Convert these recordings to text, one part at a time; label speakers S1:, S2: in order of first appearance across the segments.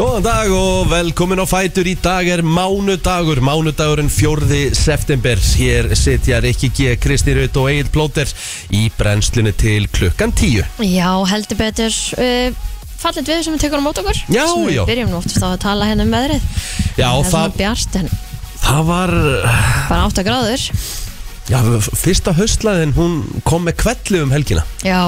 S1: Góðan dag og velkomin á Fætur Í dag er mánudagur, mánudagurinn 4. september Hér sitja Rikki G, Kristi Raut og Egil Plóter Í brennslunni til klukkan 10
S2: Já, heldur betur uh, Fallit við sem við tökum á mót okkur
S1: Já,
S2: Sem
S1: já.
S2: Við byrjum nú oftast á að tala hérna um veðrið Það
S1: Já,
S2: er
S1: það,
S2: svona bjart en
S1: það var
S2: bara 8 gráður
S1: já, Fyrsta höstlaðin, hún kom með kvelli um helgina
S2: Já,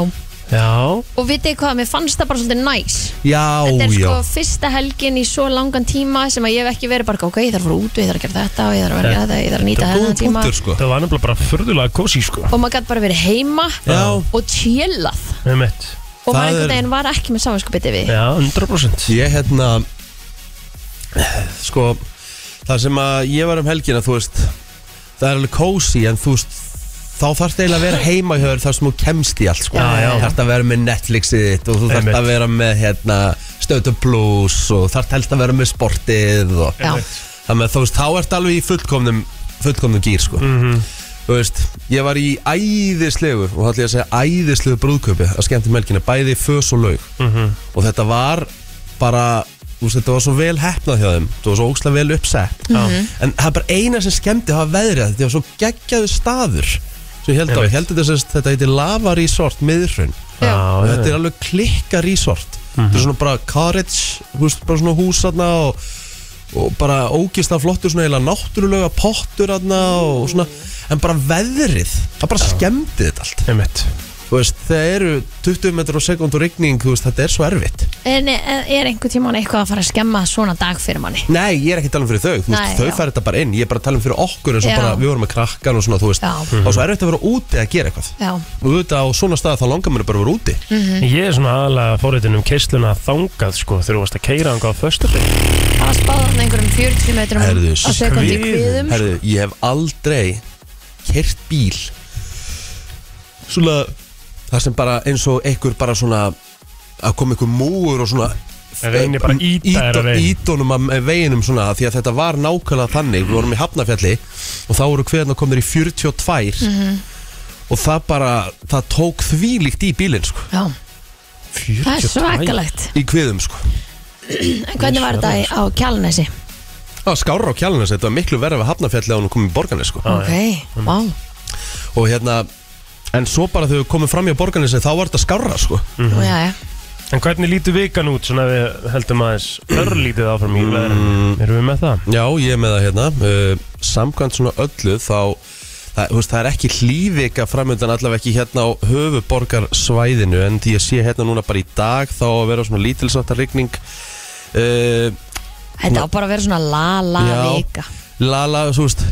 S1: Já
S2: og vitið hvað, mér fannst það bara svolítið næs
S1: Já,
S2: Þetta er
S1: já
S2: sko fyrsta helgin í svo langan tíma sem að ég hef ekki verið bara ok, ég þarf að fara út, ég þarf að gera þetta og ég þarf að vera að gera þetta, ég þarf að
S1: Það
S2: nýta
S1: er góðum
S2: þennan tíma
S1: punktur sko
S3: Það var nefnilega bara förðulega kósi sko
S2: og maður gæti bara verið heima
S1: Já.
S2: og tjélað
S3: Með mitt
S2: og maður
S1: Það er-
S2: einhvern veginn var ekki með samanskupið við
S3: Já, 100%
S1: Ég hérna Sko Það sem að ég var um helgina Þú veist Það er alveg kósi En þú veist Þá þarfst eiginlega að vera heima hjá þér Þar sem þú kemst í allt sko.
S3: Já, já.
S1: Þarfst að vera með Netflixið þitt Og þú þarfst
S3: Einmitt.
S1: að vera með hérna, Stötu Plus Og þarfst helst að vera með sportið og,
S2: Já,
S1: Þannig að þú veist Þá ert alveg í fullkomnum Fullkomnum gýr sko.
S3: mm
S1: Þú veist, ég var í æðislegu og þá ætlum ég að segja æðislegu brúðköpi að skemmti melkina, bæði fös og laug og þetta var bara þú veist, þetta var svo vel hefnað hjá þeim þetta var svo ókslega vel uppsett
S2: Mhm.
S3: Já.
S1: en það er bara eina sem skemmti það var veðrið þetta var svo geggjaðu staður sem ég held á, ég held þetta sem þetta heitir Lava Resort miðrun
S2: já,
S1: og
S3: já,
S1: þetta er
S3: já. Mhm.
S1: alveg klikka resort þetta er svona bara cottage þú veist, bara svona hús þarna og, og bara ógisla flottur svona eiginlega náttúrulega pottur þarna og svona en bara veðrið, það bara skemmdi þetta allt
S3: Með mitt
S1: þú veist, það eru 20 metrar á sekund og rigning, þú veist, þetta er svo erfitt
S2: En er er einhvern tímann eitthvað að fara að skemma svona dag fyrir manni?
S1: Nei, ég er ekki að tala um fyrir þau, þú
S2: Nei,
S1: veist, þau
S2: já.
S1: fær þetta bara inn ég er bara að tala um fyrir okkur eins og
S2: Já.
S1: bara við vorum með krakkan og svona, þú veist,
S2: Já.
S1: það var svo erfitt að vera úti að gera eitthvað
S2: Já,
S1: og þú veit á svona stað þá langar mér bara að vera úti
S2: Mhm.
S3: Ég er svona aðalega fórhættin um keisluna þangað sko Þegar þú varst að keira þangað á föstudeg
S2: það var spáð hann einhverjum 40 metrum
S1: Herðu,
S2: á um- sekundi
S3: skriðu.
S2: kviðum
S1: Herðu, ég hef aldrei kert bíl svona það sem bara eins og einhver bara svona að koma einhver múur og svona Mm,
S3: Reyni bara að ýta þér að veginn.
S1: Ídónum að veginum svona því að þetta var nákvæmlega þannig við vorum í Hafnafjalli og þá voru hverðan komnir í 42
S2: Mhm.
S1: og það bara, það tók þvílíkt í bílinn sko,
S2: Já, það er svakalegt
S1: í kviðum sko
S2: En hvernig var þetta í- á Kjálnesi?
S1: það var skára á kjálunum þetta var miklu verið við Hafnafjalli á hún komið í borgarni sko
S3: Ah, Já,
S2: Ok, vá
S1: og hérna En svo bara þegar við komum fram hjá borgarnesi þá var þetta skárra sko
S4: Mhm.
S2: Nú, já, já.
S3: En hvernig lítur vikan út svona ef við heldum aðeins örlítið áfram
S1: Mm.
S3: í veðrinu Erum við með það?
S1: Já, ég er með það hérna uh, Samkvæmt svona öllu þá Það, þú veist, það er ekki hlývika framöndan allavega ekki hérna á höfuborgarsvæðinu en því ég sé hérna núna bara í dag þá að vera svona lítilsáttar rigning uh,
S2: Þetta á bara að vera svona la-la
S1: Já.
S2: vika
S1: Lala, þú veist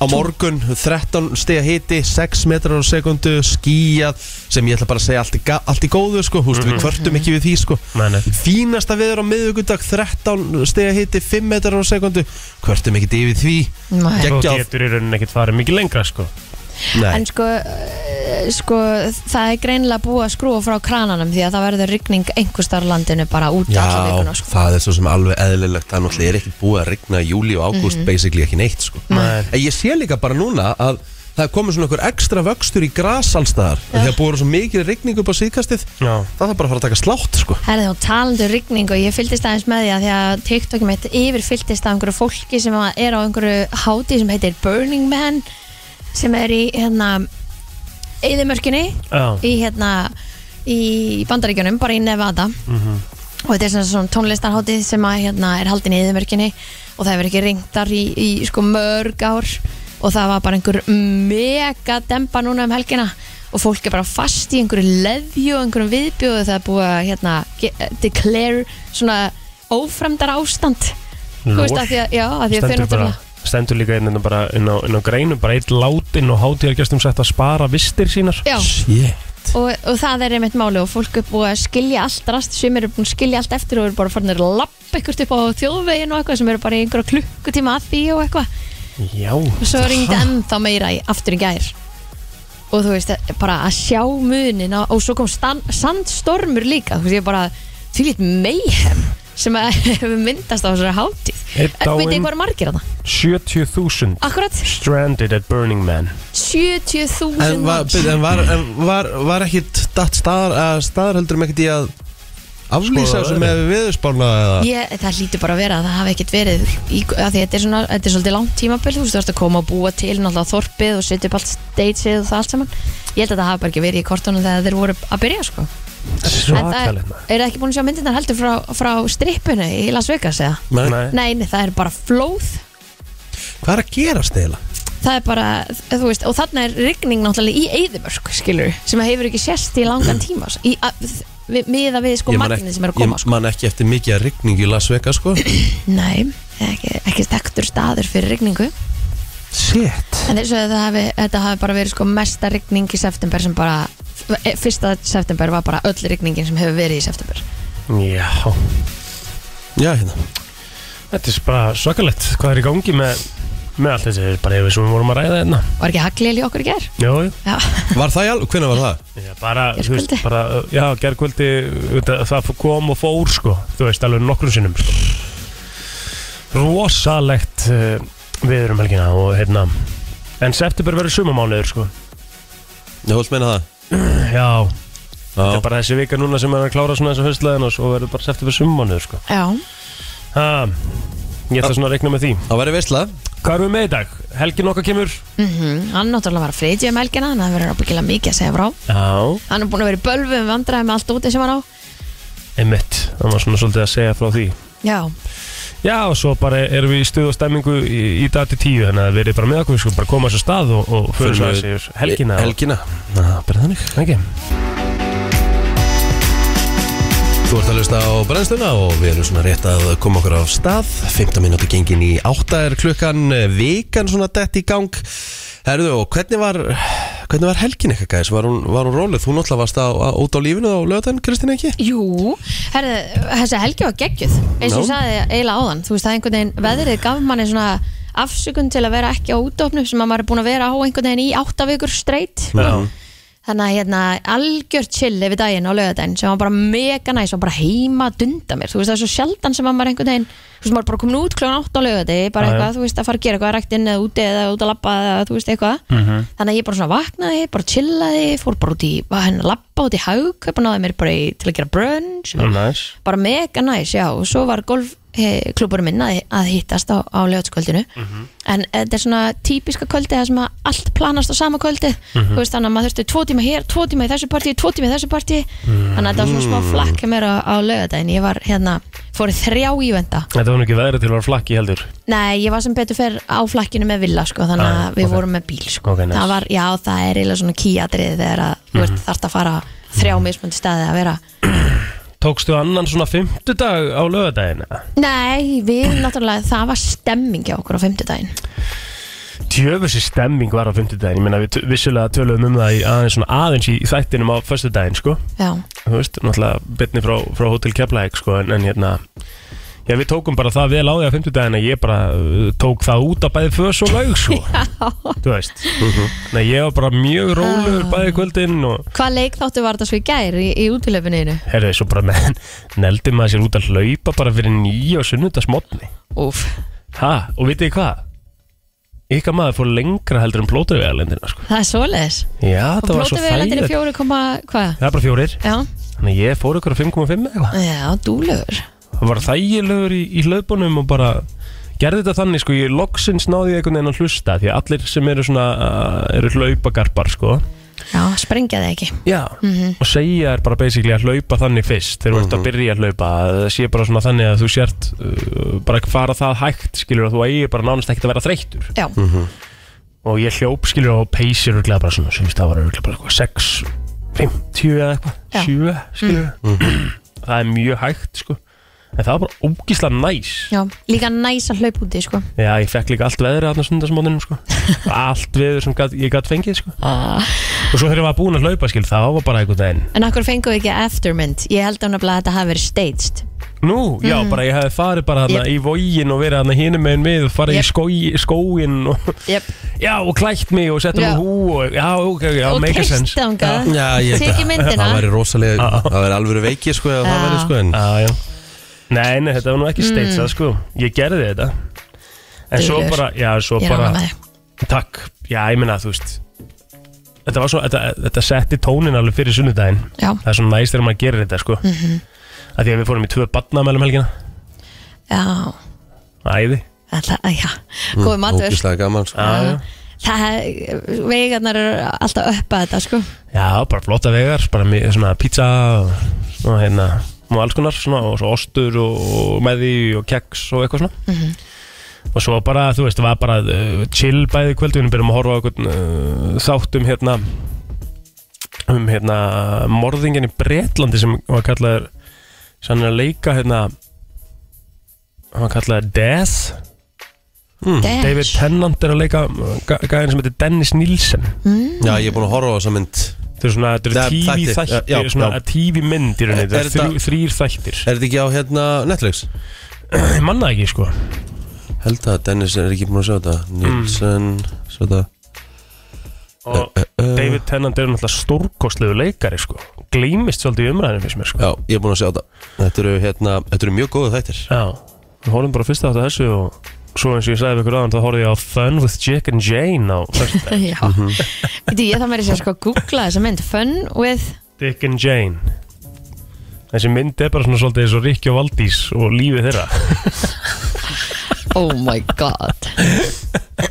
S1: á morgun 13 stiga hiti 6 metrar á sekundu, skýjað sem ég ætla bara að segja allt í, ga- allt í góðu sko, þú veist, við kvörtum ekki við því sko
S3: Mhm. Nei, nei.
S1: fínasta viður á miðugundag 13 stiga hiti 5 metrar á sekundu kvörtum ekki yfir því
S2: Nei.
S3: Þú
S1: Geggjað.
S3: getur í rauninni ekkert farið mikið lengra sko
S1: Nei,
S2: En sko, eh, sko, það er greinilega búið að skrúa frá krananum því að það verður rigning einhverstar landinu bara út
S1: já,
S2: allir vikuna sko.
S1: það er svo sem alveg eðlilegt það náttúrulega er ekki búið að rigna í júli og ágúst
S2: Mhm.
S1: basically ekki neitt sko
S3: Nei.
S1: en ég sé líka bara núna að það er komið svona einhver ekstra vöxtur í grasalstaðar
S2: Já.
S1: þegar búið er svo mikil rigning upp á síðkastið
S3: Já
S1: það þarf bara að fara að taka slátt sko
S2: Herði og talandi um rigning og ég fylgdist aðeins með því að því að TikTok mitt yfir fylgdist að einhverju fólki sem að er á einhverju hátíð sem heitir Burning Man sem er í hérna eðimörkinni
S3: Já
S2: í hérna í bandaríkjunum, bara í Nevada
S3: Mhm.
S2: og þetta er svona, svona tónlistarhátíð sem að hérna er haldin í eðimörkinni og það hefur ekki ringtar í, í sko mörg ár og það var bara einhver mega dempa núna um helgina og fólk er bara fast í einhverju leðju og einhverjum viðbjóðu það er búið að hérna ge- declare svona ófremdar ástand Þú veist
S3: Lol.
S2: að því að, já, að því að þau
S3: stendur bara
S2: náttúrulega
S3: stendur líka inn, inn, bara, inn, á, inn á greinu bara eitt látinn og hátíðargestum sett að spara vistir sínar
S2: Já,
S1: Shit.
S2: og, og það er einmitt máli og fólk er búið að skilja allt rast sem eru búin að skilja allt eftir og eru bara farin að lappa eitthvað upp á þjóðvegin og eitthvað sem eru bara í einhverja klukkutíma að því og eitthvað
S3: Já
S2: og svo ringdi ennþá meira í aftur í gær og þú veist, bara að sjá munin og, og svo kom stan, sandstormur líka þú veist, ég bara til eitt meihem sem að hefur myndast á þessari hátíð
S3: Einn
S2: en veit ég
S3: dáinn.
S2: hvað er margir að það?
S3: 70.000
S2: Akkurat
S3: Stranded at Burning Man
S2: 70.000
S1: En var,
S2: manns
S1: byrju, en var, en var, var ekkit datt staðar, staðar heldur um ekkert í að aflýsa
S3: Skoða
S1: þessu
S3: veðrið.
S1: með viðurspána eða
S2: Ég, það hlýtur bara að vera að það hafi ekkert verið í, að því þetta er, svona, þetta er svolítið langt tímabil þú veist, þú ert að koma og búa til náttúrulega þorpið og setja upp allt stageið og það allt saman ég held að það hafi bara ekki verið í kortunum þegar þeir voru að byrja sko. en það er,
S3: Svakalegt maður.
S2: er ekki búin að sjá myndirnar heldur frá, frá strippinu í Las Vegas eða?
S1: Nei.
S3: Nei.
S2: Nei, nei, það er bara flóð
S1: Hvað er að gera stela?
S2: það er bara, þú veist, og þarna er rigning náttúrulega í Eidimörk, skilur sem hefur ekki sérst í langan tíma sko, í, að, við, miða við sko magnið sem er að koma
S1: ég man ekki eftir mikið að rigning í Las Vegas sko
S2: sko. nei, ekki, ekki stektur staður fyrir rigningu
S1: Shit
S2: En eins og þetta hafi, þetta hafi bara verið sko mesta rigning í september sem bara f- fyrsta september var bara öll rigningin sem hefur verið í september
S3: Já,
S1: Já hérna
S3: þetta er bara svakalegt Hvað er í gangi með, með allt þetta Bara ef við svo vorum að ræða hérna. þetta
S2: Var ekki haglil í okkur í ger?
S3: Jó, jú.
S2: Já,
S1: Var það í alveg? Hvernig var það?
S3: Já, bara, þú veist,
S2: Gærkvöldi.
S3: bara, uh, já, gerkvöldi, það kom og fór, sko, þú veist, alveg nokkrum sinnum, sko. Rosalegt uh, viður um helgina og, hérna, en september verður sumamánuður, sko.
S1: Ég hólt meina það
S3: Já, þetta
S1: Já,
S3: er bara þessi vika núna sem er að klára svona þessu höstlegin og svo verður bara september sumamánuður, sko.
S2: já
S3: Ha, ég ætla svona að rekna með því.
S1: það væri veistla
S3: Hvað erum við með í dag? Helgin okkar kemur?
S2: mm Hann náttúrulega var að friðja um helgina þannig að það verður ábyggilega mikið að segja frá
S3: Já.
S2: Hann er búin að vera í bölvu um vandræði með allt úti sem hann á
S3: Einmitt, það var svona svolítið að segja frá því.
S2: Já,
S3: Já, og svo bara erum við í stuð og stemmingu í, í dag til tíu, þannig að við erum bara með okkur, við skulum bara koma þessu stað og, og förum svo
S1: Förum við-
S3: þessi helgina. og-
S1: Helgina Já, bara þannig
S3: Ekki?
S1: Þú ert að hlusta á brennstuna og við erum svona rétt að koma okkur á stað 15 minúti gengin í 8 er klukkan eh, vikan svona dett í gang Herðu og hvernig var hvernig var helgin eitthvað gæs? Var hún, var hún rólið? Þú náttúrulega varst á, á, út á lífinu á löðan, Kristín ekki?
S2: jú Herðu, þessi helgi var geggjuð eins og ég
S1: Já.
S2: sagði eiginlega áðan Þú veist það einhvern veginn, veðrið gaf manni svona afsökun til að vera ekki á útofnum sem að maður er búin að vera á einhvern veginn í áttavíkur streitt
S3: Já.
S2: þannig að hérna algjört chill yfir daginn á laugardaginn sem var bara mega næs og bara heima að dunda mér, þú veist það er svo sjaldan sem að maður einhvern veginn, þú veist maður er bara komin út klón 8 á laugardagi, bara
S3: Já, já.
S2: eitthvað, þú veist að fara að gera eitthvað rækt inn eða úti eða út að labba eða þú veist eitthvað,
S3: Mhm.
S2: þannig að ég bara svona vaknaði bara chillaði, fór bara út í var henni að labba út í haugkaup og náði mér bara í, til að gera brunch,
S3: Næs. Nice.
S2: bara mega næs, já, og svo var golfklubur minn að, að hittast á, á lögatskvöldinu, en þetta er svona típiska kvöldi það sem að allt planast á sama kvöldi, þú veist þannig að maður þurfti tvo tíma hér, tvo tíma í þessu partí, tvo tíma í þessu partí þannig að þetta var svona smá flakk mér á, á lögadaginn, ég var hérna fór í þrjá ívenda,
S3: Þetta var nú ekki veðrið til að vera flakki heldur.
S2: nei, ég var sem betur fer á flakkinu með villa, sko, þannig að
S3: Ah,
S2: við
S3: ok.
S2: vorum með bíl, sko,
S3: Ok, nice.
S2: það var, já, það er eiginlega svona kýadrið þegar að,
S3: Mm.
S2: þú
S3: Mhm.
S2: veist, þarft að fara á þrjá mismönd staði að vera
S3: Tókstu annan svona fymtudag á lögadaginn?
S2: Nei, við náttúrulega, það var stemming hjá okkur á fimmtudaginn
S3: Tjöfusi stemming var á fymtudaginn, ég meina við t- vissulega töluðum um það í aðeins, svona, aðeins í þættinum á föstudaginn, sko.
S2: Já,
S3: Þú veist, náttúrulega bitni frá, frá Hotel Keflæk, sko, en, en hérna... Já, við tókum bara það vel á því á fymtudaginn að ég bara uh, tók það út af bæði fös og laug, sko. þú veist Nei, ég var bara mjög rólegur bæði kvöldin og
S2: hvað leik þáttu var þetta svo í gær í, í útilöfinu einu?
S3: herðu svo bara með neldi maður sér út að hlaupa bara fyrir nýja og sunnudagsmotni
S2: Úf,
S3: ha, og vitið þið hvað? ykkar maður fór lengra heldur en plóturvegalendina sko.
S2: það er svoleiðis
S3: já,
S2: Og
S3: það var svo
S2: plótuvegalendir í
S3: þægilegt
S2: fjóru koma, hvað?
S3: það er bara fjórir,
S2: Já,
S3: þannig að ég fór ykkur á 5,5 eða eitthvað
S2: já, dúlegur
S3: það var þægilegur í, í hlaupunum og bara gerði þetta þannig sko, ég loksins náði ég einhvern veginn að hlusta því að allir sem eru svona uh, eru hlaupagarpar sko,
S2: Já, sprengja þig ekki Mhm.
S3: Já, og segja er bara basically að hlaupa þannig fyrst þegar þú ert að byrja að hlaupa að það sé bara svona þannig að þú sért uh, bara að fara það hægt skilur að þú eigi bara nánast ekkert að vera þreyttur
S2: Já,
S3: og ég hljóp skilur og peysi röglega bara svona sem það var röglega bara eitthvað 6, 50 eða eitthvað
S2: Já. Mm.
S3: 7 skilur það er mjög hægt sko en það var bara ógíslega næs
S2: já, líka næs að hlaup úti, sko
S3: Já, ég fekk líka allt veðrið aðna sundasmóninum sko allt veður sem gat, ég gætt fengið sko
S2: ah.
S3: og svo þegar ég var búin að hlaupa skil það var bara einhvern veginn
S2: En akkur fengu ekki aftermynd Ég held að nefnilega að þetta hafi verið staged
S3: Nú,
S2: Mm.
S3: já, bara ég hefði farið bara hana í vógin og verið hana hinum meginn við og farið
S2: Yep.
S3: í skói, skóin og,
S2: Jep
S3: já, og klætt mig og sett
S2: Já.
S3: um hú og, já, ok, ok, já,
S2: Og
S3: make a sense
S2: keyrt þangað.
S3: Já,
S1: Já, ég
S2: Tekið myndina.
S1: Það væri rosalega,
S3: Já.
S1: það væri alvöru veiki sko eða það
S2: Já. Mm.
S1: væri sko en
S3: Ah, já, já Nei, nei, þetta var nú ekki steitsað, sko Ég gerði þetta En svo
S2: Duglegur.
S3: bara, já, svo
S2: Ég er
S3: bara
S2: ánægð með þig
S3: Takk, já, ég meina, þú veist Þetta var svo, þetta, þetta setti tónin alveg fyrir sunnudaginn
S2: Já, Mhm.
S3: Það er svona næst þegar maður gerir þetta, sko mm að því að við fórum í tvö barnamælum helgina
S2: Já,
S3: Æði
S2: alltaf, já, góði matur
S1: Ógislega gaman sko.
S3: Já, já.
S2: Það, vegarnar eru alltaf upp að þetta, sko
S3: Já, bara flotta vegar, bara mi- svona pizza og, og hérna og alls konar, svona, og svo ostur og, og meði og keks og eitthvað svona og svo bara, þú veist, var bara uh, chill bæði kvöld, við byrjum að horfa á einhvern uh, þátt um hérna um hérna morðingin í Bretlandi sem var kallaður sem hann er að leika hérna hann var kallaður Death Hmm,
S2: Dash.
S3: David Tennant er að leika uh, ga- gæðin sem heitir Dennis Nielsen
S1: Já, ég er búin að horfa á þessa mynd
S3: Þetta er svona, þetta
S1: Nei,
S3: eru tífi
S1: þættir.
S3: þættir,
S1: Já,
S3: þetta
S1: já,
S3: eru svona
S1: já.
S3: tífi mynd í rauninni,
S1: Er-
S3: þetta
S1: er
S3: eru þrjú-
S1: þetta-
S3: þrýr þættir.
S1: Er þetta ekki á hérna Netflix?
S3: Ég manna það ekki, sko.
S1: Held að Dennis er ekki búin að sjá þetta
S3: Mm.
S1: Nilsen, sjá þetta Uh,
S3: Og
S1: Eh,
S3: David Tennant er náttúrulega stórkostlegu leikari, sko. Gleimist svolítið í umræðinu fyrst mér, sko.
S1: Já, ég er búin að sjá þetta Þetta eru hérna, þetta eru mjög góðu þættir
S3: Já, við horfum bara fyrst átt að þessu og svo eins og ég sagði við ykkur aðan, þá horfði ég á Fun with Jack and Jane á föstudag.
S2: Já,
S1: Mhm.
S2: veitu, ég það meiri sér sko að googla þessa mynd Fun with,
S3: Dick and Jane. Þessi mynd er bara svona svolítið eins og Rikki og Valdís og lífið þeirra.
S2: oh my god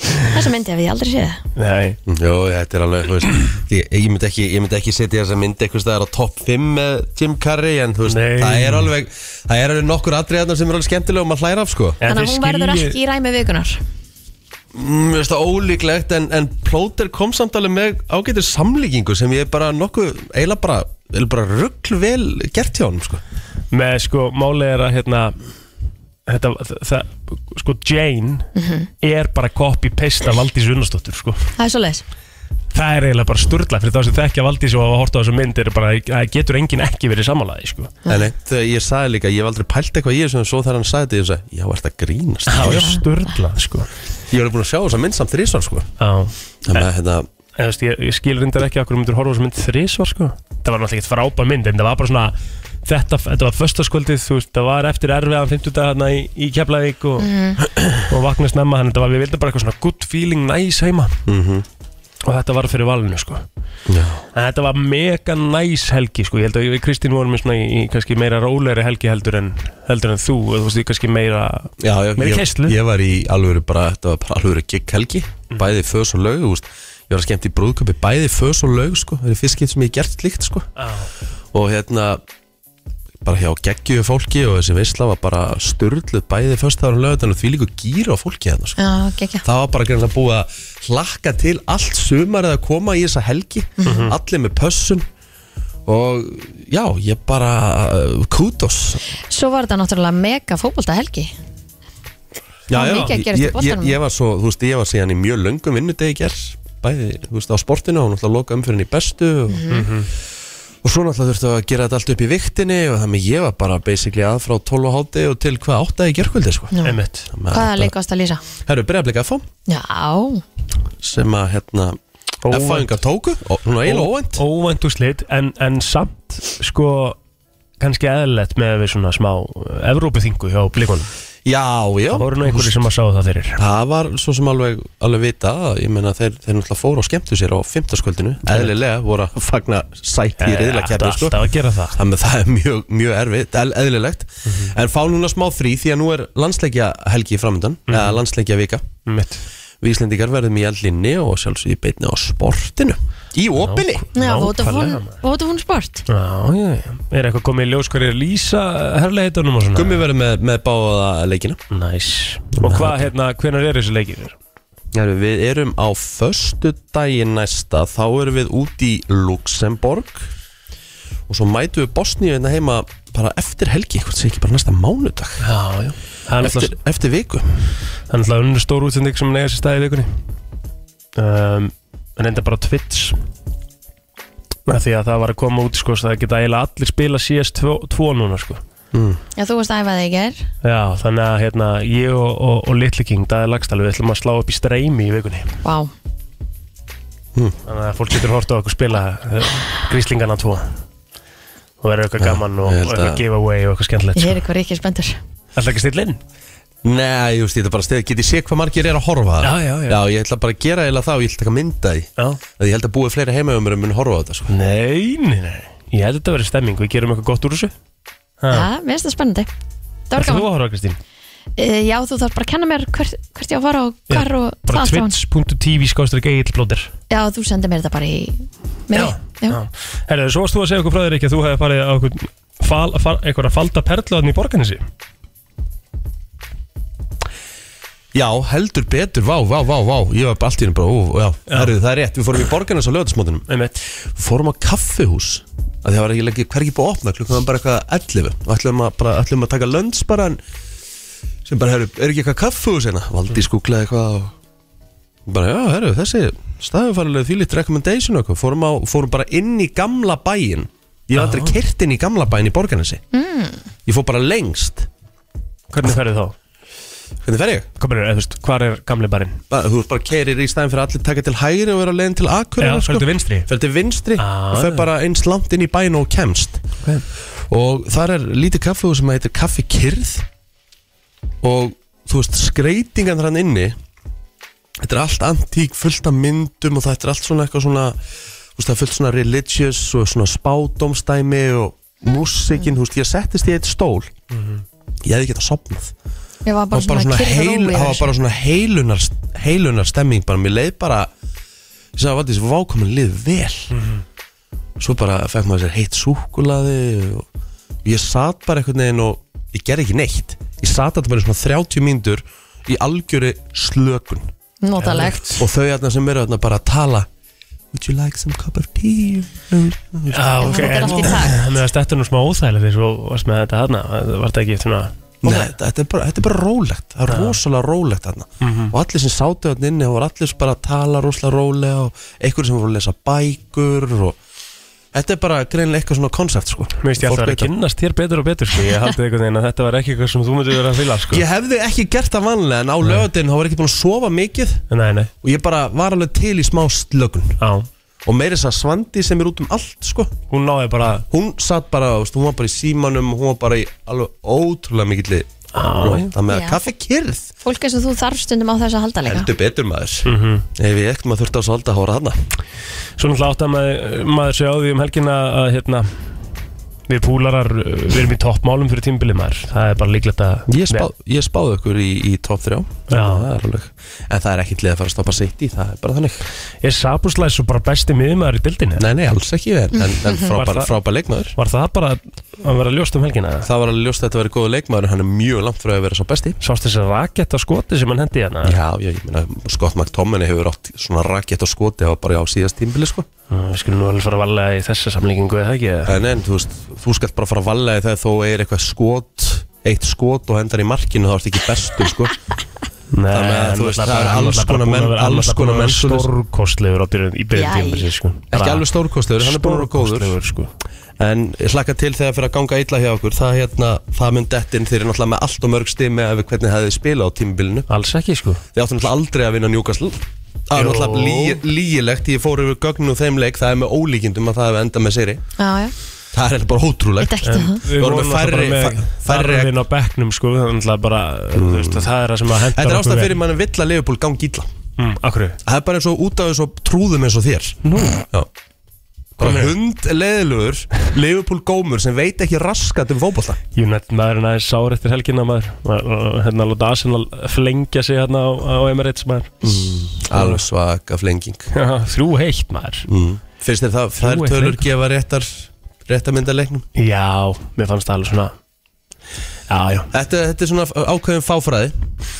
S2: Þessa mynd hef ég aldrei séð
S3: Nei,
S1: Jó, þetta er alveg, þú veist Ég, ég myndi ekki, ég myndi ekki setja þessa mynd eitthvað það er á topp 5 með Jim Carrey en þú veist,
S3: Nei.
S1: það er alveg það er alveg nokkur atriðarnar sem er alveg skemmtilega og maður hlæra af sko
S3: en
S2: Þannig
S3: þið
S2: að hún verður
S3: skiljið-
S2: ekki í ræmi vikunar
S1: Mm, Mér finnst það ólíklegt en, en Plóter kom samt alveg með ágættir samlíkingu sem ég bara nokkuð, eiginlega bara, eiginlega bara ruggl vel gert hjá honum sko
S3: með sko málið er að hérna þetta, það, það, sko Jane er bara copy-paste af Valdís Unnarsdóttur sko.
S2: Mhm. Það er svo leis
S3: það er eiginlega bara sturla fyrir þá sem þekkja Valdís og hafa hort á þessu mynd er bara, það getur enginn ekki verið samanlæði sko.
S2: Ah.
S1: Nei, nei, þegar eh, ég sagði líka, ég hef aldrei pælt eitthvað í þessu en svo þegar hann sagði þetta, ég sagði, já, er þetta grínast
S3: það er sturla sko.
S1: Ég var búin að sjá þess að mynd samt þrísvar, sko
S3: Já.
S1: Þannig að, hérna,
S3: En, þú veist, ég, ég skil reyndar ekki okkur myndur horfa á þessu mynd þrísvar sko. það var náttúrulega ekkert frábæð mynd en það var bara svona þetta, þetta var föstaskvöldið, þú veist, það var eftir erfiðan 50 dag hérna í, í Keflavík og, og vakna snemma, þannig að þetta var, við vildum bara eitthvað svona good feeling nice heima Mhm. og þetta var fyrir valinu sko
S1: já,
S3: en þetta var mega næs helgi sko ég held að við Kristín vorum í svona í, í kannski meira rólegri helgi heldur en, heldur en þú og þú veist, ég kannski meira
S1: já, já
S3: Meiri
S1: ég,
S3: keislu.
S1: ég var í alvöru bara, þetta var bara alvöru gig helgi Bæði fös og laug, þú veist Ég var að skemmt í brúðköpi, bæði fös og laug, sko Það er fyrst skipt sem ég hef gert slíkt, sko
S3: Ah.
S1: Og hérna, bara hjá geggju fólki og þessi veisla var bara styrluð Bæði föstaðar og laugardagur og því líku gýra á fólki hérna, sko
S2: Já, gekkja
S1: það var bara greinlega búið að hlakka til allt sumar eða koma í þessa helgi allir með pössun og já, ég bara uh, kudos
S2: Svo var þetta náttúrulega mega fótbolta helgi
S1: já,
S2: Það var mikið að gerast í
S1: ég, ég,
S2: boltanum.
S1: ég var svo, þú veist, ég var síðan í mjög löngum vinnudegi ger bæði, þú veist, á sportinu og náttúrulega loka umfyrinni í bestu og,
S2: Mhm.
S1: og svo náttúrulega þurftu að gera þetta allt upp í viktinni og þannig ég var bara basically að frá 12 og háti og til hvað átta í gerkvöldi sko.
S2: Já.
S3: einmitt
S2: Hvaða leik varst að lýsa?
S1: Herru, breyðarblik FH
S2: Já,
S1: sem að hérna
S3: Óvænt.
S1: F-fæðingar tóku, og hún var eiginlega óvænt
S3: óvænt úr slitt en, en samt sko kannski eðlilegt með við svona smá eh, Evrópuþingu hjá blíkonum
S1: Já, já
S3: það voru nú einhverju sem að sá það fyrir
S1: Það var svo sem alveg, alveg vita Ég meina þeir, þeir náttúrulega fóru og skemmtu sér á fimmtaskvöldinu Eðlilega voru að fagna sæti í riðla kemni sko.
S3: Eh, alltaf að gera það Mhm.
S1: Þannig að það er mjög, mjög erfitt, eðl- eðlilegt En fá núna smá frí því að nú er landsleikja helgi framöndan Eða landsleikja vika
S3: Mhm. einmitt
S1: Við Íslendingar verðum í allinni og sjálfsög í beitni á sportinu Í opinni
S2: já
S3: Nákvæmlega,
S2: Votafún
S3: maður.
S2: Votafún Sport
S3: Já, já, já. Er eitthvað komið í ljós hverju lýsa herrleitunum og svona?
S1: Gummi verður með, með báða leikina
S3: Næs. Og hvað, hérna, hvenar er þessi leikir?
S1: Heru, Við erum á föstu daginn næsta þá erum við út í Luxemborg og svo mætum við Bosníu hérna heima bara eftir helgi, hvort sé ekki bara næsta mánudag
S3: Já, já. Það er
S1: eftir,
S3: náttúrulega-
S1: eftir viku
S3: það er náttúrulega unnur stór útsending sem neyja sér staði í vikunni. Um, en enda bara Twitch. Af því að það var að koma út, sko, svo það geta eiginlega allir spila CS2 núna, sko.
S2: Já, þú varst æfaði í ger
S3: Já, þannig að hérna, ég og, og, og Little King, Daði Lagstall, við ætlum að slá upp í streymi í vikunni.
S2: Vá,
S1: Hmm.
S3: Þannig að fólk getur hort á okkur spila eh, gríslingana tvo og vera eitthvað gaman og,
S1: ég
S3: og
S1: held
S3: eitthvað
S1: að-
S3: giveaway og eitthvað skemmtilegt
S2: ég
S3: sko.
S2: heyri hvað Ríkir spenntur
S3: Alltaf ekki stilla inn
S1: Nei, ég veist, þetta er bara stið, get ég sé hvað margir er að horfa á það?
S3: Já, já, já.
S1: já ég ætla bara að gera eða það og ég ætla að taka mynda því
S3: Já
S1: að ég held að búið fleiri heimauðumur um mun horfa á þetta sko.
S3: Nei, nei, nei Ég held að þetta verið stemming, við gerum eitthvað gott úr þessu Ha.
S2: Já, mér finnst það spennandi Það var
S3: Ætlar þú
S2: gaman
S3: að horfa Kristín?
S2: Eh, Já, þú þarf bara að kenna mér hvert, hvert ég á að fara og
S3: Já,
S2: hvar og það
S3: Bara
S2: allt saman.
S3: twitch.tv skástur geilblóðir
S2: Já, þú sendir mér þetta bara í
S3: Já,
S2: mail.
S3: já. Herðu, svo varst þú að segja okkur frá þér ekki að þú hefði farið á okkur fal, fal, einhverja falda perluðan í borganessi
S1: Já, heldur betur, vá, vá, vá, vá Ég var bara allt í henni bara, ó, já,
S3: Já.
S1: Herru, það er rétt Við fórum í borgarnas á lögatismótinum
S3: Einmitt.
S1: Fórum á kaffihús að Það var ekki lengi, hver ekki búið að opna Klukkan var bara eitthvað 11 Og ætlum að, bara, ætlum að taka lönns bara en, Sem bara, herru, er ekki eitthvað kaffihús hérna Valdi skúklaði eitthvað og Bara, já, herru, þessi staðumfærilega þvílitt recommendation og eitthvað Fórum, á, fórum bara inn í gamla bæin Ég var aldrei kert inn í gamla bæin í borgarnasi mm. Ég fór bara lengst
S3: Hvernig ferðu þá?
S1: Hvernig fer ég?
S3: Komur, eða, þú veist, hvar er gamli barinn?
S1: Bara- Þú veist bara kerir í stæðin fyrir að allir taka til hægri og vera leiðin til sko.
S3: Já,
S1: akkurat
S3: ferðu vinstri
S1: Fyrir til vinstri
S3: Ah.
S1: og fer bara eins langt inn í bæin og kemst
S3: Ok.
S1: Og þar er lítið kaffihús sem heitir Kaffi Kyrð Og þú veist skreitingan þar hann inni Þetta er allt antík fullt af myndum og þetta er allt svona eitthvað svona Þú veist það er fullt svona religious og svona spádomstæmi og músikin Þú veist ég settist í eitt stól
S3: Mhm.
S1: Ég hefði getað sopnað
S2: Ég var bara
S1: það var bara
S2: svona
S1: svona, heil,
S2: kyrrrói
S1: það var bara svona heilunar, heilunar stemming bara, mér leið bara ég sagði að Valdís, vákomin lið vel
S2: Mhm.
S1: svo bara fekk maður sér heitt súkulaði og ég satt bara einhvern veginn og ég gerði ekki neitt ég satt þetta bara í svona 30 mínútur í algjöri slökun
S2: Notalegt.
S1: og þau hérna sem eru hérna bara að tala Would you like some cup of tea? Um, uh,
S3: Já, Ah, ok,
S2: Þetta er
S3: en
S2: allt í takt.
S3: með að þetta er nú smá óþægilega því svo varst með þetta hana, var þetta ekki svona Ah.
S1: Nei, þetta er bara, þetta er bara rólegt Það er rosalega rólegt þarna
S3: Mhm.
S2: Mhm.
S1: Og allir sem sátu þarna inni Það voru allir sem bara að tala rosalega rólega Og einhverjum sem voru að lesa bækur og... Þetta er bara greinlega eitthvað svona koncept sko.
S3: Mér veist ég alltaf
S1: Fólk
S3: að vera að
S1: veit
S3: kynnast þér betur og betur sko. Ég haldið einhvern veginn að þetta var ekki eitthvað sem þú myndir vera að fylga sko.
S1: Ég hefði ekki gert það vanlega En á lögadinn þá var ég ekki búin að sofa mikið
S3: Nei, nei,
S1: Og ég bara var alveg til í smá slögun
S3: á
S1: Og meiri þess að Svandi sem er út um allt sko.
S3: Hún náði bara
S1: Hún satt bara, þú veist, hún var bara í símanum Hún var bara í alveg ótrúlega mikill
S3: Á.
S1: Það hérna með að
S2: Já.
S1: kaffi kyrð
S2: Fólk eins og þú þarf stundum á þess að halda líka.
S1: Heldur betur maður mm -hmm. Ef ég ekkert maður þurfti á salda hóra hana
S3: Svo náttúrulega átt að maður, maður sé á því um helgina að hérna Við púlarar, uh, við erum í toppmálum fyrir tímbilið maður Það er bara líklegt að
S1: Ég, spá, ég spáði okkur í, í top 3
S3: Já.
S1: það er alveg En það er ekkert lið að fara að stoppa sitt í, það er bara þannig
S3: Er Sabuslæs svo bara besti miðmaður í dildinni?
S1: Nei, nei, alls ekki verið En, en
S3: Var
S1: frábær,
S3: það-
S1: frábær leikmaður
S3: Var það bara að vera ljóst um helgina? eða?
S1: Það var alveg ljóst að þetta verið góð leikmaður En hann er mjög langt frá að vera svo besti
S3: Sást þessi rakett á skoti sem hann hendi hérna?
S1: Já, já, ég meina, Scott McTominay hefur átt svona rakett og skoti Það var bara á síðast tímbili, sko
S3: Við skulum nú alveg fara að valega í þessa samlíkingu eða ekki?
S1: En en, þú veist, þú skalt bara fara að valega Þegar þú er eitthvað skot Eitt skot og hendar í markinu, þá ertu ekki bestu, sko
S3: Nei,
S1: Þannig að, þú
S3: hann
S1: veist,
S3: var
S1: það
S3: bara-
S1: er
S3: hann
S1: alls
S3: var bara
S1: konar
S3: búinn að
S1: menn-
S3: vera- hann var
S1: alls
S3: bara
S1: konar
S3: búinn að vera
S1: menn svoleiðis.
S3: Stórkostlegur á byrjun í byrjun
S2: Jæja.
S3: tímbilsi sko.
S1: Ekki alveg stórkostlegur, hann er búin að vera góður
S3: Stórkostlegur, sko.
S1: En ég hlakka til þegar fyrir að ganga illa hjá okkur Það, hérna, það mun dettin þeir eru náttúrulega með allt og mörg stið með að við hvernig það hefði spila á tímabilinu
S3: Alls ekki sko
S1: Þeir áttu náttúrulega aldrei að vinna Newcastle Það er
S3: Jú.
S1: náttúrulega lí- lýgilegt Ég fór yfir gögnu þeim leik Það er með ólíkindum að það hefði endað með sér
S2: Já, já.
S1: Það er eiginlega bara
S2: Eitt
S1: ótrúlegt
S2: ekkert að það.
S1: Við vorum með færri,
S3: með
S1: færri, færri
S3: þarfinn á bekknum sko Þannig að bara, þú veist, að það er það sem að henda
S1: Þetta er ástæð fyrir mann að vill að Liverpool gangi illa
S3: Akkur,
S1: Það er bara eins og út af þessu trúðum eins og þér Nú Já Bara hund leðilugur Liverpool gómur sem veit ekki raskat um fótbolta
S3: United maðurinn aðeins sár eftir helgina maður Maður- Hérna að láta Arsenal flengja sig hérna á, á Emirates maður
S1: Mm. Alveg svaka flenging
S3: Já, Þrjú heitt maður
S1: mm. Finnst þér það, þær
S3: Þrjú eitt
S1: tölur
S3: leikur.
S1: gefa réttar réttarmyndaleiknum?
S3: Já, mér fannst það alveg svona Já, já,
S1: Þetta, þetta er svona ákveðin fáfræði
S3: já.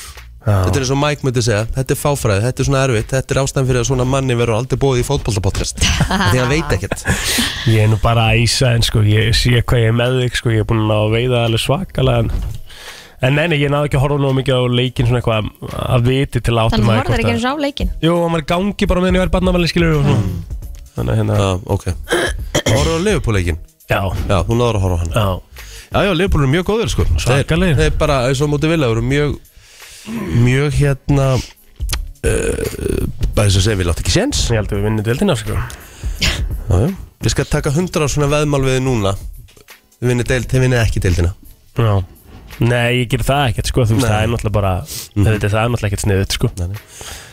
S1: Þetta er eins og Mike myndi segja, þetta er fáfræði, þetta er svona erfitt Þetta er ástæðan fyrir að svona manni verður aldrei bóðið í fótboltapodcast Því hann veit ekkert
S3: Ég er nú bara að æsa en sko, ég sé hvað ég er með þig sko, ég er búin að ná að veiða alveg svakalega en, en neina, ég náðu ekki að horfa nú mikið á leikin svona eitthvað að- að viti til að áttum
S2: Þannig maður horfður ekki eins og á leikin.
S3: Jú, og maður gangi bara meðan ég væri barnafæli skilur og svona
S1: Mm.
S3: Þannig að hérna,
S1: Já, ok Horfðu á Liverpool-leikin?
S3: já,
S1: Já, þú náður að horfa á hann
S3: já
S1: Já, já, Liverpool eru mjög góður sko
S3: Svakalegir.
S1: Þeir, þeir bara, eins og á móti vilja, eru mjög Mjög hérna uh, Bara eins og segja, við láttu ekki séns
S3: Ég held að við vinnum dildina sko
S1: Já, já. Ég skal taka hundra á svona veðmál við þið núna Þið vinnið deild, þið vinnið ekki deildina
S3: Já Nei, ég ger það ekkert sko, þú veist,
S1: Nei. Mhm.
S3: það er náttúrulega bara þetta, Það er náttúrulega ekkert sniðut sko
S1: Það er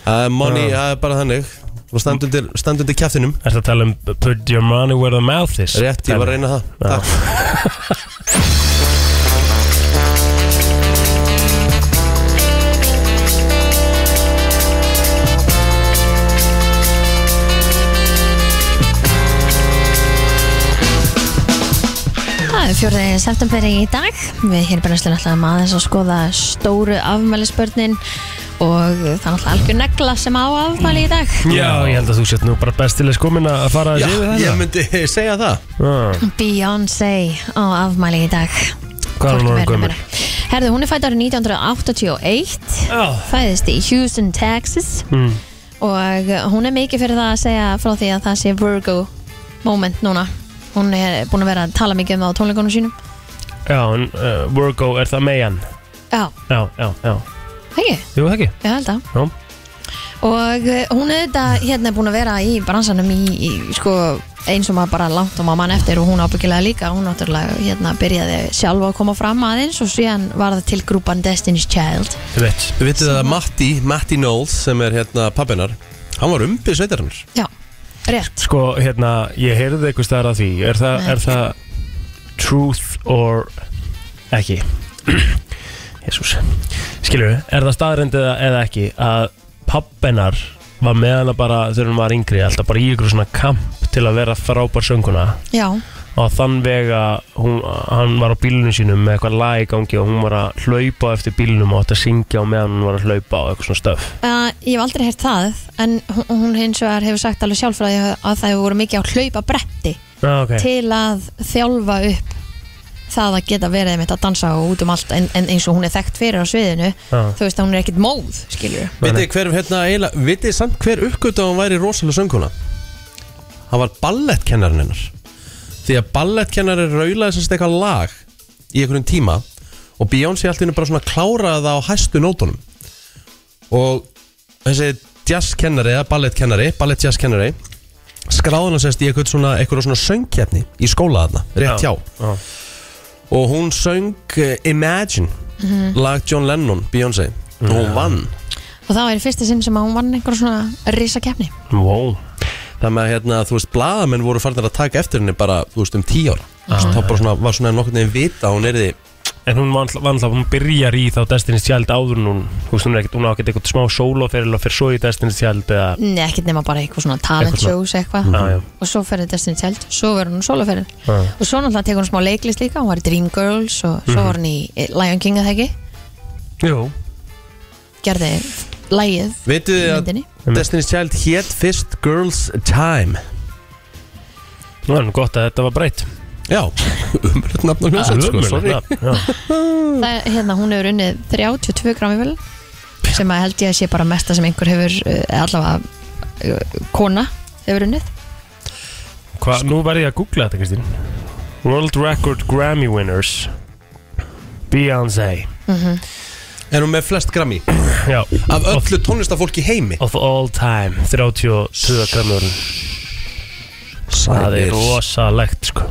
S1: Uh, money, það er bara þannig Og standundir, standundir kjaftinum
S3: Er að uh, tala um put your money where the mouth is
S1: Rétt, ég var að reyna það Takk.
S2: Það er fjórðið september í dag Við hér í brennslun ætlaðum aðeins að skoða stóru afmælisbörnin og það er náttúrulega algjör negla sem á afmæli í dag
S3: Já, ég held að þú sért nú bara bestileg skomin að fara að
S1: Já,
S3: séu
S1: ég
S3: þetta
S1: myndi segja það
S3: Ah,
S2: Beyoncé á afmæli í dag
S3: Hvað er hún orðin gömur?
S2: Herðu, hún er fætt árið 1981
S3: Já,
S2: fæðist í Houston, Texas
S3: Mm.
S2: og hún er mikið fyrir það að segja frá því að það sé Virgo moment núna hún er búin að vera að tala mikið um það á tónleikunum sínum
S3: já en, uh, Virgo, er það Mayan?
S2: Já,
S3: Já, já, já
S2: hegju,
S3: Jú, ekki?
S2: ég held að
S3: Já,
S2: og eh, hún er þetta hérna er búin að vera í bransanum í, í sko, eins og maður bara langt og maður mann eftir og hún ábyggilega líka, hún náttúrulega hérna byrjaði sjálf að koma fram aðeins og síðan var það til grúpan Destiny's Child
S3: ég veit
S1: Við vitið að Matti, Matti Knowles sem er hérna pappinar Hann var umbið sveitarinnar
S2: já, rétt
S3: Sko, hérna, ég heyrði eitthvað staðar að því Er, þa
S2: Nei.
S3: er það truth or ekki? Jésús Skilur við, er það staðrendið eða, eða ekki að pappenar var með hana bara þegar hún var yngri alltaf bara í ykkur svona kamp til að vera frábær sönguna
S2: já,
S3: og þann vega hún, hann var á bílunum sínum með eitthvað lag í gangi og hún var að hlaupa eftir bílunum og átt að syngja og meðan hún var að hlaupa og eitthvað svona stöf
S2: uh, ég hef aldrei heyrt það en hún, hún hins vegar hefur sagt alveg sjálf frá því að að það hefur voru mikið á hlaupa bretti
S3: ah, okay.
S2: til að þjálfa upp það að geta verið með að dansa og út um allt en, en eins og hún er þekkt fyrir á sviðinu
S3: ah.
S2: þú veist að hún er ekkit móð, skilur
S1: Vitið þið hver, hérna, eiginlega- vitið þið samt hver uppgötu að hún væri rosalega sönguna Hann var ballettkennarinn hennar Því að ballettkennari raulaði sérst eitthvað lag í einhverjum tíma og Beyoncé allt í hennu bara svona kláraði það á hæstu nótunum og þessi jazzkennari eða ballettkennari, ballettjazzkennari skráði hann sérst í eitthvað svona, eitthvað svona söngkeppni í skóla þarna, rétt hjá
S3: ah.
S1: og hún söng eh, Imagine
S3: Mhm.
S1: lag John Lennon, Beyoncé og hún vann
S2: og það var í fyrsta sinn sem að hún vann einhver svona risakefni
S3: Wow
S1: það með að hérna, þú veist, blaðamenn voru farnir að taka eftir henni bara, þú veist, um tíu ára ah, þá bara svona, var svona nokkurn veginn vita að hún er
S3: En hún var alltaf, hún byrjar í þá Destiny's Child áður en hún, þú veist, hún er ekkert, hún á ekkert eitthvað smá sóloferil og fyrir svo í Destiny's Child eða,
S1: Mm.
S2: Nei, ekkert nema bara eitthvað svona talent
S3: Eitthvað svona. Mhm. Ah,
S2: shows eitthvað
S3: Já, já.
S2: og svo ferði Destiny Child, svo verður hún soloferðin
S3: Já.
S2: og svo náttúrulega tekur hún smá leiklist líka hún var í Dreamgirls og
S3: Mhm.
S2: svo var hún í eh, Lion King að það ekki,
S3: jú,
S2: gerði lægið
S1: vitið
S2: í
S1: þið að
S2: myndinni
S1: Destiny's Child hét fyrst Girls Time
S3: nú er nú gott að þetta var breytt.
S1: já, umröðt nafn og hljóðsett sko, sorry
S3: sorry.
S2: það, hérna, hún hefur unnið 32 grammi vel sem að held ég að sé bara mesta sem einhver hefur eh, allavega eh, kona hefur unnið
S3: Hvað,
S1: Sko.
S3: nú verði ég að googla þetta, Kristín. World Record Grammy Winners, Beyoncé,
S2: Mhm.
S1: en hún með flest grammi
S3: já,
S1: af öllu tónlistafólki í heimi
S3: of all time, 32 grammur, það er rosalegt, sko.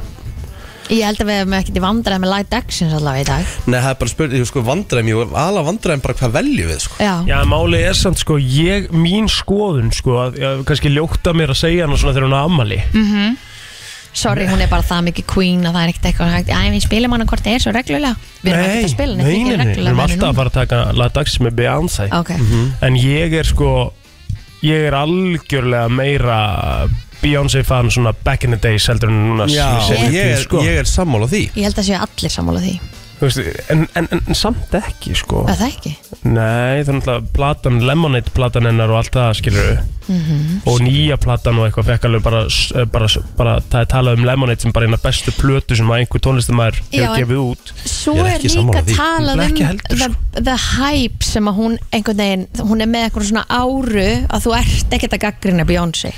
S2: ég held að við hefum ekkert í vandræði með light actions allavega í dag
S1: Nei, það er bara spurning, sko, vandræðum ég ala vandræðum bara hvað veljum við, sko
S2: já,
S3: Já, máli er samt sko, ég, mín skoðun sko, að, að kannski ljóta mér að segja hana svona þegar hún er ammali
S2: Mhm. Sorry, hún er bara það mikið queen að það er ekkert eitthvað hægt Æ, við spilum hana hvort það er svo reglulega Við erum ekkert að spila neitt
S3: nei,
S2: mikið
S3: nei, nei, við
S2: reglulega
S3: erum
S2: með henni
S3: alltaf að fara að taka lagdags með Beyoncé Mhm.
S2: núna. Ok, Mhm.
S3: en ég er sko ég er algjörlega meira Beyoncé fan svona back in the days heldur en núna sem
S1: ég,
S3: ég
S1: er,
S3: er, sko.
S1: ég er sammála því
S2: ég held að séu allir sammála því
S3: Þú veist, en, en, en, en samt ekki sko
S2: Það er það ekki
S3: nei það er náttúrulega platan Lemonade platan hennar og allt það skilur
S2: Mhm.
S3: og nýja platan og eitthvað fekk alveg bara, eh, bara, bara það er talað um Lemonade sem bara eina bestu plötu sem að einhver tónlistamæður
S2: Já,
S3: hefur
S2: en-
S3: gefið út
S2: Svo
S1: Ég er
S2: er
S1: ekki
S2: líka
S1: sammála því.
S2: talað
S3: Ég er
S2: um
S3: ekki heldur,
S2: the, the hype sem að hún einhvern veginn Hún er með eitthvað svona áru að þú ert ekkert að gaggrina Beyoncé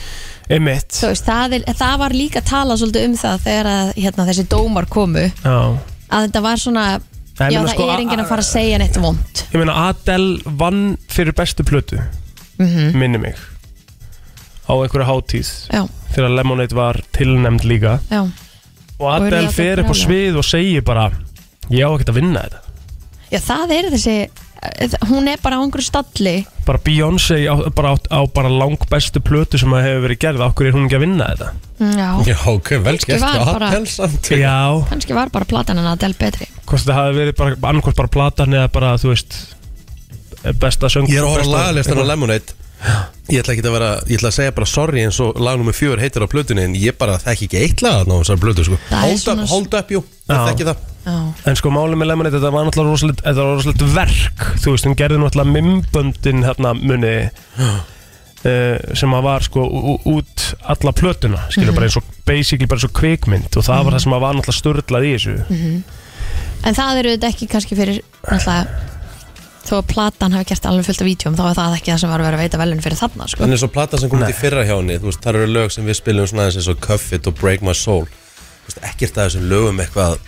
S3: emitt
S2: Þú veist, það, er, það var líka talað svolítið um það þegar að, hérna, þessi dómar komu
S3: já
S2: að þetta var svona
S3: Nei, ég
S2: Já,
S3: meina
S2: það
S3: sko,
S2: er enginn að fara að segja neitt vond
S3: Ég meina Adele vann fyrir bestu plötu Minni mig Á einhverju hátíð
S2: Mhm. Já,
S3: Þegar Lemonade var tilnæmd líka
S2: já
S3: Og
S2: er
S3: Adele
S2: Adele
S3: fer upp á
S2: brjáluð?
S3: svið og segir bara Ég á ekkert að vinna þetta
S2: Já, það er þessi, eh, hún er bara á einhverju stalli
S3: Bara Beyoncé á bara, á, á bara lang bestu plötu sem að hefur verið gerð Okkur er hún ekki að vinna þetta
S2: Já,
S1: Já, ok, vel
S2: Kannski
S1: gert
S2: var bara-
S1: Adele samt.
S3: Já,
S2: kannski var bara platan en Adele betri
S3: hvort það hafi verið bara, annarkvort bara platan eða bara, þú veist Besta söng Um
S1: Ég er að horfa
S3: besta-
S1: lagalistan á Lemonade Ég ætla ekki að vera, ég ætla að segja bara sorry eins og lag nummer fjör heitir á plötunni en ég bara þekki ekki eitt lag þarna á þessari plötu sko.
S2: Það er
S1: Hold
S2: svona-
S1: up, hold up, jú, ég
S3: Já.
S1: þekki það
S2: Já,
S3: En sko málið með Lemonade, þetta var náttúrulega rosalegt, þetta var rosalegt verk Þú veist, hún gerði náttúrulega mimböndin hérna muni uh, sem að var sko ú- ú- út alla plötuna, skilur
S2: Mhm.
S3: bara eins og basically bara eins og kvikmynd og það var það sem að var náttúrulega störlað í þessu
S2: en það eru þetta ekki kannski fyrir náttúrulega þó að platan hafi gert alveg fullt af vítjum þá er það ekki það sem var að vera að veita velun fyrir þarna sko.
S1: En eins og platan sem kom út í fyrra hjá henni, þú veist, það eru lög sem við spilum svona aðeins eins og Cuff It og Break My Soul Þú veist, ekkert af þessum lögum eitthvað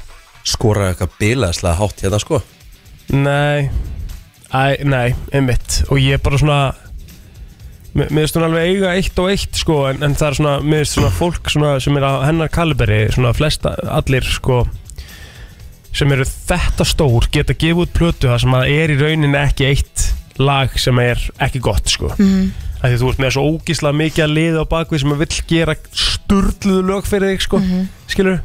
S1: skora eitthvað bilaðslega hátt hérna sko
S3: Nei, Æ, nei, einmitt Og ég bara svona Mér mér finnst hún alveg eiga eitt og eitt sko En, en það er svona, mér finnst svona fólk svona, sem er á hennar kaliberi Svona flesta, allir sko Sem eru þetta stór Geta gefið út plötu það sem að er í rauninni ekki eitt Lag sem er ekki gott sko mm. Því þú ert með svo ógísla mikið að liða á bakvið Sem að vill gera sturluðu lög fyrir þig sko mm. Skilur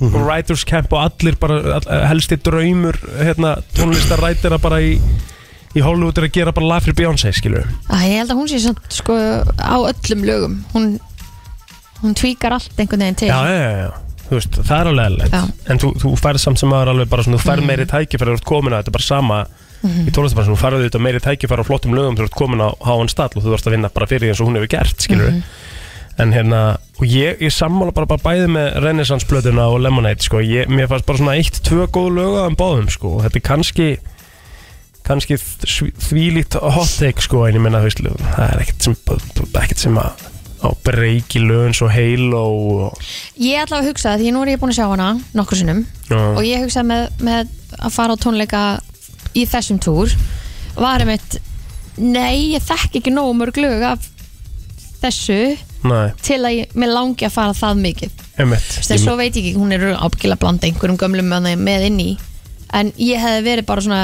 S3: og Writers Camp og allir bara all, helsti draumur hérna, tónlistarætira bara í, í Hollywood er að gera bara lag fyrir Beyoncé skilur
S2: Æ, ég held að hún sé samt sko á öllum lögum hún, hún tvíkar allt einhvern veginn til
S3: já, já, já, já. Þú Veist, það er
S2: Já.
S3: alveg
S2: Mhm.
S3: eðlilegt en þú, þú færð samt sem aður alveg bara svona, þú færð meiri tækifæri þú ert komin að þetta er bara sama í tónlistabransunum, þú færð auðvitað meiri tækifæri á flottum lögum þegar þú ert komin á háan stall og þú þarfst að vinna bara fyrir því eins og hún hefur gert skilur
S2: Mhm.
S3: en hérna, og ég, ég sammála bara, bara bæði með Renaissance blöðuna og Lemonade sko, ég, mér fannst bara svona eitt, tvö góð lög á þeim báðum sko, og þetta er kannski kannski þv- þvílíkt hot take sko, en ég menna, þú veist, það er ekkert sem, ekkert sem að á breyki lögum svo heil og
S2: Ég ætla að hugsa það því nú er ég búin að sjá hana nokkur sinnum
S3: Já.
S2: og ég hugsaði með, með að fara á tónleika í þessum túr var einmitt nei, ég þekk ekki nógu mörg lög af þessu
S3: Nei,
S2: til að ég, mér langi að fara það mikið
S3: einmitt
S2: Þess, svo veit ég ekki, hún er ábyggilega að blanda einhverjum gömlum með, með inn í en ég hefði verið bara svona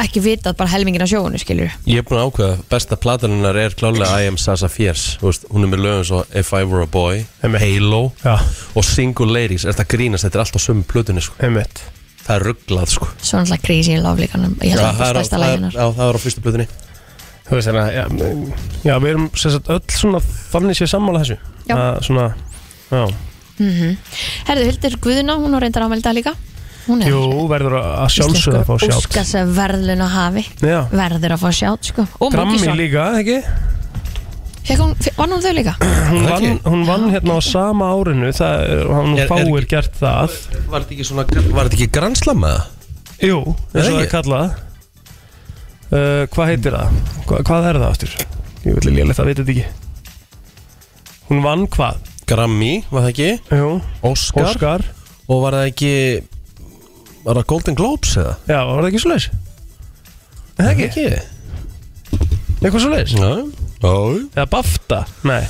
S2: ekki vitað bara helmingin af sjóinu skilur
S1: Ég er búin að ákveða, besta plataninnar er klálega I am Sasa Fierce Þú veist, Hún er með lögum svo If I Were a Boy,
S3: Einmitt.
S1: Halo
S3: Já,
S1: og Single Ladies, er þetta grínast, þetta er allt á sömu plötunni sko.
S3: einmitt
S1: það er rugglað sko.
S2: svo náttúrulega crazy in love líka ég held
S1: Já,
S2: að það
S1: það
S2: er
S1: er á-
S2: stærsta
S1: það er-
S2: læginar
S1: já, það er á fyrstu plötunni
S3: Þú veist þannig að, já, já, við erum sem sagt öll svona þannig sér sammála þessu
S2: Já.
S3: Að svona, já
S2: Mhm. Herðu, Hildur Guðuna, hún á reyndar ámelda líka hún er
S3: Jú, verður að- að sjálfsögða að fá sjátt
S2: Úskas að verðlun að hafi
S3: Já,
S2: Verður að fá sjátt, sko Og
S3: Grammy
S2: Múkisson,
S3: líka, ekki?
S2: fékk hún, fe- vann hún þau líka?
S3: Hún
S1: Það
S3: vann,
S1: ekki.
S3: hún vann hérna á sama árinu, það, er- hann
S1: Er- er
S3: fáir
S1: ekki-
S3: gert það
S1: Var þetta ekki svona, var þetta ekki granslamma?
S3: Jú,
S1: Er
S3: eins og það
S1: ekki?
S3: er kallað uh, Hvað heitir það? Hva, hvað er það aftur? Ég vil lélega það, veit þetta ekki Hún vann hvað?
S1: Grammy, var það ekki?
S3: Jú,
S1: Oscar,
S3: Oscar
S1: og var það ekki var það Golden Globes eða?
S3: Já, var það ekki svo leis? Það ekki?
S1: Ekki?
S3: Eitthvað svo leiðis?
S1: Já, já
S3: Eða BAFTA? Nei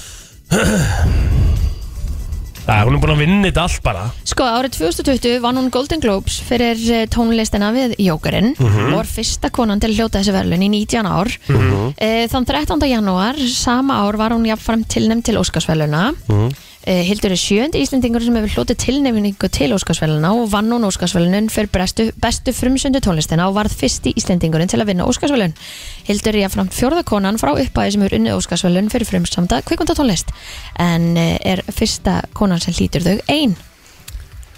S3: Æ, hún er búin að vinna þetta allt bara
S2: Sko, árið 2020 vann hún Golden Globes fyrir eh, tónlistina við Jókarinn og var fyrsta konan til að hljóta þessi verðlun í 19 ár
S4: Mhm.
S3: Mhm.
S2: Eh, Þann 13. janúar, sama ár var hún jafnfram tilnefnd til Óskarsverðluna
S3: Mhm.
S2: Eh, Hildur er sjönd Íslendingur sem hefur hlotið tilnefningu til Óskarsverðluna og vann hún Óskarsverðlunum fyrir bestu, bestu frumsöndu tónlistina og varð fyrsti Íslendingurinn til að vinna Óskarsverðlun Hildur er jafnframt fjórða konan frá upphæði sem hefur unnið Óskarsverðlun fyrir frumsamda kvikundatónlist en eh, er fyrsta konan sem hlýtur þau ein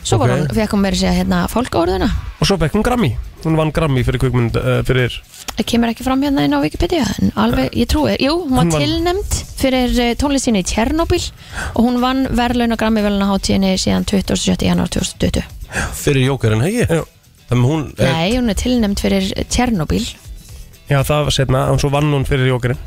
S2: Svo var
S3: Ok.
S2: hún, fekk hún meira að segja hérna fólkórðuna
S3: Og svo fekk hún Grammy Hún vann Grammy fyrir kvikmynd uh, fyrir
S2: Það kemur ekki fram hérna inn á Wikipedia en alveg, ég trúi, jú, hún var
S3: Hún vann-
S2: tilnæmd fyrir eh, tónlist sína í Tjernobyl og hún vann verðlaun og grammi verðlaun á hátíðinni síðan 27. janúar 2020
S1: Fyrir Jókarinn, ekki?
S3: Já.
S1: Þannig hún er,
S2: Nei, hún er tilnæmd fyrir eh, Tjernobyl
S3: Já, það var setna Og svo vann hún fyrir Jókerinn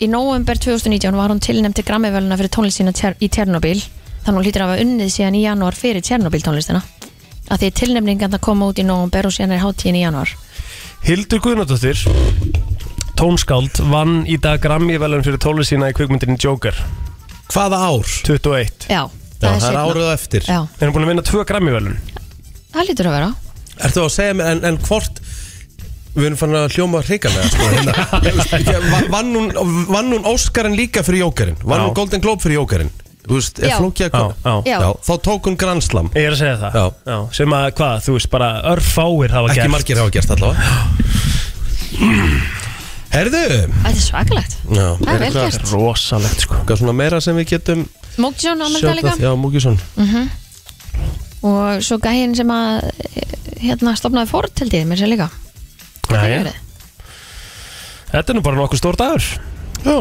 S2: Í november 2019 var hún tilnæmd til grammi verðlauna fyrir tónlist sína tjer, í Tjernobyl þannig hún hlýtur að hafa unnið síðan í janúar fyrir Tjernobyl tónlistina að því tilnæmningan það koma út í november og síðan er hátíðin í janúar
S3: Hildur Guðnardóttir Tónskáld vann í dag Grammy velun fyrir tólu sína í kvikmyndinni Joker
S1: hvaða ár?
S3: 21
S2: Já,
S1: Já, það er
S2: seinna.
S1: árið á eftir
S2: Já,
S3: Er hún búin að vinna tvö Grammy velun?
S2: það lítur að vera
S1: Ertu að segja mér, en, en hvort Við erum fann að hljóma hrigalega sko, hérna. Ég veist, ég- va- vann, hún- vann hún Óskarinn líka fyrir Jókarinn Vann
S3: Já.
S1: hún Golden Globe fyrir Jókarinn Þú veist, er
S2: Já.
S1: flókið að
S3: Já, já.
S2: Já.
S1: Þá tók hún granslam
S3: Ég er að segja það
S1: Já.
S3: Sem að hvað, þú veist bara örfáir hafa
S1: Ekki
S3: gert
S1: margir hafa gert allavega Herðu
S2: Þetta er svakalegt
S1: Já,
S2: Það er vel
S1: eitthvað-
S2: gert
S3: Rosalegt sko
S1: eitthvað svona meira sem við getum
S2: Mókisjón ámælda líka
S1: sjókað Já, Múkisson
S2: Mhm. Og svo gæinn sem að eh, Hérna stopnaði fórt held ég mér sér líka
S3: Jæja. Þetta er nú bara nokkuð stór dagur
S1: Já,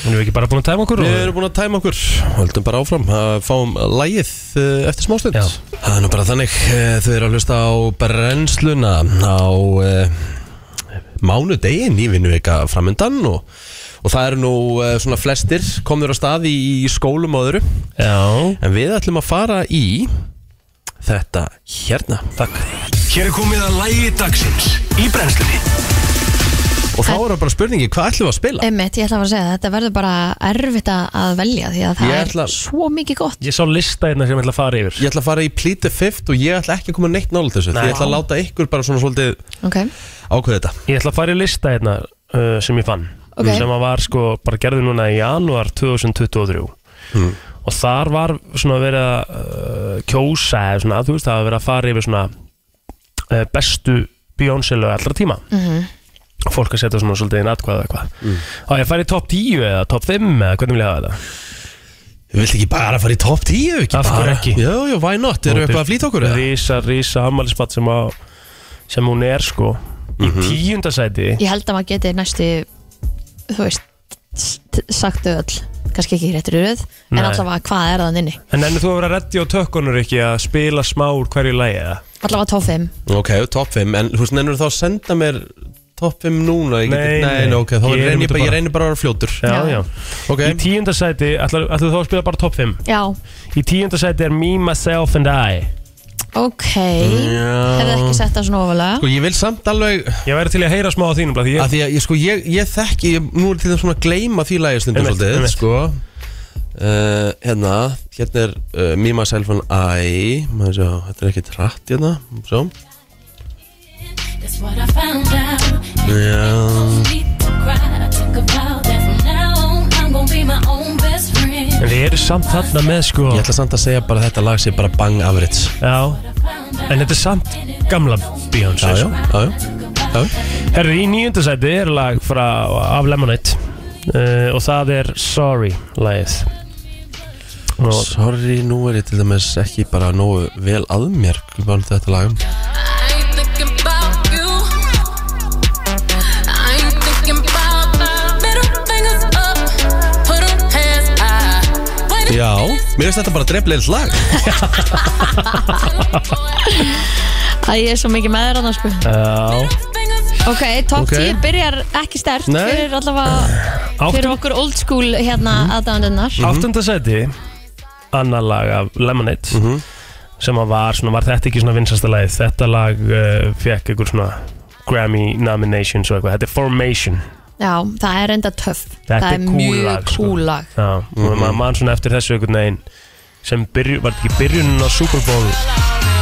S3: Hún er ekki bara búin að tæma okkur
S1: við
S3: og...
S1: erum búin að tæma okkur Höldum bara áfram að fáum lægið eh, eftir smástund
S3: Já.
S1: Það er nú bara þannig eh, Þau eru að hlusta á brennsluna á eh, mánudegin í vinnuvika framöndan og, og það eru nú eh, svona flestir komnir á stað í, í skólum og öðru
S3: Já,
S1: En við ætlum að fara í þetta hérna
S3: takk
S5: Hér er komið að lægi dagsins í brennslunni
S1: Og þá er það bara spurningi, hvað ætlum við að spila?
S2: Einmitt, ég ætla að fara að segja það, þetta verður bara erfitt að- að velja því að það
S1: Ég
S2: er
S1: ætla-
S2: svo mikið gott
S3: Ég sá lista hérna sem ég ætla að fara yfir
S1: Ég ætla að fara í Pleat the Fifth og ég ætla ekki að koma neitt nála þessu Því
S3: Nei.
S1: ég ætla að láta ykkur bara svona svolítið
S2: Ok,
S1: ákveða þetta
S3: Ég ætla að fara í lista hérna uh, sem ég fann
S2: Ok.
S3: sem að var sko bara gerði núna í janúar 2023
S1: Hmm.
S3: og þar var svona verið að uh, kjósa eða svona þú veist það var verið að fara yfir svona uh, bestu Beyoncé lög allra tíma
S2: Mhm.
S3: og fólk að setja svona svolítið inn atkvæða eitthvað mm. á ég að fara í topp 10 eða topp 5 eða hvernig vil ég hafa þetta
S1: Við vilt ekki bara fara í topp 10 ekki
S3: Af
S1: bara
S3: hverju ekki?
S1: Jú, jú, why not, erum við eitthvað að flýta okkur eða?
S3: Rísa, rísa ammælisbatt sem, á- sem hún er sko
S1: Mhm.
S3: í tíunda sæti
S2: ég held að maður geti næstu, þú veist, t- sagtu öll, kannski ekki réttur uröð, en
S3: Nei.
S2: allavega hvað er þann inni?
S3: En ennur þú að vera reddi á tökkunur ekki að spila smá úr hverju lægi eða?
S2: Allavega tófum,
S1: Ok, topp 5, en þú veist, nennur þá að senda mér topp 5 núna ég
S3: Nei,
S1: geti, nei,
S3: nei,
S1: nei, ok, þá
S3: gerum
S1: reynir
S3: þetta
S1: ég bara,
S3: bara.
S1: ég reynir bara að vera fljótur
S2: Já.
S3: já.
S1: Ok,
S3: Í tíunda sæti, ætlar, ætlar þú að spila bara topp 5?
S2: já,
S3: Í tíunda sæti er Me, Myself and I
S2: ok,
S1: Já.
S2: hefði ekki sett það svona ofalega,
S1: sko ég vil samt alveg
S3: Ég væri til í að heyra smá á þínum blað, því
S1: að
S3: ég,
S1: Því að ég, sko, ég, ég þekki, ég, nú er til þess svona að gleyma því lagi stundum
S3: Einmitt,
S1: svolítið,
S3: einmitt.
S1: sko Uh, hérna, hérna er uh, Me, Myself and I maður sjá, þetta er ekkert rætt hérna sjá,
S4: That's what I found out.
S1: já
S4: Deep cry, think about that from now on. I'm gonna be my own best friend.
S3: En þið eru samt þarna með sko
S1: Ég ætla samt að segja bara að þetta lag sé bara bang average
S3: Já, en þetta er samt gamla Beyoncé
S1: Já, já,
S3: sko.
S1: já, já, já.
S3: Herru, í níunda sæti er lag frá, af Lemonade uh, Og það er Sorry lagið Og
S1: Sorry, nú er ég til dæmis ekki bara nógu vel að mér Hvað er þetta um? lagum?
S4: I ain't thinking about you. I ain't thinking about middle fingers up. Put 'em past I. Wait
S1: Já, mér finnst þetta bara drefleil lag
S2: að ég er svo mikið með þér annars sko.
S3: já,
S4: fingers
S2: Ok, topp
S1: Ok.
S2: 10 byrjar ekki stert
S1: Nei.
S2: fyrir allavega
S3: Áttun-
S2: fyrir okkur old school hérna aðdáðundunar
S3: Mhm.
S1: Mhm.
S3: áttunda sæti annar lag af Lemonade
S1: Mhm.
S3: sem að var svona, var þetta ekki svona vinsasta lagið, þetta lag uh, fekk einhver svona Grammy nominations og eitthvað, þetta er Formation
S2: Já, það er enda töff
S3: Þetta
S2: Það
S3: er
S2: er
S3: cool
S2: mjög
S3: lag, sko.
S2: cool lag
S3: já, og
S1: Mhm.
S3: maður mann svona eftir þessu einhvern veginn sem byrju, var þetta ekki byrjunin á Super Bowl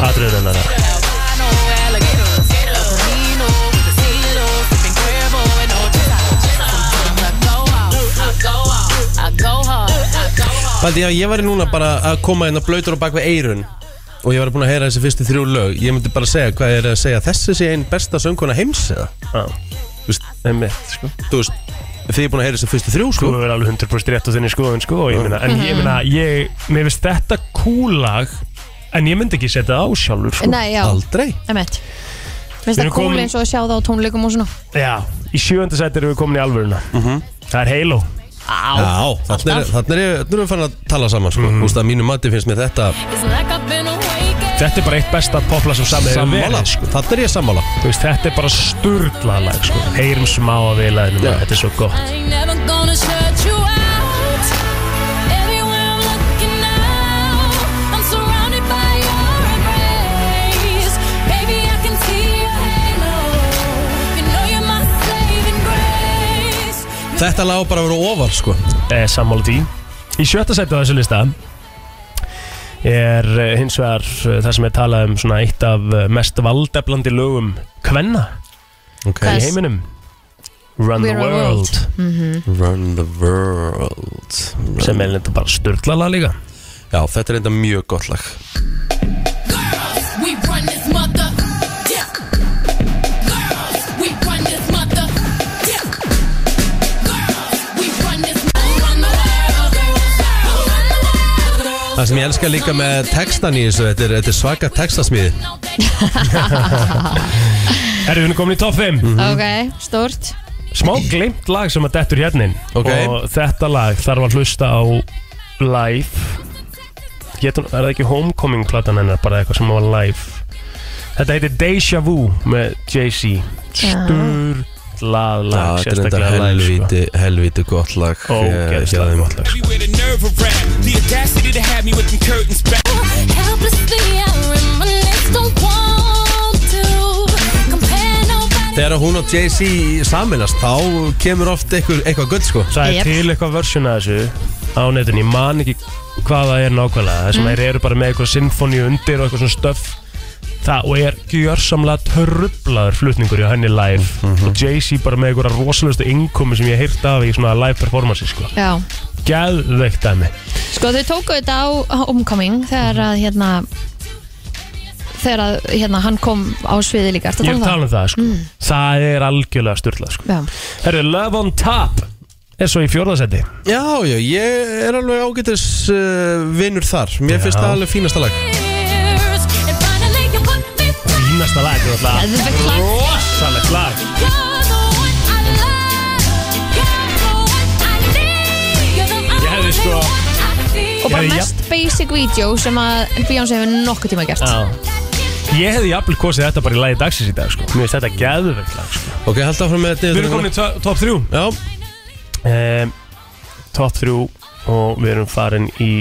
S3: atriðunar
S1: Paldi, já, ég væri núna bara að koma inn að blöytur á bak við eirun Og ég væri búin að heyra þessi fyrstu þrjú lög Ég myndi bara segja, hvað er að segja Þessi sé einn besta sönguna heims eða
S3: já,
S1: Þú veist,
S3: einmitt, sko
S1: þú veist Þið er búin að heyra þessi fyrstu þrjú,
S3: þú
S1: sko
S3: hefur verið alveg 100% rétt á þinni skoðun sko og ég meina, en ég meina, ég, mér finnst þetta cool lag, en ég myndi ekki setja það á sjálfur sko
S2: Nei, já,
S1: Aldrei
S2: emitt Finnst
S3: Við
S2: það
S3: erum
S2: cool
S3: komin-
S2: eins og að sjá það á tónleikum og svona
S3: Já, í sjöönda sæti erum við komin í alvöruna Það er Halo
S1: Mhm. Já, þannig er, þarna er, þarna erum við fann að tala saman,
S3: Mhm.
S1: sko Þú veist að mínu mati finnst mér þetta
S3: Þetta er bara eitt besta popla sem saman hefur
S1: Sammála,
S3: verið sko.
S1: þannig er ég sammála
S3: Þú veist, Þetta er bara sturglað lag sko. Heyrum smá að vilaðinu
S1: Já.
S3: Þetta er svo gott
S1: Þetta lag á bara að vera ofar, sko
S3: eh, Sammála tí Í sjötta sæti á þessu lista er eh, hins vegar eh, það sem er talað um svona eitt af eh, mest valdeflandi lögum kvenna
S1: okay.
S2: Hvað
S3: í
S2: Yes.
S3: heiminum Run the
S2: We're a
S3: World,
S4: Mm-hmm.
S1: Run the world Run
S3: sem er þetta bara sturglað lag líka
S1: Já, þetta er enda mjög gott lag
S4: We run this mother. Yeah. Girls, we run this mother. Yeah.
S1: Það sem ég elska líka með textan í þessu Þetta er, þetta er svaka textasmíði
S3: Erum við komin í topp 5
S2: Ok, stórt
S3: Smá glimt lag sem að dettur hérnin
S1: Ok.
S3: Og þetta lag þarf að hlusta á live Getur, Er það ekki homecoming platan hennar Bara eitthvað sem var live Þetta heitir Deja Vu með Jay-Z Sturlað
S1: Já,
S3: lag
S1: Þetta er enda
S3: Sérstaklega live sko.
S1: helvíti, helvíti gott lag eh,
S3: Ógeðslega
S1: hér að þeim.
S3: gott lag sko.
S6: Where the nerve of rap, the audacity to have me with them curtains back.
S4: Helplessly, I reminisce, don't want to compare nobody.
S1: Þegar hún og Jay-Z saminast Þá kemur oft eitthvað, eitthvað gutt sko
S2: Yep.
S3: Það er til eitthvað versjun að þessu á netinu, ég man ekki hvað það er nákvæmlega þess að mm. eru bara með eitthvað sinfóníu undir og eitthvað svona stöf það og er gjörsamlega törrublaður flutningur í henni live og Jay-Z bara með eitthvað rosalustu innkomi sem ég heirt af í svona live performance sko.
S2: Já,
S3: Gæðveikt dæmi
S2: sko þau tóku þetta á á Homecoming þegar að hérna þegar að hérna hann kom á sviði líka Ertu
S3: Ég
S2: að
S3: er að tala um það sko. Það er algjörlega styrlað sko.
S2: Já,
S3: Herru, Love on Top er svo í fjórðasetti
S1: Já, já, ég er alveg ágætis uh, vinnur þar Mér finnst
S3: Já.
S1: það alveg fínasta lag
S4: Years, and finally you put me through.
S3: Fínasta lag, þetta er
S2: þetta
S3: alltaf
S2: er fækt lag
S3: rosalegt lag
S4: You're the one I love. You're the one I need. You're the
S3: Ég hefði, sko,
S4: only one I feel.
S2: og bara
S3: Ég-
S2: mest basic video sem að Beyoncé hefur nokkuð tíma gert
S3: Já. Ég hefði jafnvel kosið þetta bara í lagi dagsins í dag sko. Mér finnst þetta gæðvegt lag sko.
S1: Ok, haldið áfram með þetta
S3: Við erum komin í to- topp 3
S1: Já,
S3: um, Topp 3 og við erum farin í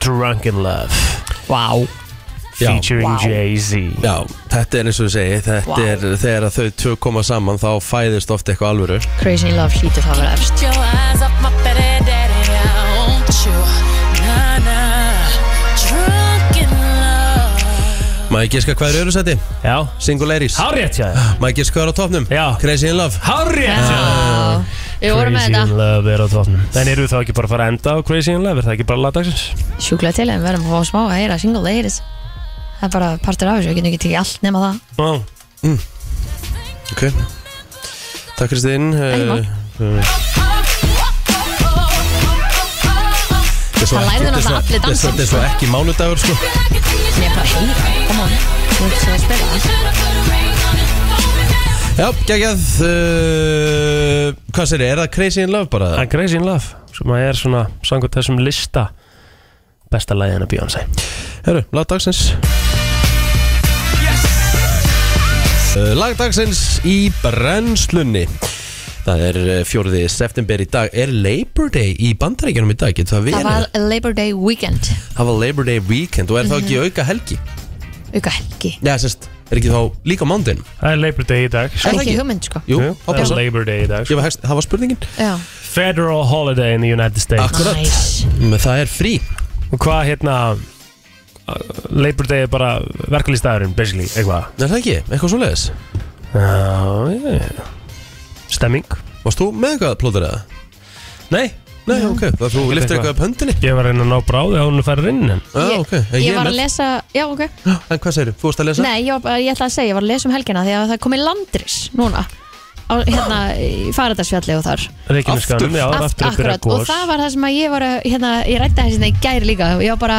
S3: Drunken Love
S2: Vá
S1: Já.
S3: Featuring Jay-Z
S1: já, þetta er eins og ég segi Þetta
S2: Vá.
S1: er þegar að þau tvö koma saman Þá fæðist oft eitthvað alvöru
S2: Crazy in Love hlýtur það að vera efst
S4: Get your eyes off my belly, daddy. I want you. Nah, nah. Drunk in love.
S1: Má ég giska hvað er öðru seti?
S3: Já,
S1: Single Ladies
S3: hárétt hjá þér
S1: Má ég giska hvað er á topnum?
S3: Já.
S1: Crazy in Love
S3: Hárétt hjá þér
S2: Já, við vorum með
S3: Ah, Crazy in
S2: þetta
S3: Love er á tóknum En eru þá ekki bara að fara að enda á Crazy in Love? Er það ekki bara lag dagsins?
S2: sjúklega til en við erum að fá smá að heyra single ladies það er bara partur af þessu, við getum ekki tekið allt nema það
S3: Ó,
S1: Mm. Ok Takk Kristinn
S2: Ekki mál.
S1: Eh, þetta er svo
S2: Það lærðu
S1: ekki- þetta er svo-
S2: náttúrulega allir dansinn,
S1: Þetta er svo ekki mánudagur sko
S2: Nei, bara heyra, koma on Þú ert svo að spila það
S1: Já, geggjað uh, Hvað sér, er það Crazy in Love bara?
S3: En Crazy in Love sem að er svona samkvæmt þessum lista besta lagið hennar Beyoncé
S1: Herru, lag dagsins uh, Lag dagsins í brennslunni Það er fjóruði september í dag Er Labor Day í bandaríkjunum í dag? Getur það
S2: Það
S1: verið?
S2: var Labor Day weekend
S1: Það var Labor Day weekend og er þá
S2: Mhm.
S1: ekki auka helgi?
S2: Uka helgi
S1: Já, sérst, er ekki þá líka mándin?
S3: Það er Labor Day í dag sko.
S1: það
S2: Ekki
S1: ekki?
S2: hugmynd sko
S1: Jú,
S3: Jú, Það er
S1: ápassa
S3: Labor Day í dag sko.
S1: Ég var hægst, það var spurningin
S2: Já,
S3: Federal holiday in the United States
S1: Akkurat.
S2: nice
S1: Men Það er frí
S3: Og hvað hérna uh, Labor Day er bara verkalýstæðurinn Basically, eitthvað
S1: Er það ekki? Eitthvað svo leiðis
S3: Já, já Stemming
S1: Varst þú með eitthvað plóður eða?
S3: Nei
S1: Nei, ok, það er þú liftir
S3: eitthvað.
S1: eitthvað upp höndinni
S3: Ég var að reyna að ná bráði á hún að færa inn en
S1: Já, ok, en
S2: Ég
S1: er
S2: var að
S1: með.
S2: lesa, já ok
S1: En hvað segir þú? Þú varst að lesa?
S2: Nei, ég, var, bara- ég ætla að segja, ég var að lesa um helgina því að það komi landris núna á, hérna, í Faradagsfjalli og þar
S3: Reykjaneskanum,
S1: Aftur.
S3: já, það er
S2: Aft-
S3: aftur að byrja
S2: akkurat, og
S3: gos
S2: það var það sem að ég var að, hérna, ég rætti það hérna í gæri líka og ég var bara,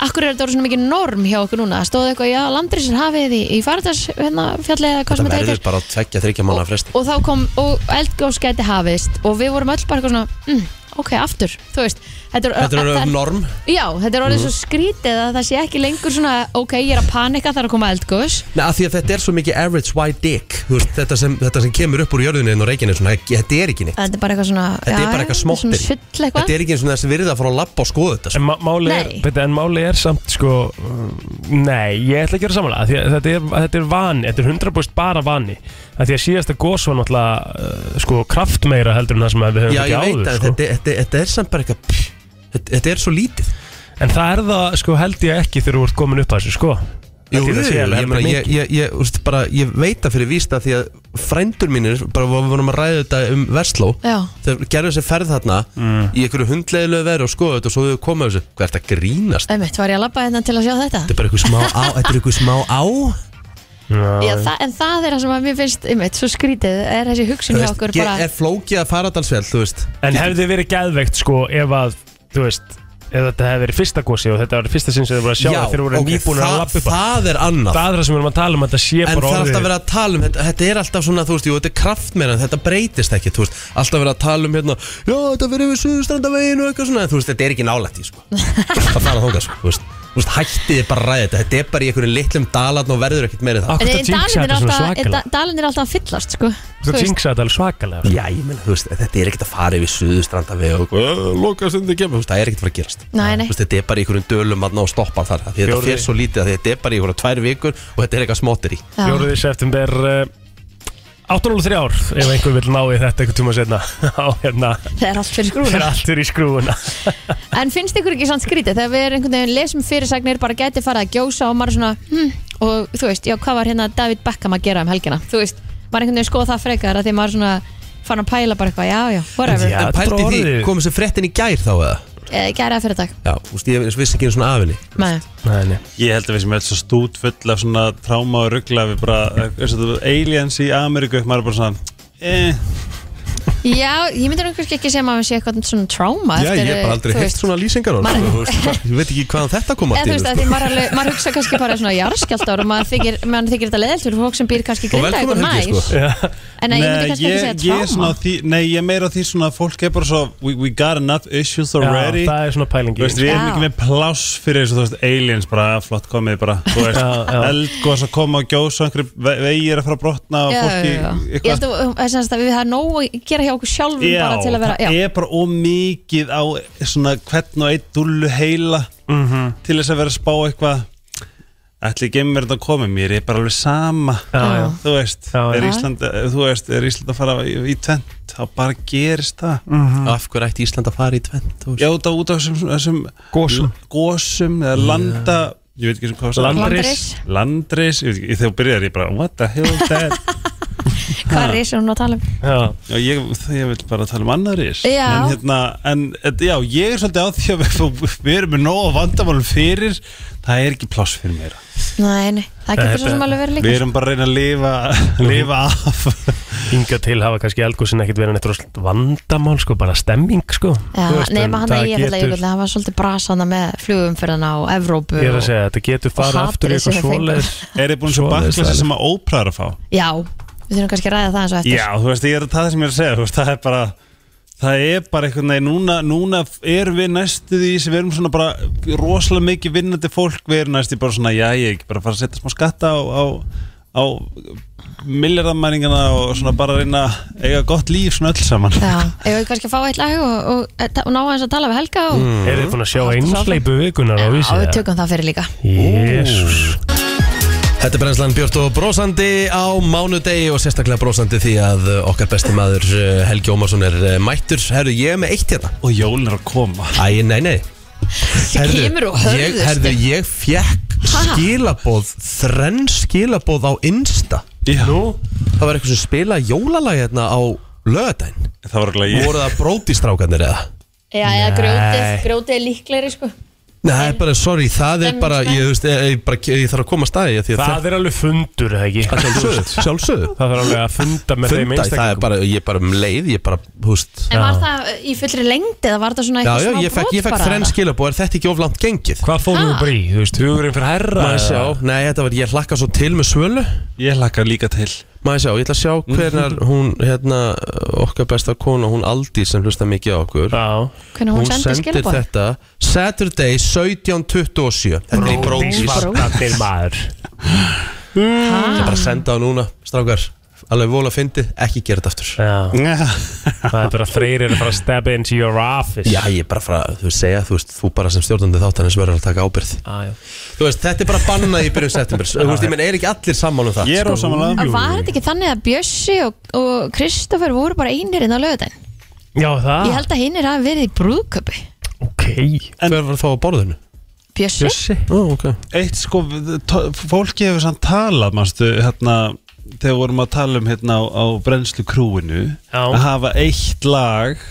S2: akkur er þetta orðið svona mikið norm hjá okkur núna, Það stóð eitthvað, já, landrisir hafið í, í farðars, hérna, fjallið eða hvað
S1: Það
S2: sem þetta
S1: verður
S2: heitir
S1: bara að tvekja þryggja manna
S2: og,
S1: fresti
S2: og þá kom, og eldgós gæti hafist og við vorum öll bara eitthvað svona, mm, ok, aftur þú veist, þetta er,
S1: Þetta er
S2: það
S1: orðið norm
S2: já, þetta er orðið svo skrítið að það sé ekki lengur svona, ok, ég er að panika það er að koma eldgós,
S1: Nei, af því að þetta er svo mikið average white dick Þú veist, þetta sem, þetta sem kemur upp úr jörðinu inn á reikinu svona, Þetta er ekki neitt
S2: þetta er bara eitthvað svona
S1: Þetta er
S2: já,
S1: bara eitthvað
S2: svona
S1: smottir
S2: sull eitthvað.
S1: Þetta er ekki eins og þessi virðið að fara að lappa og skoða þetta sko.
S3: En má- máli er,
S2: Nei.
S3: beti, en máli er samt sko mm, Nei, ég ætla ekki að vera samanlega því að þetta er, þetta er vani, þetta er 100% bara vani að Því að síðasta gos var náttúrulega uh, sko kraftmeira heldur en það sem að við höfum
S1: Já,
S3: ekki
S1: ég
S3: áður
S1: veit að
S3: sko.
S1: þetta, þetta, þetta er samt bara eitthvað þetta, þetta er svo lítið
S3: En það er það, sko, held ég ekki þegar þú ert komin upp að þessu, sko
S1: Jú,
S3: Held ég
S1: jú,
S3: það sé
S1: ég,
S3: alveg
S1: meina,
S3: heldur
S1: ég, ég, ég, úst, bara, ég veit það fyrir vísta því að frændur mínir, bara við vorum að ræða þetta um Vestló,
S2: Já.
S1: þegar gerðu þessi ferð þarna
S3: Mm.
S1: í einhverju hundleiðilegu veru og skoðu þetta og svo þau komu að þessu, hvað er þetta grínast?
S2: Einmitt, var ég að labba hérna til að sjá þetta?
S1: Þetta er bara einhver smá á, þetta er einhver smá á
S2: Já, það, en það er það sem að mér finnst einmitt, svo skrítið er þessi hugsun
S1: Þú
S2: hjá
S1: veist,
S2: okkur
S1: ge-
S2: bara
S1: er flókið að fara þannsfjall, þú veist
S3: En hefði verið geðveikt, sko, ef að, þú veist ef þetta hefði verið fyrsta gósi og þetta var fyrsta sinn sem þau voru að sjá það þegar þau voru
S1: ok,
S3: nýbúin að
S1: það-
S3: lappa upp að-
S1: Það er annað
S3: Það er það sem við erum að tala um að þetta sé
S1: En
S3: bara
S1: það er alltaf
S3: orðið
S1: verið að tala um þetta, þetta er alltaf svona, þú veist, jú, þetta er kraftmeira en þetta breytist ekki, þú veist, alltaf verið að tala um hérna, já, þetta verið við suðustrandaveginu og eitthvað svona, en þú veist, þetta er ekki nálætt í, sko það fara þóka, sko, þú veist, þú veist, hættið bara að ræða þetta, þetta er bara í einhverjum litlum dalarn og verður ekkert meira en það
S3: Akkur
S2: En
S3: þetta jinxa
S2: dalinn er
S3: þetta svona
S2: alltaf- en
S3: svakalega
S2: da- dalinn er alltaf að fyllast sko Þú
S3: Þetta
S2: veist,
S3: jinxa þetta alveg
S2: sko.
S3: svakalega
S1: Já, ég meina, þú veist, þetta er ekkert að fara yfir suðustrandaveg og loka stundi kemur, þú veist, það er ekkert að fara að gerast
S2: Nei, nei.
S1: Þú veist, þetta er bara í einhverjum dölum að ná að stoppa þar, af því þetta
S3: Fjórir.
S1: fer svo lítið, af því þetta er bara í einhverjum tvær vikur og þetta er eitthvað smottir
S2: já.
S3: Fjóruði september uh, 8.03 ár ef einhver vil ná í þetta einhvern tíma setna á hérna
S2: Það er allt fyrir
S3: fyrir
S2: skrúna
S3: alltur í skrúuna
S2: En finnst ykkur ekki sann skrítið þegar við erum einhvern veginn lesum fyrirsagnir bara gæti farið að gjósa og maður svona hm, og þú veist, já, hvað var hérna David Beckham að gera um helgina, þú veist, maður einhvern veginn skoða það frekar að því maður svona fann að pæla bara eitthvað, já, já, whatever
S3: Já,
S1: En Sko-
S3: þetta er
S1: pælti því,
S3: orðið.
S1: komið sér fréttin í gær þá eða?
S2: Eh, Gæra fyrir dag
S1: Já, þú veist, ég vissi ekki einu svona af henni
S2: Nei.
S3: Nei, nei.
S7: Ég held að við sem er svo stút full af svona tráma og ruggla við bara, eins og þú, aliens í Ameríku maður er bara svona, eh
S2: Já, ég myndir kannski ekki segja að maður sé eitthvað svona tráma
S1: Já, ég
S2: eftir,
S1: hef bara aldrei
S2: þú
S1: heilt
S2: veist,
S1: svona lýsingar á
S2: Maður-
S1: honum, þú veist. Ég veit ekki hvaðan þetta kom
S2: Eða
S1: að
S2: þú veist,
S1: dýra
S2: að því maður, alveg, maður hugsa kannski bara svona jarðskjaldar og maður þykir, maður þykir þetta leðilt fyrir fólk sem býr kannski
S1: Og
S2: grinda
S1: velkomin
S2: næs
S1: Helgi sko
S2: En að ég myndi kannski ekki
S7: ég, ég
S2: segja
S7: er
S2: tráma
S7: svona á því, nei, ég er meira á því svona að fólk er bara svo, we, we got enough issues
S3: Já,
S7: already
S3: það er svona
S7: Þú
S3: pælingi
S7: veist, við erum
S2: Já.
S7: ekki með pláss fyrir þessu, þú veist, aliens bara, "Ah, flott komið bara, þú veist,
S3: Já, já.
S7: eldgós að koma og gjósa, einhverju ve- vegir að fara að brotna og
S2: Já,
S7: fólki,
S2: já, já. Ég
S7: eitthvað
S2: held að það er sem sagt að við það er nóg að gera hjá okkur sjálfum bara til að vera
S7: það
S2: já.
S7: er bara ómikið á svona hvern og einn dullu heila
S3: Mhm.
S7: til þess að vera að spá eitthvað ætli geimverðin að koma mér er bara alveg sama
S3: Já, já.
S7: þú veist,
S3: Já, já.
S7: er Ísland þú veist, er Ísland að fara í, í tvent þá bara gerist það
S3: Mhm.
S1: Af hverju ætti Ísland að fara í tvent þú
S7: já,
S1: veist?
S7: út á, út á þessum, þessum
S3: Gosum.
S7: gosum eða landa ég veit ekki sem hvað það
S3: Land-
S7: er.
S2: Landris,
S7: landris, ég veit ekki, þegar byrjar ég bara what the hell is that
S2: hvað er ris er hún að tala um?
S3: Já,
S7: Já, ég, ég vil bara tala um annar ís
S2: Já.
S7: En hérna, en et- já, ég er svolítið á því að við, við erum með nóg vandamálum fyrir Það er ekki pláss fyrir mér
S2: Nei, nei, það getur svo sem alveg verið
S7: Við
S2: líka
S7: erum bara að reyna að lifa, lifa af
S3: hinga til hafa kannski eldgósin ekkit verið neitt rosalega vandamál sko, bara stemming sko
S2: Já,
S3: Þú veist, en
S2: nema hann að
S3: það
S2: ég ætla
S3: getur-
S2: jökull það var svolítið brasana með flugumferðina á Evrópu
S3: Ég er að
S2: og-
S3: segja, þetta getur farið
S2: hatrið
S3: aftur
S2: sem
S3: í
S2: þeir
S3: eitthvað
S2: fengu.
S3: svoleiðis
S7: Er þið búin svo
S3: Svoleiðis
S7: baklasa
S3: vælir.
S7: sem að óprar að fá?
S2: Já, við þurfum kannski að ræða það eins og eftir
S7: Já, þú veist, ég er að það sem ég er að segja þú veist, Það er bara, það er bara einhvern veginn Núna, núna erum við næstu því sem við erum svona bara rosalega mikið vinnandi fólk Við erum næstu bara svona, já, ég er ekki bara að fara að setja smá skatta á, á, á milljarðamæningana og svona bara að reyna að eiga gott líf svona öll saman
S2: Já, ég vil kannski að fá eitt lag og, og, eh, og, og ná aðeins að tala við Helga og
S3: Er þið búin að sjá
S2: Haltu
S3: einsleipu vikunar á
S2: Já, við
S3: vísi?
S2: tökum það fyrir líka
S3: Jésús
S1: Þetta er brennslan Björn og brósandi á mánudegi og sérstaklega brósandi því að uh, okkar besti maður uh, Helgi Ómarsson er uh, mættur Herru, ég er með eitt hérna
S7: Og jólin er að koma
S1: Æ, nei, nei
S2: Það kemur og
S1: ég,
S2: hörðust
S1: herru, ég fekk skilaboð, þrenn skilaboð á Insta
S7: já.
S1: Það var eitthvað sem spila jólalagi hérna á lögadaginn
S7: Það var ekki ég
S1: Voru það brótistrákarnir eða?
S2: Já, eða grjótið, grjótið er líklegri sko
S1: Nei, það er bara, sorry, það er
S2: En-
S1: bara, ég, þú veist, ég, ég, bara, ég þarf að koma að staði því að
S3: Það er alveg fundur, er það ekki?
S1: það- sjálfsögðu, sjálfsögðu
S3: Það þarf alveg að funda með þeim
S1: Funda, það er
S3: einstaklingum
S1: bara, ég er bara um leið, ég er bara, þú veist
S2: En var það uh, í fullri lengdi eða var það svona
S1: Já,
S2: eitthvað
S1: já,
S2: smá
S1: ég fekk, ég fekk
S2: brot bara? Ah.
S1: þrenn skilabóð, er þetta ekki oflant gengið?
S3: Hvað fórum við
S2: Ha?
S3: bara í? Þú veist, hugurinn fyrir herra
S1: Maður
S3: eða?
S1: sjá, nei, þetta var, ég hlakka svo til með svölu
S7: Ég hlakka líka til
S1: Maður sjá, ég ætla að sjá
S3: Mhm.
S1: hvernar hún, hérna, okkar besta kona, hún Aldi sem hlusta mikið á okkur
S3: Já,
S2: Hvernig hún, sendir
S1: sendir
S2: skilabóð?
S1: þetta Saturday 17.27 Þetta er í bróðsvart
S3: svartarnir maður
S7: Mm.
S1: Ég
S2: Ah.
S1: bara senda það núna, strákar Alveg vola fyndið, ekki gera þetta aftur
S3: Já, það er bara þreyrir að fara að step into your office
S1: Já, ég er bara frá, þú veist, segja, þú veist, þú bara sem stjórnandi þáttanins verður að taka ábyrð
S2: Ah,
S3: Já, já.
S1: Þú veist, þetta er bara bannað í byrjun september Þú veist, ég menn, er ekki allir sammál um það
S7: Ég er á samanlega
S2: En Var þetta ekki þannig að Bjössi og, og Kristoffer voru bara einir inn á lögudaginn?
S3: Já, það?
S1: Ah.
S2: Ég held að hinn er að verið í brúðköpi
S3: Ok
S1: Hver var þá á borðinu?
S2: Bjössi?
S1: Ó, ok
S7: eitt sko, to- fólki hefur samt talað, mannstu, hérna þegar vorum að tala um hérna á, á brennslu krúinu
S3: Já.
S7: að hafa eitt lag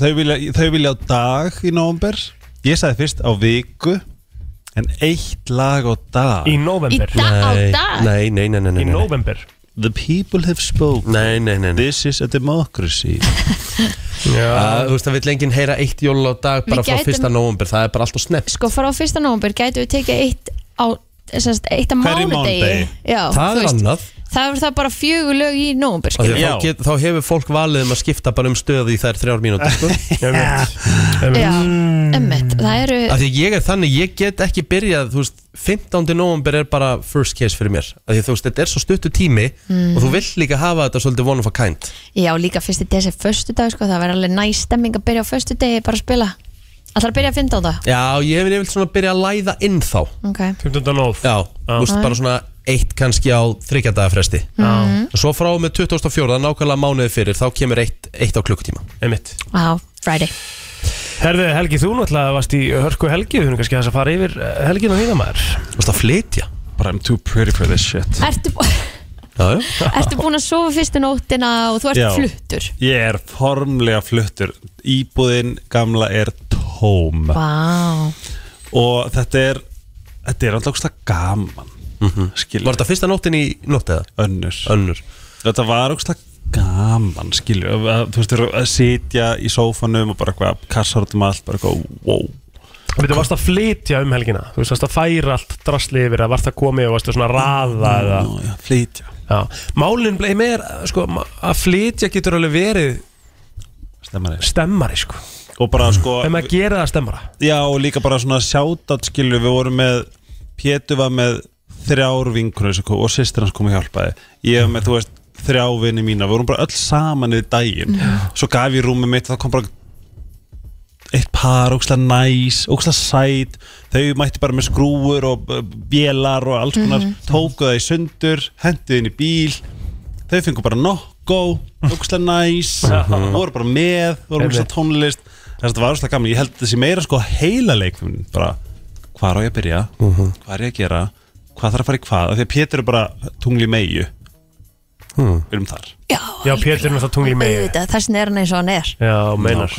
S7: þau vilja, þau vilja á dag í nóvember ég sagði fyrst á viku en eitt lag á dag
S3: Í
S2: Í
S3: november
S2: dag á
S1: Nei,
S2: dag?
S1: Nei, nei, nei, nei, nei,
S3: Í
S1: nei.
S3: november
S7: The people have spoken
S1: Nei, nei, nei, nei.
S7: This is a democracy
S1: Uh, Þú veist, það vil enginn heyra eitt jól á dag bara
S2: Við
S1: frá
S2: gætum-
S1: 1. november, það er bara alltaf snepp
S2: sko fara á fyrsta nóvambur gætu við tekið eitt á semst, eitt á
S7: Hverjum
S2: mánudegi
S7: mánudegi?
S2: Já,
S1: Það
S2: þú
S1: er
S2: veist,
S1: annað
S2: það verður það bara fjögur lög í nóvambur
S1: Af því að
S7: Já.
S1: Þá, get, þá hefur fólk valið um að skipta bara um stöði í þær þrjár mínútur sko.
S2: Já,
S7: Mm.
S2: emmitt, það eru
S1: Af því að ég er þannig, ég get ekki byrjað þú veist, 15. november er bara first case fyrir mér Af því að þú veist, þetta er svo stuttu tími og þú vill líka hafa þetta svolítið one of a kind
S2: Já, líka fyrsti desi förstu dag sko, það verður alveg næ stemming að byrja á förstu degi bara að spila Það að byrja að finna á það
S1: Já, ég vil svona byrja að læða inn þá
S2: okay.
S3: 15. nóð
S1: Já, þú veist, bara svona eitt kannski á þryggjandagafresti
S2: Mhm.
S3: Já,
S1: Svo frá og með 2004, nákvæmlega mánuði fyrir þá kemur eitt, eitt á klukkutíma
S3: einmitt
S2: Á, Friday
S3: Herði, Helgi, þú náttúrulega varst í hörku Helgi Þú erum kannski þess að fara yfir eh, helgina þína maður
S1: Þú veist að flytja
S7: But I'm too pretty for this shit
S2: Ertu,
S1: Já, já
S2: ertu búin að sofa fyrstu nóttina og þú ert
S7: Já.
S2: fluttur
S7: Ég er formlega fluttur Íbúðin gamla er tóm
S2: Vá,
S7: Og þetta er Þetta er alltaf ógsta gaman mm
S3: Mhm.
S1: Var þetta fyrsta nóttin í nótt eða?
S7: önnur
S1: Önnur
S7: Þetta var ógsta gaman skilju að, að, Þú veist, að sitja í sófanum og bara eitthvað kassar út um allt bara eitthvað, wow
S3: Þú varst að flytja um helgina Þú varst að færa allt drasli yfir að varst að komi og varst að svona raða eða
S7: Nú, já, flytja
S3: Já, málinn bleið meir sko, ma- að flytja getur alveg verið
S7: Stemmar ég
S3: stemmari sko
S7: Og bara sko
S3: en maður gera það stemmara
S7: Já, og líka bara svona sjátat skilju Við vorum með, Pétur var með þrjár vinkunum sem kom og sýstir hans kom að hjálpaði Ég var með, þú veist, þrjá vinni mína Við vorum bara öll saman yfir daginn Svo gaf ég rúmið mitt, það kom bara eitt par, ógslag næs ógslag sæt, þau mætti bara með skrúur og uh, vélar og alls konar, tóku það í sundur henduð inn í bíl þau fengu bara nokko, ógslag næs og voru bara með voru ógslag tónlist, þess að þetta var ógslag gaman ég held þessi meira sko heila leikfum bara, hvar á ég að byrja
S3: Mhm.
S7: hvað er ég að gera, hvað þarf að fara í hvað af því að Pétur er bara tungli meiu
S3: Hmm.
S7: við erum þar
S2: já,
S3: Já, Pétur er með það tungli í megi
S2: auðvitað, þessin er hann eins og hann er
S3: Já, meinar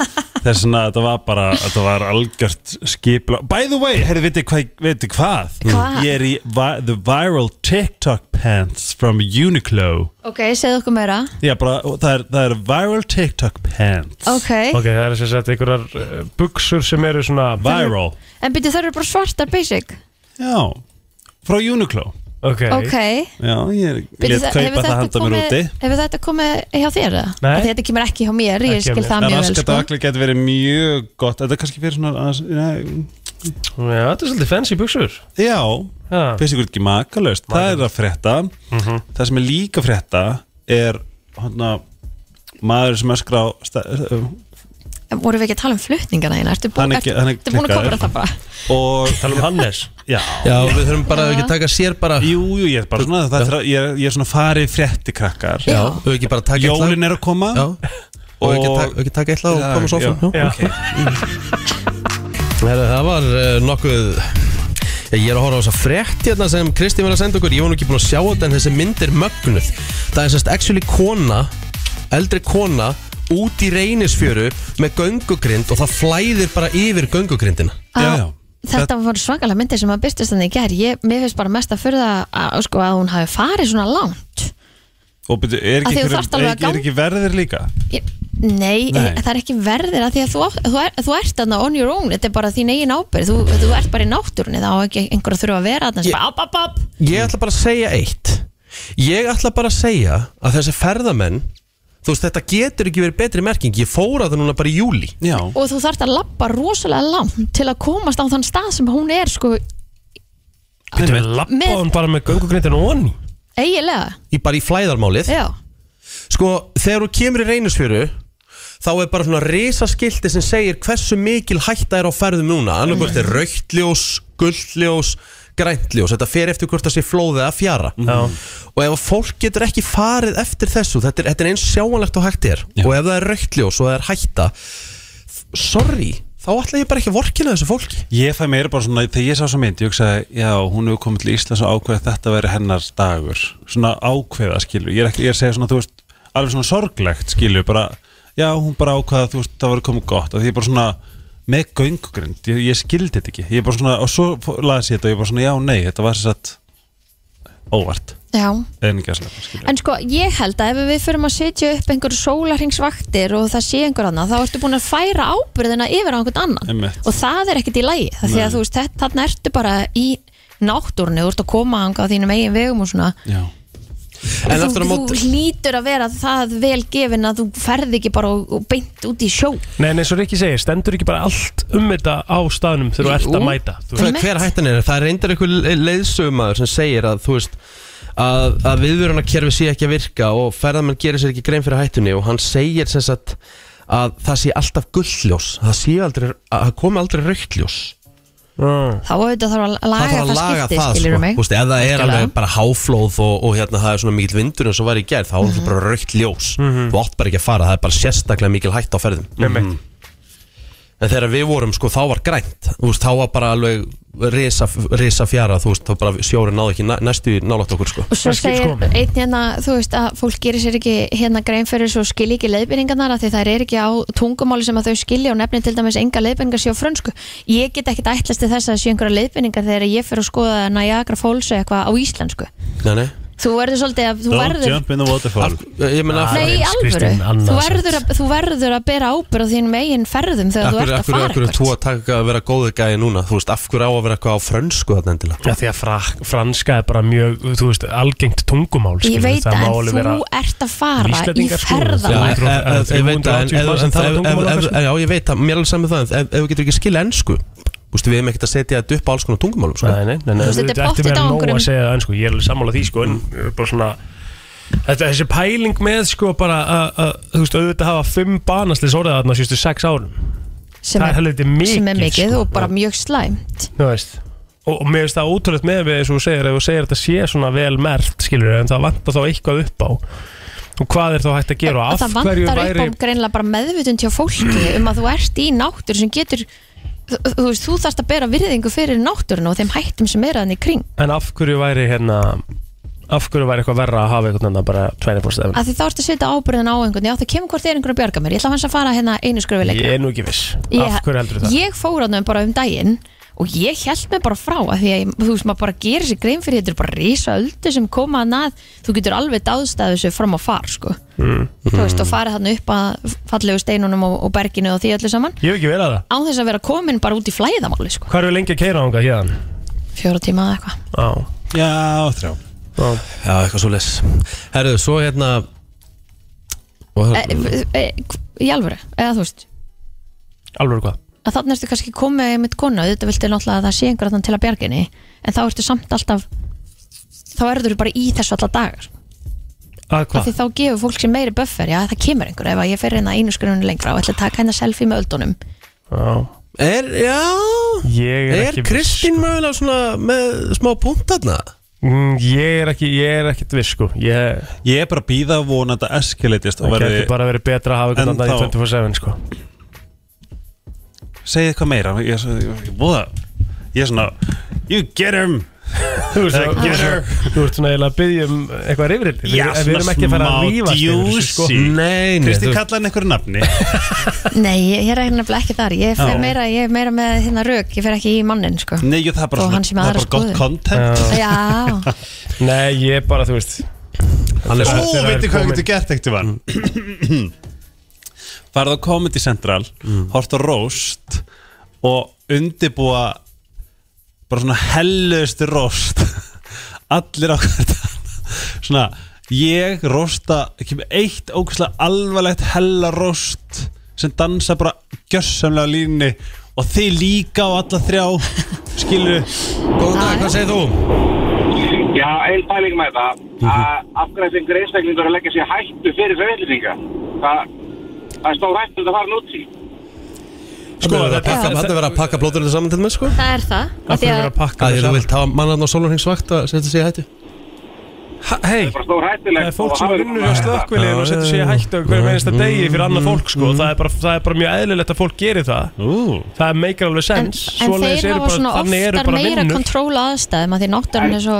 S7: Þess vegna þetta var bara, þetta var algjört skipla By the way, herri, veitir hvað, veitir hvað?
S2: Hvað?
S7: Ég er í vi the viral TikTok pants from Uniqlo
S2: Ok, segðu okkur meira
S7: Já, bara, og það er, það er viral TikTok pants
S2: Ok,
S3: Ok, það er sem sagt einhverjar eh, buxur sem eru svona
S7: Viral
S2: en byrju það eru bara svartar basic
S7: Já, frá Uniqlo
S3: Ok,
S2: Ok,
S7: Já, ég
S2: Byrju,
S7: let kaupa það handa mér úti
S2: hefur þetta komið hjá þér eða?
S3: Nei.
S2: Af því Þetta kemur ekki hjá mér, ég
S3: Ekki hjá
S2: skil
S3: mér.
S2: það
S7: En
S2: mjög vel
S7: raskat
S2: sko.
S7: og akli getur verið mjög gott Þetta er kannski fyrir svona annars, já,
S3: Já, þetta er svolítið fancy buxur
S7: já,
S3: Já, Mhm.
S7: finnst ykkur ekki makalaust það er að frétta það sem er líka að frétta er hana, maður sem öskra á sta- uh,
S2: En Vorum við ekki að tala um flutningana þína? Ertu
S7: Hann
S2: búin,
S7: er
S2: ertu,
S7: ekki- hann er
S2: ertu búin að
S7: klikkaður.
S2: kofra það bara?
S7: og
S3: tala um Hannes
S7: já,
S1: Já, við þurfum bara að ekki taka sér bara
S7: jú, jú, ég er bara svona það, er, ég, er, ég er svona farið frétti krakkar
S1: Já, og ekki bara taka
S7: jólin
S1: eitt lag
S7: er að koma
S1: Já, og ekki, ta ekki taka eitt lag og koma svo áfram
S7: já,
S1: Já.
S7: okay.
S1: Herra, Það var uh, nokkuð Ég er að horfa á þess að frétt hérna sem Kristi var að senda okkur Ég var nú ekki búin að sjá þetta en þessi mynd er mögnuð Það er sérst actually kona Eldri kona út í reynisfjöru með göngugrind og það flæðir bara yfir göngugrindina
S2: Á,
S7: Já, já.
S2: Þetta var svakalega myndi sem að byrstast þannig í gær ég, Mér finnst bara mest að furða að, sko, að hún hafi farið svona langt
S7: og byrju,
S2: Af því
S7: er ekki,
S2: þú
S7: einhverjum-
S2: þarft alveg að
S7: er, er ekki verðir líka
S2: ég, Nei,
S7: Nei.
S2: Nei. það er ekki verðir að því að þú, á- þú, er, þú ert þarna on your own Þetta er bara þín eigin ábyrð Þú, þú ert bara í náttúrunni Það á ekki einhver að þurfa að vera þarna sem bara, app, app, app.
S1: Ég ætla bara að segja eitt Ég ætla bara að segja að þessi ferðamenn Þú veist, þetta getur ekki verið betri merking Ég fóra það núna bara í júli
S7: já,
S2: Og þú þarft að labba rosalega langt Til að komast á þann stað sem hún er sko,
S3: Getur við
S2: Með-
S3: lappa hann bara með göngugrindin og onni
S2: Eigilega,
S1: Í bara í flæðarmálið
S2: já
S1: Sko, þegar þú kemur í reynisfjöru Þá er bara svona risaskilti sem segir Hversu mikil hætta er á ferðum núna Annarkvort er rauktljós, gullljós Græntljós, þetta fer eftir hvort það sé flóðið að fjara
S3: Já.
S1: Og ef að fólk getur ekki farið eftir þessu Þetta er, þetta er eins sjáanlegt og hægt er Og ef það er rauktljós og það er hætta Sorry Þá ætla ég bara ekki að vorkina þessu fólki
S7: ég fæ meira bara svona þegar ég sá svo mynd, ég hugsaði já, hún hefur komið til Íslands og ákveða að þetta veri hennar dagur, svona ákveða skilju, ég er ekki, ég er að segja svona, þú veist alveg svona sorglegt skilju, bara já, hún bara ákveða, þú veist, það veri komið gott og því ég bara svona, með göngugrind ég, ég skildi þetta ekki, ég bara svona og svo fó- las ég þetta og ég bara svona, já, nei, þetta var þess að óvart
S2: Já,
S7: en ekki að segja
S2: en sko ég held að ef við förum að setja upp einhver sólarhingsvaktir og það sé einhver annað þá ertu búin að færa ábyrðina yfir á einhvern annan
S7: Einmitt.
S2: og það er ekkert í lagi það því
S7: Nei.
S2: að þú veist, þetta- þarna ertu bara í náttúrunni, þú ert að koma anga á þínum eigin vegum og svona
S7: Já,
S1: En
S2: þú,
S1: aftur á móti
S2: þú hlýtur að vera það vel gefin að þú ferð ekki bara og, og beint út í sjó
S3: Nei, en eins og Rikki segir, stendur ekki bara allt um þetta á staðnum þegar þú ert að
S1: Jú.
S3: mæta þú veist.
S1: hver, hver hættan er það er reyndar einhver leiðsögumæður sem segir að þú veist að, að viðvörunarkerfi sé ekki að virka og ferðamenn gerir sér ekki grein fyrir hættunni og hann segir sem sagt að það sé alltaf gullljós það sé aldrei, að það komi aldrei rauktljós
S3: Mm.
S2: þá auðvitað þarf að
S1: það
S2: laga
S1: þarf
S2: það,
S1: að laga
S2: skipti,
S1: það
S2: skilur
S1: sko.
S2: mig
S1: Þú veist, ef það er
S2: Algjörlega.
S1: alveg bara háflóð og, og hérna það er svona mikil vindur eins og var í gerð þá er
S2: Mhm.
S1: það bara rauktljós þú átt bara ekki að fara, það er bara sérstaklega mikil hætt á ferðum
S3: Mhm. Einmitt.
S1: En þegar við vorum, sko, þá var grænt Þú veist, þá var bara alveg risa, risa fjara Þú veist, þá bara sjóri náði ekki næ, næstu nálægt okkur, sko
S2: og svo
S3: Það skil-
S2: segir
S3: sko.
S2: einn hérna þú veist að fólk gerir sér ekki hérna grein fyrir svo skilji ekki leiðbyrningarnar af því það er ekki á tungumáli sem að þau skilja og nefnir til dæmis enga leiðbyrningar séu á frönsku ég get ekkit ætlast til þess að séu einhverja leiðbyrningar þegar ég fyrir að skoða Niagara Falls eða eitthvað á íslensku
S1: Nei, nei
S2: þú verður svolítið að þú
S7: don't
S2: verður
S7: jump in the waterfall
S1: Af, Ég meina, af-
S2: Nei, í
S3: Aðeins,
S2: alvöru,
S3: Kristín, annað
S2: þú
S3: samt.
S2: verður, að, þú verður að bera ábyrð á þínum eigin ferðum þegar
S1: af hverju- af
S2: þú ert að
S1: hverju-
S2: fara
S1: af hverju er þú að taka að vera góðu gæði núna Þú veist, af hverju á að vera eitthvað á frönsku þarna endilega
S3: Já, því að frak, franska er bara mjög, þú veist, algengt tungumál
S2: Ég
S3: skilur,
S2: veit
S3: það
S2: að en
S3: má
S2: þú
S3: alveg vera-
S2: ert að fara í
S3: Íslendingar, sko.
S1: Já,
S2: ferðalag
S3: Já.
S1: e- e- e- ég veit það, en- en- en-
S3: 380% tala tungumál
S1: ef-
S3: á
S1: ef-
S3: frönsku.
S1: Já, ég veit það, mér er alveg saman það en Ef ef við getur ekki skilja ennsku Þú veist, við hefum ekkert að setja þetta upp á alls konar tungumálum, sko
S3: Nei, nei, nei,
S2: Þú veist, þetta
S3: nei
S2: er
S3: þetta ætti
S2: pottþétt
S3: vera
S2: á
S3: nóg að
S2: einhverjum-
S3: segja það en sko, ég er alveg sammála því sko, en mm. bara svona þetta, þessi pæling með sko bara að- að, þú veist, auðvitað hafa fimm banaslis orðið þarna sérstu sex árum
S2: sem,
S3: það er helviti mikið,
S2: sem er mikið
S3: sko.
S2: og bara mjög slæmt
S3: þú veist og, og mér finnst það ótrúlegt með við eins og þú segir, ef þú segir þetta sé svona vel mert skilur, en það vantar þá eitthvað upp á og hvað er þá hægt að gera og
S2: og
S3: af
S2: það
S3: hverju
S2: vantar upp á
S3: væri
S2: greinlega bara meðvutund hjá fólki um að þú ert í náttúr sem getur þú, þú veist, þú þarft að bera virðingu fyrir náttúrun og þeim hættum sem er að henni kring
S3: en af hverju væri hérna af hverju væri eitthvað verra að hafa eitthvað bara 20% efni?
S2: að því þá ert að setja ábyrðin á einhvern já það kemur hvort er einhvern að bjarga mér ég ætla hans að fara hérna einu skröfi lengra
S3: ég er nú ekki viss, af
S2: Ég-
S3: hverju heldur það?
S2: Ég fór ánum bara um daginn og ég held mig bara frá að því að ég- þú veist maður bara gerir sér grein fyrir þetta er bara risa öldu sem koma að nað þú getur alveg dáðstæðu þessu fram að far sko.
S3: Mm.
S2: þú veist og farið þarna upp að fallegu steinunum og, og berginu og því öllu saman
S3: Ég hef ekki verið að það.
S2: á þess að vera komin bara út í flæðamáli sko.
S3: Hvað eru lengi að keira ánga hérna?
S2: fjóra tíma eða eitthvað
S3: Á,
S7: Já, þrjá
S3: á.
S1: Já, eitthvað svo les Herðu, svo hérna og,
S2: e, e, e, í alvöru, eða þú veist
S3: Alveg hvað?
S2: að þannig ertu kannski komið með konu auðvitað viltu náttúrulega að það sé einhver þarna til að bjarginni en þá ertu samt alltaf þá erður bara í þessu alla dagar
S3: Að
S2: af
S3: hvað?
S2: því þá gefur fólk sér meiri buffer já það kemur einhver ef að ég fer hérna einu skrunni lengra og ætla að taka hérna selfie með öldunum
S3: Á,
S1: Er, já
S3: ég er,
S1: Er
S3: ekki sko.
S1: Kristín mögulega svona með smá punktarna?
S3: viss. Mm, ég er ekki, ég er ekkert viss sko. Ég
S7: Ég er bara að býða að vona að þetta eskilatist og
S3: það
S7: verði,
S3: getur bara verið betra að hafa
S7: En
S3: eitthvað annað í
S7: þá-
S3: 24-7 sko.
S7: segið eitthvað meira Ég er svo- ég- ég voða Ég er svona, you get him
S3: Þú veist,
S7: Eh,
S3: þú-
S7: get her.
S3: þú ert svona eiginlega að byggja um eitthvað rifrið. Við,
S7: Já,
S3: en við erum
S7: svona
S3: ekki að fara að
S7: smá
S3: rífast yfir þessu, sko.
S7: djúsi.
S1: Nei, nei
S7: Kristi
S1: þú-
S7: kallaði hann einhverju nafni
S2: nei ég, ég er hérna nefnilega ekki þar ég fer
S7: Já.
S2: meira, ég er meira með hérna rök ég fer ekki í mannin sko
S7: Nei, jú, það er bara,
S2: Og hann sem
S7: það er
S2: aðra
S7: bara gott
S2: skoðun.
S7: content
S2: já,
S3: Nei, ég bara, þú veist
S1: Hann er
S3: Ó,
S1: svo
S3: Þegar
S7: Ó,
S3: það er Mm.
S7: veitir hvað
S3: komin-
S7: getur gert ekkert var Farð á Comedy Central Hort á Roast Og undibúa Bara svona hellustu Roast Allir á hvert annað. Svona Ég rosta, ekki með eitt ógæslega alvarlegt hella rost sem dansa bara gjörsamlega á línni og þið líka á alla þrjá skilur
S1: Góðan dag, hvað segir þú?
S8: Já, einn pæling með það
S3: Mhm.
S8: að af hverju þengur einstaklingur að leggja sér hættu fyrir þau veitlýsinga það, það er stóð hættu að fara núti
S1: Sko, það er verið að pakka,
S2: Já.
S1: það er verið að pakka blóðurinn saman til mér, sko
S2: það er það
S3: Af
S2: af því
S3: hverju
S2: að
S3: verið að pakka
S1: Að
S3: þessu
S1: þú
S3: saman?
S1: vilt hafa mannarn á sólurhingsvakt að setja sig í hættu
S3: Ha- Hei,
S8: bara stóð hættilegt
S3: það er fólk sem vinnur hjá slökkviliðin og setur sig í hættu á hverjum
S7: Mm.
S3: einasta degi fyrir annað fólk sko. það, er bara, það er bara mjög eðlilegt að fólk gerir það
S7: Ú,
S3: það meikar alveg
S2: en,
S3: sens
S2: en þeir hafa svona oftar meira kontról aðstæðum að því náttúrun er svo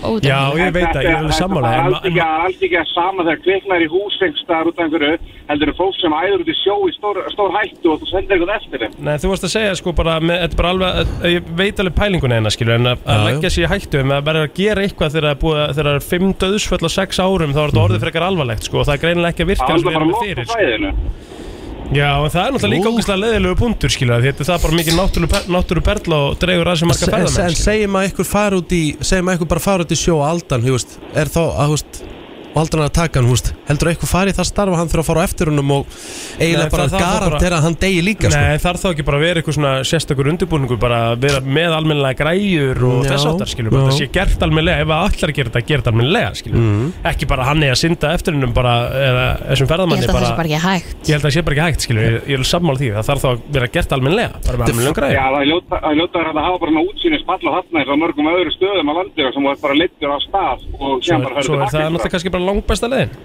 S2: ódæmilega.
S3: Já, ég veit að ég er alveg sammála en ma-
S8: Það
S3: en-
S8: er alls ekki að sama þegar kviknar í húsengstar út af einhverju heldur en fólk sem æður út í sjó í stór, stór hættu og þú sendir eitthvað eftir þeim.
S3: Nei, þú varst að segja sko bara, með, þetta er bara alveg, að- að ég veit alveg pælinguna hennar skilur, en að, að
S1: Já, já.
S3: leggja sér í hættu, en að bara að gera eitthvað þegar það er búið að- þegar það er fimm döðsföll á sex árum, þá er
S1: Mhm.
S3: þetta orðið frekar alvarlegt sko, og það er greinilega ekki að virka
S8: Það er
S3: eins og
S8: alltaf bara
S3: við erum
S8: að
S3: með
S8: loka
S3: fyrir. Sko.
S8: svæðinu.
S3: Já, en það er náttúrulega líka ógæslega leðilegu punktur skilur, af því þetta er bara mikið náttúru, náttúru perla og dreigur að sem marga
S1: En, en
S3: ferðamenn skilur.
S1: segjum að ykkur fara út í segjum að ykkur bara fara út í sjó á aldan þú veist, er þá að þú veist, og aldan að taka hann þú veist, heldur að ykkur fari í það starf og hann þurfa að fara á eftir húnum og eiginlega
S3: Nei,
S1: bara
S3: það- það- það
S1: garantera að hann degi líka sko.
S3: Nei, þarf þá ekki bara að vera eitthvað svona sérstakur undirbúningur bara að vera með almennilega græjur og
S1: Já,
S3: þess áttar
S1: já.
S3: skilur bara það sé gert almennilega ef að allar gera þetta, gera þetta almennilega skilur ekki bara hann eða synda eftir hennum bara eða þessum
S2: Ég held
S3: ferðamanni
S2: að það sé
S3: bara
S2: bara ekki hægt
S3: ég held að það sé bara ekki hægt skilur ég, ég er sammála því, það þarf þá að vera gert almennilega bara með almennilega
S8: Já,
S3: græjur
S8: það er ljóta það er ljóta að þetta hafa bara svona útsýnis palla þarna eins og á mörgum öðru stöðum á landinu sem þú ert bara leittur á stað og sem bara
S3: Svo
S8: hörður
S3: er það náttúrulega kannski bara langbesta leiðin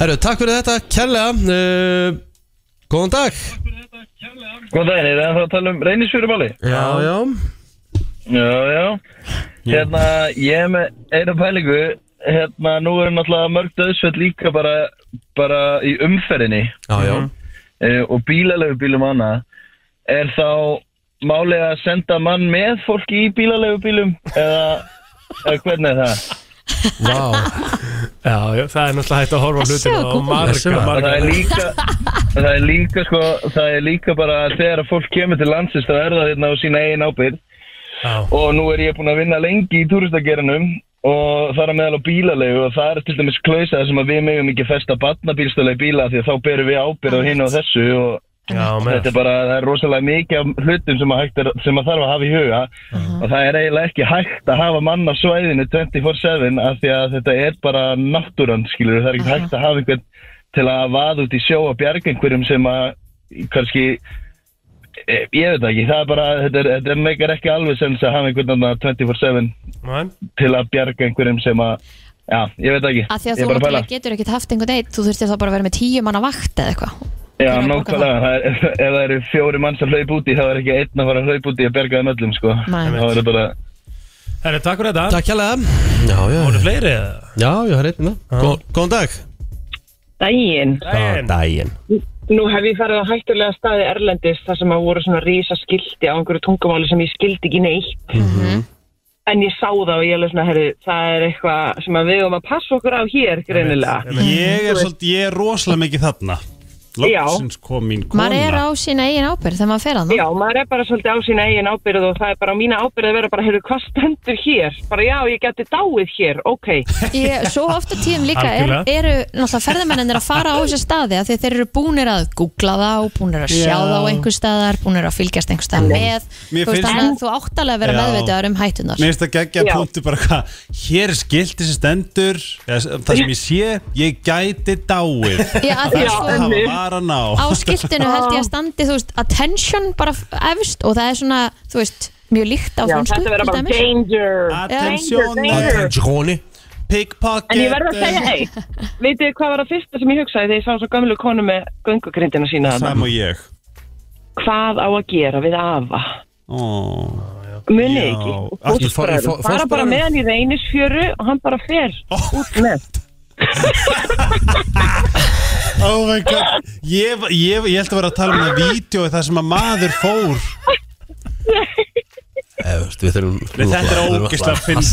S1: Herru, takk fyrir þetta, kærlega uh, Góðan dag
S9: Góðan daginn, er það að tala um reynisfjörumali?
S1: Já, já
S9: Já, já. Hérna, ég er með eina pælingu. Hérna, nú er náttúrulega mörg döðsvöld líka bara, bara í umferðinni
S1: Já, já,
S9: eh, og bílalegu bílum annað. Er þá málið að senda mann með fólki í bílalegu bílum? Eða, eða hvernig er það?
S1: vá
S3: Já, já, það er náttúrulega hægt að horfa á
S2: Þessi
S3: hlutina
S2: var
S3: og
S2: góð.
S1: Þessi
S3: marga,
S1: var-
S9: Og
S3: marga
S9: það er líka, það er líka sko, það er líka bara þegar að fólk kemur til landsins þá er það hérna á sína eigin ábyrð
S3: Já.
S9: og nú er ég búin að vinna lengi í túristageranum og það er meðal á bílalegu og það er til dæmis klausa sem að við megum ekki festa batnabílstöla í bíla því að þá berum við ábyrð á hinn og þessu og
S3: Já, með
S9: þetta er bara, það er rosalega mikið af hlutum sem að, hægt er, sem að þarf að hafa í huga og það er eiginlega ekki hægt að hafa mann á svæðinu 24-7 af því að þetta er bara náttúran, skilur, það er ekki hægt að hafa einhvern til að vaða út í sjó og bjarga einhverjum sem að kannski, eh, ég veit það ekki, það er bara, þetta, er, þetta meikar ekki alveg sens að hafa einhvern annað 24-7
S3: Nei.
S9: til að bjarga einhverjum sem að, já, ég veit það ekki,
S2: að því að
S9: ég
S2: þú
S9: er bara að pæla.
S2: náttúrulega getur ekkert haft einhvern eitt þú þurftir þá bara að vera með tíu manna vakt eða eitthvað
S9: Já,
S2: Hver á að borga
S9: nákvæmlega, það er, ef ef það eru fjóri mann sem hlaup úti þá er ekki einn að fara að hlaup úti að berga þeim öllum sko
S2: Nei.
S9: Það verður bara,
S3: Herri, takk fyrir þetta
S1: Takk kærlega Já, já,
S3: Voru fleiri eða?
S1: já, já, hérna Gó, Góðan dag
S10: Dægin.
S3: Daginn.
S1: daginn
S10: Nú hef ég farið á hættulega staði Erlendis þar sem að voru svona rísa skildi á einhverju tungumáli sem ég skildi ekki neitt.
S2: Mm-hmm.
S10: En ég sá það og ég er svona, herri, það er eitthvað sem að við um að passa okkur á hér greinilega.
S2: Mm.
S7: Ég er svolítið, ég er rosalega mikið þarna Lóksins kom mín
S2: maður er á
S7: kona
S2: sína eigin ábyrð þegar maður fer að
S10: Já, maður er bara svolítið á sína eigin ábyrð og það er bara á mína ábyrð að vera bara, herri, hvað stendur hér? Bara já, ég geti dáið hér, ok.
S2: Ég, svo ofta tíðum líka er,
S3: Algjörlega.
S2: eru náttúrulega ferðamennir að fara á þessu staði af því að þeir eru búnir að googla þá, búnir að sjá þá einhver staðar, búnir að fylgjast einhver staðar með
S7: Mér
S2: þú veist
S7: finnst-
S2: þannig að þú áttalega að vera
S7: Já.
S2: meðvitaður um hættunar
S7: Mér finnst það geggja
S10: Já.
S7: punktu bara hvað Hér er skilti sem stendur eða s- Það sem ég sé, ég gæti dáið
S2: Já, að því að
S7: Það
S2: sko,
S7: hafa varan á
S2: á skiltinu held ég að standi þú veist, attention bara f- efst og það er svona, þú veist, mjög líkt á
S10: Já,
S2: frönsku
S10: þetta verður
S2: til
S10: bara
S2: dæmis.
S10: danger.
S7: Attention,
S10: Danger, danger.
S1: Jóni
S7: Pickpocket
S10: En ég verð að segja eitt. Vitið þið hvað var að fyrsta sem ég hugsaði þegar ég sá svo gamlu konu með göngugrindina sína þarna?
S7: Sam og ég
S10: Hvað á að gera við afa?
S7: Ó.
S10: Munið
S7: Já.
S10: ekki. Og
S7: Allt í
S1: fó- í fó-
S10: Fóstbræður. Fara bara
S1: fóstbræðrum.
S10: með hann í reynisfjöru og hann bara fer út með.
S7: Oh my god Ég, ég, ég held að vera að tala um það vídeo Það sem að maður fór
S1: Eh, Við þurfum
S7: Nei, þetta er ógeðslega fyndið.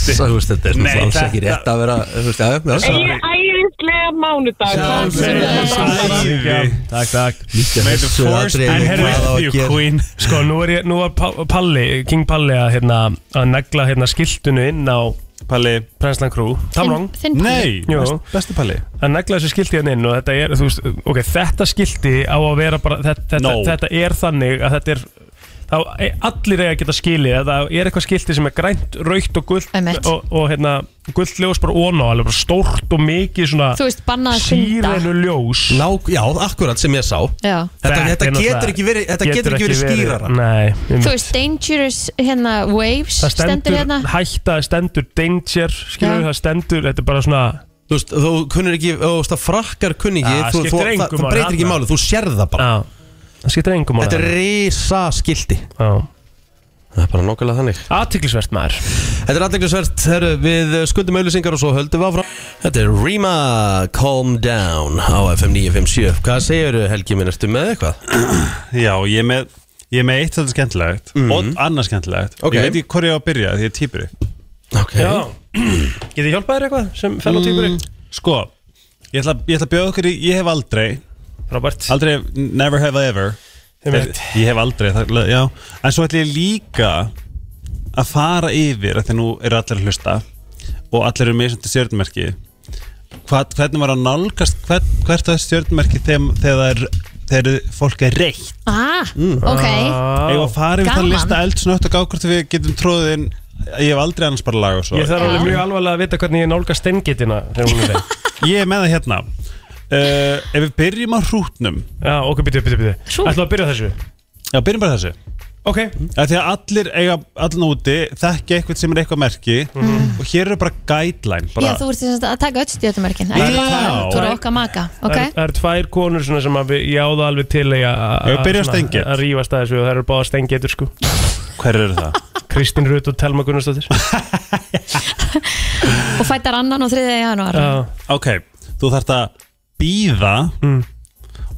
S1: Þetta er
S7: Nei,
S1: náttúrulega alls
S7: þetta-
S1: ekki rétt að vera þú veist, já, já,
S10: Ég er æðislega mánudag.
S1: Sjá,
S10: Takk fyrir
S1: sjá,
S10: það.
S7: Ævi.
S3: Takk, takk
S1: Líka
S7: May the
S1: þessu
S7: force
S1: atriði
S7: be
S3: En herri,
S1: hvað á að
S7: with you
S1: gera.
S7: queen
S3: Sko, nú er, ég, nú er Pa- Palli, King Palli að, hérna, að negla hérna, skiltinu inn á
S7: Palli
S3: Prenslan Crew, Tamrong
S2: Þinn- þinn pabbi.
S7: Nei,
S3: Jú.
S7: best- bestu Palli
S3: að negla þessu skilti hérna inn og þetta er, þú veist, ok, þetta skilti á að vera bara, þetta, þetta,
S7: No.
S3: þetta er þannig að þetta er þá e- allir eiga að geta skilið að það er eitthvað skilti sem er grænt, raukt og gullt
S2: Einmitt.
S3: og, og hérna, gullt ljós bara ón á, alveg bara stórt og mikið svona
S2: Þú veist, bannað að synda.
S3: sírenu ljós
S1: Ná, já, akkurat sem ég sá
S2: Já.
S1: Þetta,
S3: er
S1: þetta getur
S3: náttúrulega-
S1: ekki verið, þetta getur ekki verið skýrara
S3: Nei, einmitt.
S2: Þú veist, dangerous hérna, waves
S3: það stendur,
S2: hérna
S3: hætta, það stendur danger skilur,
S2: Já.
S3: það stendur, þetta er bara svona
S1: Þú veist, þú kunnir ekki, þú veist, það frakkar kunni ekki
S3: Ja,
S1: þú,
S3: skiptir
S1: þú,
S3: engu
S1: það, það
S3: máli,
S1: breytir ekki
S3: þarna.
S1: máli, þú sérð það bara
S3: á, það skiptir engum máli
S1: Þetta er risa skildi
S3: Já.
S1: Það er bara nokkulega þannig
S3: Athyglisvert maður
S1: Þetta er athyglisvert, herru, við skuldum auðlýsingar og svo höldum við áfram Þetta er Rima Calm Down á FM 957 Hvað segirðu Helgi minn, ertu með eitthvað?
S7: Já, ég er með, ég er með eitt þetta skemmtilegt og annað skemmtilegt
S1: Ok.
S7: Ég veit ekki hvort ég á að byrja því ég er týpuri
S1: Ok
S3: Já Getið hjálpað þér eitthvað sem fenn á týpuri?
S2: Mm,
S7: Sko, ég ætla, ég ætla að bjóða okkur í Ég hef aldrei
S3: Robert
S7: Aldrei, never have I ever Eh,
S3: Einmitt.
S7: Ég hef aldrei, það, já En svo ætla ég líka að fara yfir Þegar nú eru allir að hlusta Og allir eru með sem til stjörnmerki Hvað, Hvernig var að nálgast hver, Hvert var stjörnmerki þegar, þegar, þegar fólk er reykt
S2: Ah, ok
S7: Mm.
S3: Ah.
S7: Ég var farið við það
S2: Gaman.
S7: lista eldsnögt og gá hvort við getum tróðið inn Ég hef aldrei annars bara lag og svo
S3: Ég þarf alveg mjög alvarlega að vita hvernig ég nálga steingitina þegar hún er leið
S7: Ég er með það hérna uh, Ef við byrjum á hrútnum
S3: Já, ok, byrju, byrju, byrju Ætlum að byrja þessu?
S7: Já, byrjum bara þessu
S3: Ok
S7: Af Því að allir eiga allan úti Þekkja eitthvað sem er eitthvað merki
S3: Mhm.
S7: Og hér eru bara guideline bara.
S2: Já, þú ert sem sagt að taka öll stjórnumörkin ekki
S7: Já.
S2: bara þú eru okkar maka ok,
S3: Það er, það er tvær konur svona sem að við- ég áða alveg til eiga að
S7: Ég byrja á
S3: svona
S7: Steingét.
S3: Að rífast að þessu og það eru báða stengetur sko
S7: Hver eru það?
S3: Kristín Rut og Telma Gunnarsdóttir
S2: og fættar annan og þriðja januar
S7: Ok, þú þarft að býða
S1: Mm.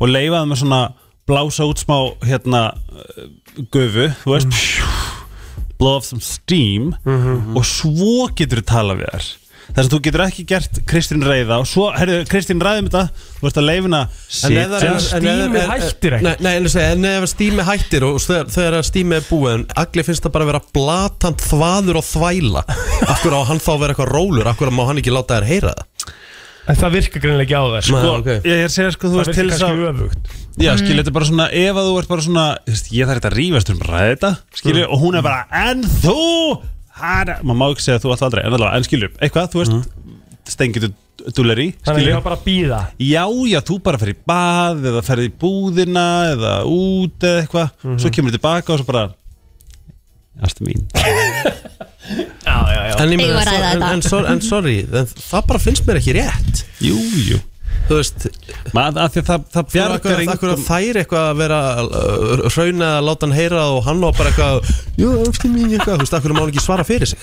S7: Og leifa það með svona Blása út smá hérna uh, Gufu, þú
S1: Mm.
S7: veist Blow off some steam
S1: Mhm.
S7: Og svo getur þú tala við þær Þess að þú getur ekki gert Kristín reyða Og svo, herðu, Kristín ræðum þetta Þú veist að leifina
S1: Nei, nei, en, þú segir, en ef stími hættir og þegar, þegar stími er búið en allir finnst það bara að vera blatant þvaður og þvæla Af hverju á hann þá að vera eitthvað rólur, af hverju má hann ekki láta þær heyra það?
S3: En það virkar greinilega ekki á þær
S1: Nei,
S3: sko.
S1: ok.
S7: Ég er að segja sko, þú
S3: Það
S7: veist til
S3: virkar
S7: þess að
S3: kannski öfugt
S7: Já,
S1: Mhm.
S3: Mm.
S7: skilja, þetta er bara svona, ef að þú ert bara svona þú veist, Ég þarf þetta að rífast um ræði þetta Skilja,
S1: Mhm.
S7: og hún er bara, en þú hana, Maður má ekki segja að þú alltaf aldrei En, allavega, en skilja, eitthvað, þú veist
S1: Mhm.
S7: mm. Stengið þú dúleri
S3: Þannig að ég var bara að býða
S7: Já, já, þú bara ferð í bað Eða ferð í búðina, eða út Eða eitthvað,
S1: Mhm.
S7: svo kemur þú tilbaka og svo bara Astu mín
S3: Já, já, já
S1: En, ég
S2: Eigum
S1: meina,
S2: að
S1: svo-
S2: ræða
S1: en,
S2: þetta.
S1: en, sor- en sorry, en það bara finnst mér ekki rétt
S7: Jú, jú
S1: Þú veist
S7: Maður, af því að það, það bjargar
S1: Það hverju
S7: engum-
S1: þær eitthvað að vera uh, hrauna að láta hann heyra það og hann á bara eitthvað Jú, öfstu mín eitthvað, þú veist, af hverju má hann ekki svara fyrir sig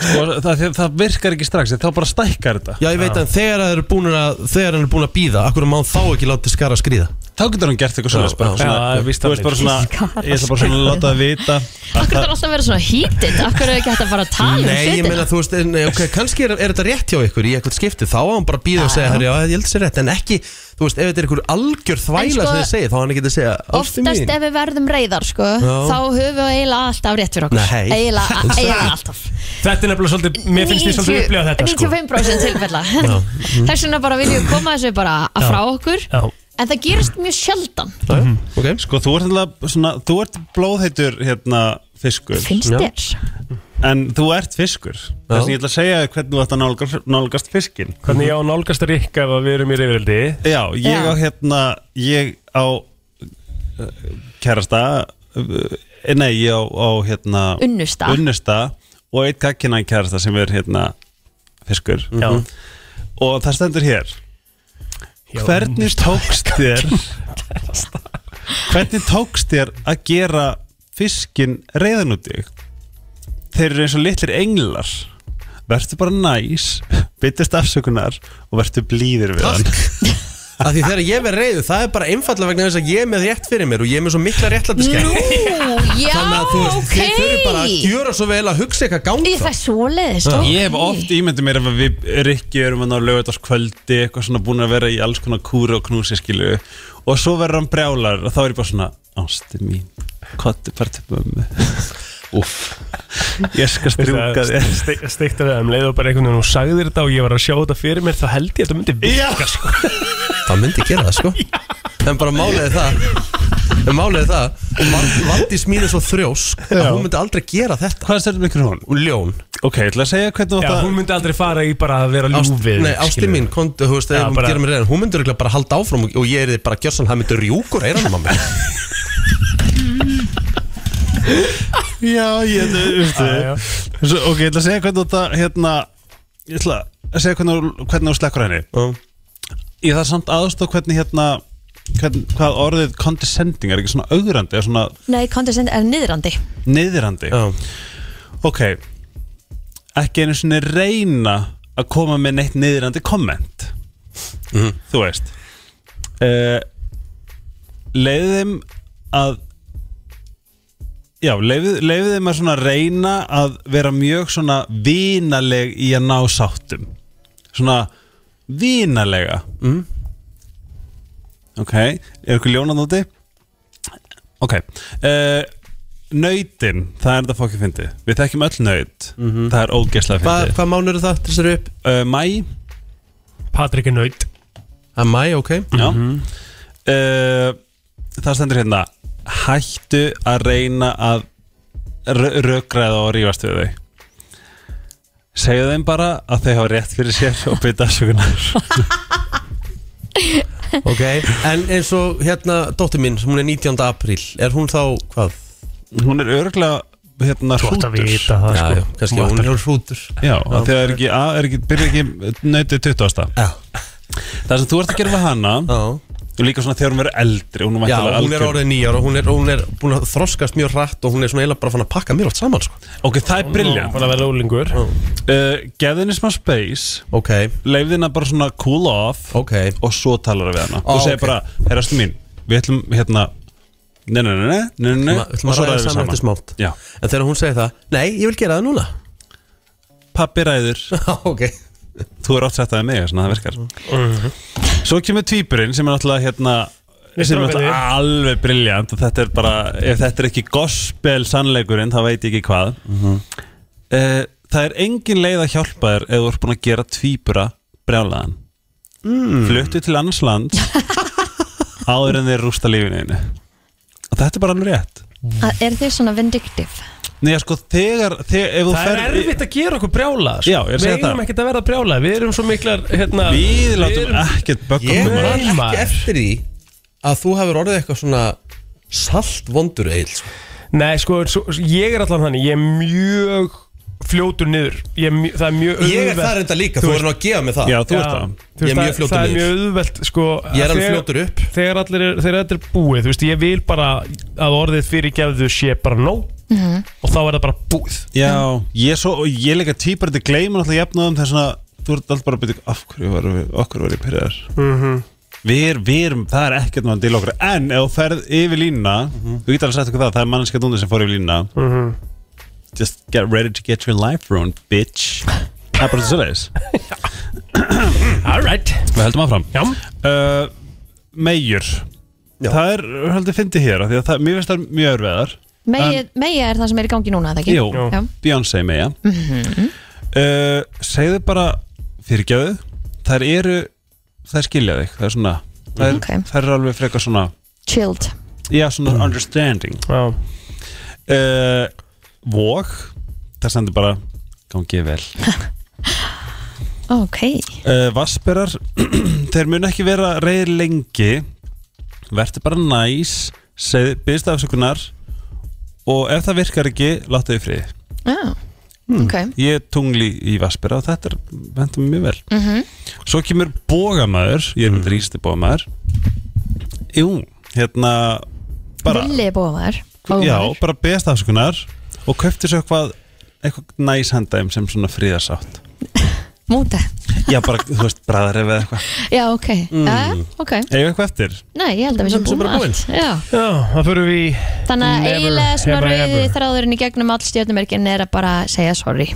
S7: sko, það, það virkar ekki strax, þá bara stækkar þetta
S1: Já, ég veit en þegar það eru búin að þegar hann er búin að býða, af hverju má hann þá ekki láta skara að skríða
S7: Þá getur hann gert eitthvað
S1: Já,
S7: svona, bara,
S1: já.
S7: svona
S1: Já, það er víst
S7: Þú veist
S1: þannig.
S7: bara svona Ég ætla bara svona að láta það vita
S2: okkur þarf alltaf að vera svona hítið okkur er ekki hægt að fara að tala um
S1: Nei, ég
S2: hlutina
S1: meina, þú veist, en, eh, ok, kannski er, er þetta rétt hjá ykkur í eitthvað skipti, þá á hann bara að býða og segja, herri, já, ég held sér rétt, en ekki, þú veist, ef þetta er ykkur algjör
S2: sko,
S1: þvæla sem þið segir, þá á hann ekki að segja, "Ástin mín."
S2: oftast ef við verðum reyðar sko,
S1: Já.
S2: þá höfum við eiginlega alltaf rétt fyrir okkur
S1: Nei.
S2: eiginlega, eiginlega alltaf
S3: Þetta er nefnilega svolítið, mér finnst ég svolítið
S2: 90
S3: upplega þetta sko
S2: 95% tilfella þess vegna bara viljum við koma þessu bara
S7: Já.
S2: frá okkur
S3: Já.
S2: en það gerist mjög sjaldan
S1: okay.
S7: Sko, þú ert alltaf svona Þú ert blóðheitur hérna fiskur
S2: Finnst Já. þér?
S7: En þú ert fiskur Þess að ég ætla að segja þér hvernig þú ætti að nálgast, nálgast fiskin
S3: Hvernig ég á nálgast að rikka ef að við erum í reyfrildi
S7: Já, ég
S3: Já.
S7: á hérna Ég á uh, Kærasta uh, Nei, ég á, á hérna
S2: Unnusta.
S7: Unnusta Og eitt kakkinan kærasta sem er hérna Fiskur
S3: Já.
S7: Og það stendur hér
S3: Já,
S7: Hvernig tókst þér Hvernig tókst þér að gera fiskin reyðan út þig? Þeir eru eins og litlir englar Vertu bara næs Byttist afsökunar Og vertu blíðir við hann
S1: Af því þegar ég verð reyðu, það er bara einfallega vegna þess að ég er með rétt fyrir mér og ég er með svo mikla réttlætiskennd.
S2: já,
S1: Þannig að þú veist, þið þurfum bara að
S2: ok
S1: gjöra svo vel að hugsa eitthvað gangi
S2: Í það er svoleiðis sko. ok.
S7: Ég hef oft ímyndið mér ef að við Rikki erum að ná lögutaskvöldi eitthvað svona búin að vera í alls konar kúri og knúsi skilu og svo verður hann brjálar og þá er ég bara svona, ástu mín kottu bara til mömmu Úff, ég skal strjúka þér
S3: Steikta við um leið og bara einhvern veginn og sagðir þetta og ég var að sjá þetta fyrir mér þá held ég að þetta myndi virka sko
S1: Það myndi gera það sko En bara máliði það En máliði það Vald- Valdís mín er svo þrjósk að
S7: Já.
S1: hún myndi aldrei gera þetta
S7: Hvað stendur mikil hún?
S1: Ljón
S7: Ok, ég ætla að segja hvernig þú
S3: Já,
S7: átt að
S3: hún myndi aldrei fara í bara að vera
S1: Ást,
S3: ljúfið
S1: nei, ásti
S3: skilurðu.
S1: mín, kontu, þú veist, ef
S3: Já,
S1: hún
S3: bara-
S1: gerir mér reyðan Hún myndi örugglega bara halda áfram og og ég er bara gjörsan, það myndi rjúkur eiranum á mér
S7: Já, ég veistu
S3: Já, já.
S7: Svo, Ok, ég ætla að segja hvernig þú átt að hérna, ég ætla að segja hvernig, þú- hvernig þú slekkur henni
S1: Já.
S7: Ég þarf samt aðstof hvernig hérna hvern, hvað orðið condescending er ekki svona augrandi eða svona
S2: Nei, condescend er niðrandi
S7: niðrandi Já. ok ekki einu svona reyna að koma með neitt niðrandi komment þú veist uh, leiðum að já, leið, leiðum að svona reyna að vera mjög svona vínaleg í að ná sáttum svona vínalega mm. ok, er ykkur ljónan úti? Ok uh, Nautin, það er þetta fokkið fyndi Við þekkjum öll naut Það er ógeðslega
S1: Mhm. Hva-
S7: fyndi
S1: Hvað mánu eru það til þessari upp?
S7: uh, Mæ
S3: Patrik er naut
S1: Það er mæ, Ah, ok Mhm.
S7: Já uh, Það stendur hérna Hættu að reyna að Röggræða og rífast við þau Segðu þeim bara að þau hafa rétt fyrir sér og byrja afsökunar
S1: Ok, en eins og hérna dóttir mín, sem hún er 19. apríl Er hún þá, hvað?
S7: Hún er örglega hérna
S3: Þú átt að
S7: hrútur.
S3: vita það,
S1: Já,
S3: sko.
S1: já, kannski
S3: Þú átt
S1: hún
S3: að-
S1: er hrútur
S7: Já, af því að er ekki, að er ekki, byrja ekki nautið 20.
S1: Já.
S7: Það sem þú ert að gera við hana
S1: Já,
S7: og líka svona þegar hún verður eldri hún,
S1: já hún er
S7: algjör-
S1: orðið nýjar og hún er, hún er búin að þroskast mjög rætt og hún er svona eiginlega bara fann að pakka mér allt saman sko.
S7: Ok, það er briljant
S3: Bara að vera ólingur
S7: uh, Geðinni smá space
S1: Ok,
S7: Leifðina bara svona cool off
S1: ok
S7: Og svo talar við hana
S1: Ó,
S7: Og segir
S1: ok.
S7: bara, herrastu mín Við ætlum hérna Nei, nei, nei, nei, nei, nei, nei
S1: Ma- ætlum
S7: Og
S1: að
S7: svo
S1: ræða
S7: ræðum við
S1: saman eftir
S7: saman
S1: smátt.
S7: Já,
S1: En þegar hún segir það, nei, ég vil gera það núna
S7: pappi ræður
S1: Ok
S7: Þú er átt sett að mig, svona það virkar
S3: Mhm.
S7: Svo kemur tvíburinn sem er náttúrulega hérna
S3: Við
S7: sem er
S3: strákarnir.
S7: náttúrulega alveg briljant og þetta er bara, ef þetta er ekki gospel sannleikurinn, þá veit ég ekki hvað mm
S3: Mhm.
S7: Það er engin leið að hjálpa þér ef þú ert búin að gera tvíbura brjálaðan mm. Fluttu til annars land áður en þeir rústa lífinu einu og þetta er bara alveg rétt
S2: Að- Er þið svona vindictive?
S7: Nei, sko, þegar, þegar ef þú
S3: Það er
S7: ferð í-
S3: erfitt að gera okkur brjála sko.
S7: Já, ég er að
S3: Við
S7: segja
S3: eigum
S7: það.
S3: ekkert að verða brjála Við erum svo miklar hérna,
S7: Við látum
S3: erum-
S7: ekkert böggum
S1: Ég
S7: um
S1: man
S3: Nei,
S1: ekki
S3: maður.
S1: eftir því að þú hefur orðið eitthvað svona saltvondur eil sko.
S3: Nei, sko, svo, ég er allan þannig Ég er mjög fljótur niður Ég er mjög, það er mjög
S1: Ég er
S3: auðvelt-
S1: það reynda líka,
S3: Þú
S1: þú
S3: veist-
S1: er nú að gefa mig það
S7: Já, þú
S3: Já,
S7: ert það
S3: þú veist,
S1: Ég er mjög
S3: það-
S1: fljótur
S3: Það er
S1: niður.
S3: mjög auðvelt, sko
S1: Ég er alveg
S3: þegar-
S1: fljótur upp.
S3: Þegar allir er, þegar þetta er búið, þú veist Ég vil bara að orðið fyrir gefðu sé bara nóg Og þá er það bara búið
S7: Já, ég er svo, og ég er líka týpar þetta gleyma alltaf jafnáðum þess að þú ert alltaf bara að byrja af hverju varum við, af hverju varum við pyrraðar mm
S3: Mhm.
S7: -hmm. Við erum, við erum, það er ekkert náttúrulega til okkur, en ef þú ferð yfir línuna þú getur alveg sagt okkur það, það er mannskja dóndur sem fór yfir línuna Just get ready to get your life ruined, bitch Það er bara svo leiðis
S3: All right
S7: Við heldum áfram
S3: Já,
S7: uh, Meijur
S1: Já.
S7: Það er, heldur, fyndi hér, af því að það, mér finnst það mjög örveðar
S2: Megi, megi er það sem er í gangi núna, eða ekki?
S7: Jú,
S2: Já. Mhm.
S7: Beyoncé meja mm Eh, Segðu bara fyrirgjöðu Þær eru, þær skilja þig Það er svona, þær,
S2: Ok.
S7: þær eru alveg frekar svona
S2: Chilled
S7: Já, svona understanding
S3: já
S7: uh, Vog Það sendur bara, gangi þér vel
S2: Ok
S7: uh, Vassberar Þeir mun ekki vera reyðir lengi Vertu bara næs segðu, Byggðist afsökunar Og ef það virkar ekki, láttu þau í friði
S2: Já,
S1: Hmm.
S2: ok
S7: ég er tungli í Vaspera og þetta er, hendur mér mjög vel
S2: Mhm.
S7: svo kemur bógamæður ég er
S3: Mm.
S7: með rísti bógamæður jú, hérna bara,
S2: Villi bóðar
S7: já, bara beðast afsökunar og kaupti sér eitthvað eitthvað næs handæm sem svona fríðarsátt
S2: Múti
S7: já, bara, þú veist, bræðar eða eitthvað
S2: Já, ok Já, ok
S7: eða eitthvað eftir
S2: Nei, ég held að við sem
S1: Sem- sem
S2: búin
S1: bara
S2: allt Já
S3: Já, það fyrir við í
S2: Þannig að
S3: Never,
S2: eiginlega svona
S3: ever,
S2: rauði
S3: ever.
S2: þráðurinn í gegnum all stjórnumerkin er að bara segja sorry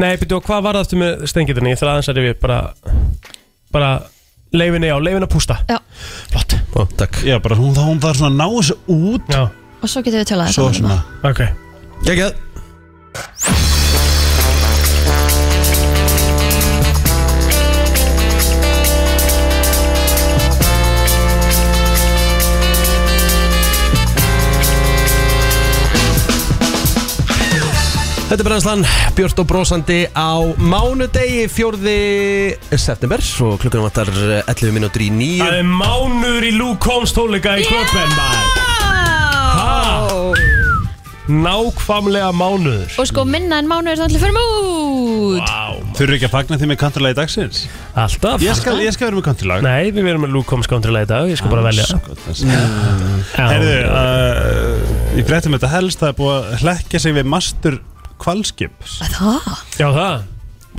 S3: Nei, betur, hvað var það aftur með stengitinni? Ég þarf aðeins að rifja upp, bara, bara leifinni á, leifin að pústa
S2: Já,
S3: Flott
S1: Ó, Takk
S7: já, bara hún, hún þarf svona að ná þessu út
S3: Já,
S2: og svo getum við tölað
S7: svo
S2: saman um
S7: svona,
S3: ok
S1: Gekkið Þetta er Brennslan, Björn og Brósandi á mánudegi 4. september og klukkan vantar eh, 11 mínútur í
S3: Það
S1: 9
S3: er mánuður í Luke Combs tónleika í kvöldmenn maður
S2: það.
S3: Nákvæmlega mánuður
S2: sko, Og sko minna en mánuður þannig fyrir mút
S3: Vá, maður
S7: Þurfi ekki að fagna því með kanturlagi dagsins?
S3: Alltaf
S7: Ég skal, ég skal vera með countrylag
S3: Nei, við verum með Luke Combs countrylag í dag Ég skal bara
S7: Ah,
S3: velja
S7: Herðu, uh, ég fréttum þetta helst Það er búið að hlekkja sig við mastur kvalskip
S2: Það?
S3: Já, það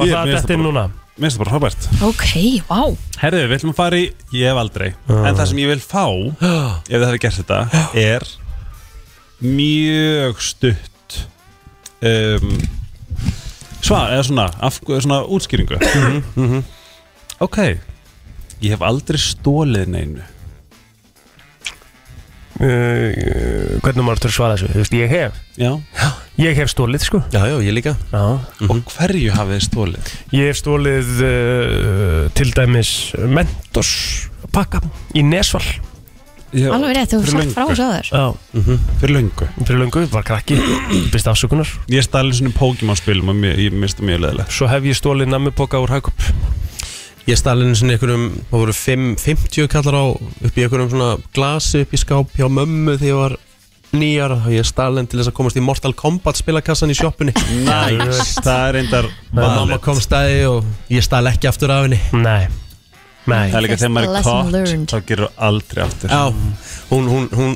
S3: Var það þetta inn núna?
S7: Mér finnst það bara hrópært
S2: Ok, vá
S7: Herðu, við ætlum að fara í Ég hef aldrei En það sem ég vil fá Ef þið hafi gert þetta Er Mjög stutt um, Svar, eða svona, af, svona útskýringu
S3: Mhm,
S7: Ok Ég hef aldrei stólið neinu
S3: uh, Eh, Hvernig maður þurfa að svara þessu? Þú veist, ég hef
S7: Já
S3: Ég hef stólið, sko
S1: Já, já, ég líka
S3: Já Mhm.
S7: Og hverju hafið þið stólið?
S3: Ég hef stólið uh, til dæmis Mentos pakka í Nesval
S7: Já,
S2: Alveg rétt, þú
S7: fyrir
S2: sagt frá
S7: löngu. Mhm,
S2: þessu aður
S3: Já
S7: Fyrir löngu
S3: Fyrir löngu, var krakki Bist afsökunar
S7: Ég stæli svona Pokémon spilum og mér- ég misti mjög leðilegt
S3: Svo hef ég stólið nammipoka úr Hagup
S1: Ég stali einu sinni einhverjum, það voru 5, 50 kallar á upp í einhverjum svona glasi upp í skáp hjá mömmu þegar ég var nýjar og ég stali henni til þess að komast í Mortal Kombat spilakassan í sjoppunni
S7: Næs, það er reyndar
S1: og mamma
S7: valið.
S1: kom stæði og ég stali ekki aftur af henni
S3: Nei Nei
S7: Það er líka þegar maður er
S2: Lesson learned.
S7: kott Þá gerur þú aldrei aftur
S1: Já, hún, hún, hún,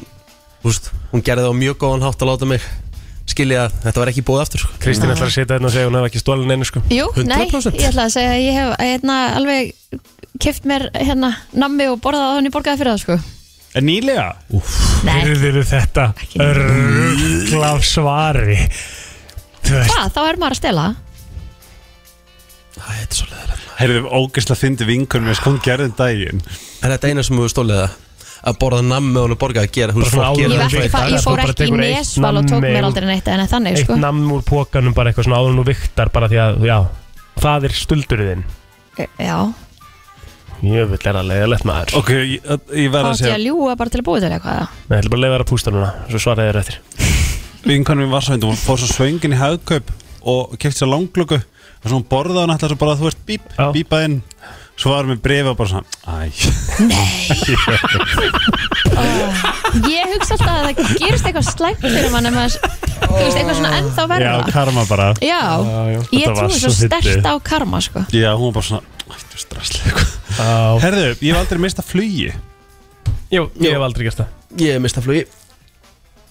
S1: úst, hún gerði það á mjög góðan hátt að láta mig skilja að þetta var ekki búið aftur sko.
S3: Kristín ætlar að setja hérna og segja hún hef ekki stólið neinu sko
S2: Jú, nei,
S1: 100%.
S2: ég ætla að segja að ég hef hérna, alveg keft mér hérna nammi og borðað á henni borgaði fyrir það sko
S7: En nýlega?
S2: Nei,
S3: Hyrðir þetta rugglaf svari Þú veist
S2: hvað, þá er maður að stela
S1: Æ, þetta er svo leiðilegt.
S7: Heyrðu, ógeðslega fyndi vinkunum eins, hún gerði um daginn
S1: Er þetta eina sem hefur stólið það? Að borða nammi og hún borga að gera, þú veist,
S3: Bara
S1: fólk
S3: svona
S2: Ég,
S1: gera
S3: áður.
S2: var ekki, fa-
S1: það svo í dag.
S2: ég
S3: Svo
S2: fór
S3: bara
S2: ekki í
S3: tekur eitt
S2: nesval og tók
S3: nammi
S2: mér
S3: og-
S2: aldrei neitt en þannig
S3: Eitt
S2: sko
S3: namn úr pókanum bara eitthvað svona áður nú viktar bara því að, já Það er stuldurðinn
S2: E- Já,
S3: Jöfull er að leiðilegt maður
S7: Ok, ég, ég
S2: þá
S7: verð að
S2: átti ég
S7: segja
S2: að ljúga bara til að búið til eitthvað
S3: Nei, ætlum bara að leiða þér að pústa núna Svo svaraði þér eftir
S7: Vinkunum minn var svo fyndi, hún fór svo svöngin í hagkaup Og kefti sér langglöku Og svo hún borðaði hann alltaf svo bara, þú veist, bíp,
S3: Já.
S7: bípa inn Svo var hún með brefi og bara svona Æ,
S2: Ég hugsa alltaf að það gerist eitthvað slæmt fyrir mann en maður, þú veist, eitthvað svona ennþá
S7: já,
S2: verra
S7: karma bara
S2: Já, ég
S3: Þetta var
S2: trúi svo
S3: svo fyndið.
S2: stert á karma sko
S7: Já, hún var bara svona, ættu strasslega
S3: Já
S7: Herðu, ég hef aldrei mistað flugi
S3: Jú, ég hef aldrei gert það
S1: Ég hef mistað flugi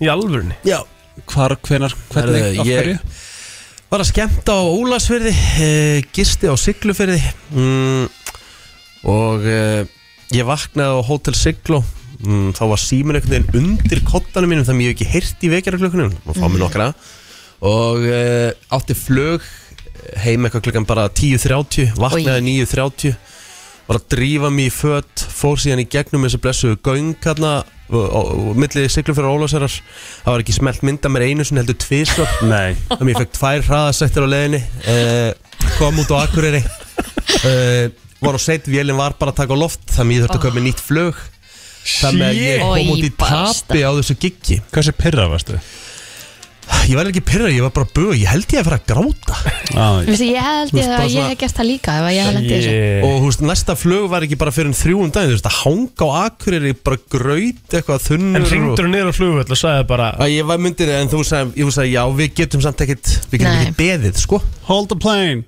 S3: Í alvörunni
S1: Já,
S7: Hvar, hvenar, hvernig,
S1: Herðu,
S7: af
S1: ég-
S7: hverju?
S1: var að skemmta á Ólasfyrði eh, gisti á Siglufyrði mm, og eh, ég vaknaði á Hotel Siglo mm, þá var síminn einhvern veginn undir kottanum mínum þannig að ég hef ekki heyrt í vekjaraklökkunum og fá mér nokkra og eh, átti flög heim eitthvað klukkan bara 10.30 vaknaði 9.30 var að drífa mig í fött fór síðan í gegnum þessu blessuðu göng hérna og- og- og millið Siglufyrði og Ólasfyrðar það var ekki smelt mynda mér einu sinni heldur tvisvar
S7: Nei,
S1: Þannig ég fekk tvær hraðasættir á leiðinni uh, Kom út á Akureyri uh, Var á set, vélinn var bara að taka á loft Þannig ég þurfti að köpa með nýtt flug Þannig að ég
S2: Shit.
S1: kom út í
S2: Oj, basta.
S1: tapi á þessu giggi
S7: hversu pyrra varstu?
S1: Ég var ekki pyrra, ég var bara bög Ég held ég að fara að gráta
S7: Á,
S2: Þú veist, ég held
S1: veist,
S2: ég
S1: bara
S2: að ég
S1: svona-
S2: hef gert það líka ef að ég hef lendið þessu
S3: Ég-
S1: Og húst, næsta flug var ekki bara fyrir en þrjúum daginn Þú veist, að hanga á Akureyri Bara graut eitthvað þunnur
S3: En
S1: og-
S3: ringdur hún niður á flugvöld og sagði bara
S1: Að Ég var myndir, en þú sagði, ég þú sagði, já, við getum samt ekkit Við getum
S2: Nei.
S1: ekki beðið, sko
S7: Hold the plane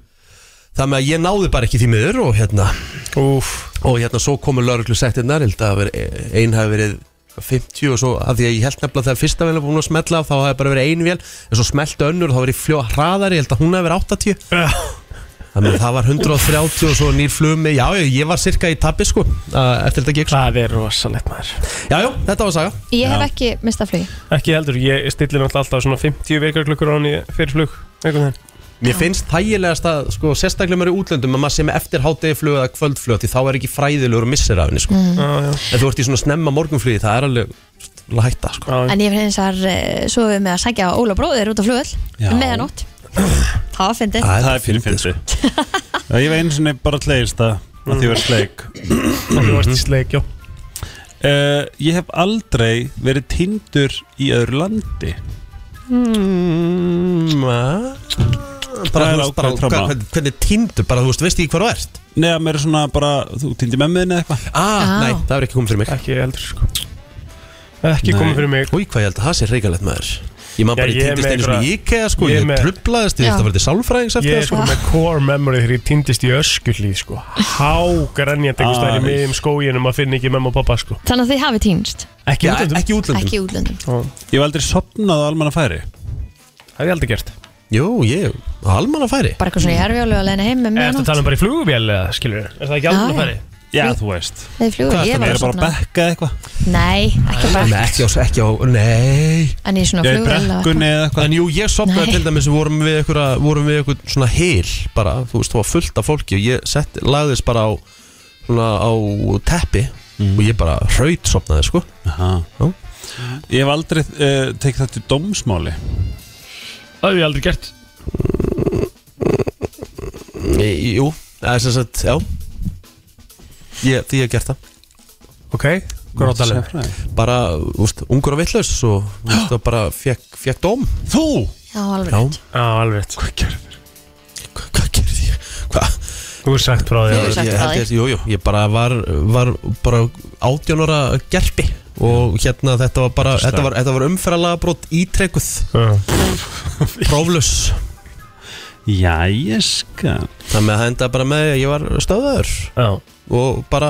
S1: Þannig að ég náði bara ekki því miður og hérna
S3: Úf
S1: og hérna svo komu lauruglu settirnar held að veri- e- ein hafi verið 50 og svo að því að ég held nefnilega þegar fyrsta vel er búin að smetla af þá hafi bara verið ein vél en svo smelti önnur og þá verið fljó hraðari ég held að hún hafi verið 80 þannig að það var 130 og svo nýr flumi já, já, ég var cirka í tabbi sko að- eftir þetta gekk sko
S3: Það er rosalegt maður
S1: já, já, þetta var saga
S2: Ég hef ekki mistað flugi
S3: Ekki heldur, ég stilli náttúrulega alltaf svona 50 vekarklukkur á hann í fyrir flug einhvern veginn.
S1: mér finnst þægilegast að sko sérstaklega mér í útlöndum að maður sem eftir hátegiflug eða kvöldflug því þá er ekki fræðilegur og missir af henni sko
S3: Já, já.
S1: ef þú ert í svona snemma morgunflugi það er alveg alveg hætta sko
S3: Já,
S2: En ég finn eins að svo við eh, með að sækja Óla bróðir út á
S7: Já.
S2: flugvöll meðanótt Það var fyndið
S1: Æ,
S7: Það er fyrir fyndi
S1: sko.
S7: Ég var einu sinni bara tlegist að því ég var sleik
S1: Mm.
S3: Þú varst í sleik, já
S7: uh, Ég hef aldrei verið tindur í öðru landi
S1: Mm, bara,
S7: Það er
S1: þú veist, bara,
S7: ákveðin trauma.
S1: hvernig, hvernig tindur, bara þú veist, veist ekki hvað þú ert
S7: Nei, að mér er svona bara, þú tindir með miðinni eða eitthvað
S1: ah, nei, það er ekki komið fyrir mig
S3: Ekki heldur, sko Ekki
S7: Nei.
S3: komið fyrir mig
S1: Új, hvað ég held að það sé reygalegt maður Ég maður bara
S3: Já,
S1: ég
S3: ég er
S1: týndist
S3: með
S1: einu svona í
S3: einhverja-
S1: IKEA sko,
S3: ég er
S1: ég,
S3: með-
S1: trublaðist, ég
S3: Já.
S1: veist að fara til sálfræðings eftir
S3: Ég er
S1: það
S3: sko
S1: sko
S3: með core memory þegar ég týndist í öskullíð sko Hágrenjandi einhvers staðar í
S1: Æ.
S3: miðjum skóginum að finna ekki mamma og pappa sko
S2: Þannig að þið hafi týnst
S3: Ekki í útlöndum
S1: Ekki í útlöndum
S2: Ekki í útlöndum
S7: Ég hef aldrei sopnað á almanna færi
S3: Það er aldrei gert
S1: Jú, ég, almanna færi
S2: Bara eitthvað svona í herfjólu að leina heim með
S3: Ertu að
S2: mjög
S3: tala um bara í flugvél eða skilur Er það ekki
S2: Já,
S3: alveg færi?
S7: Já, þú veist
S2: Nei, í flugvél, ég var að sofna.
S7: bekka eitthvað?
S2: Nei, ekki
S1: Nei,
S2: bara
S1: ekki á, ekki á, nei
S2: En í svona flugvél eða eitthvað.
S7: eða eitthvað
S1: En jú, ég
S2: Nei.
S1: sopnaði til dæmis við vorum við einhverja, vorum við einhver svona hil bara, þú veist, þú var fullt af fólki og ég sett, lagðist bara á svona á teppi
S7: Mm.
S1: og ég bara hraut sopnaði, sko Já.
S7: Ég hef aldrei uh, tekið þetta í dómsmáli
S3: Það hef ég aldrei gert
S1: Í, jú, það er sem sagt, já ég, Því ég hef gert það
S3: Ok, hvað er átalið?
S1: Bara, þú veist, ungur og vitlaus og þú veist, það bara fekk, fekk dóm
S7: Þú?
S2: Já, alveg
S1: Já,
S2: rétt.
S3: Já, alveg rétt.
S7: Hvað gerður?
S1: hva- hvað gerði ég? Hvað?
S3: Þú er sagt frá því
S2: Þú
S3: að-
S2: hefur sagt
S1: ég,
S2: frá
S1: held ég, jú, jú, ég bara var, var bara átjónara gerpi og hérna þetta var bara þetta var, þetta var umferðalega brot ítrekuð
S3: Já.
S1: próflus
S7: Jæja, ska
S1: þannig að það endaði bara með því að ég var stöðaður
S3: Já.
S1: og bara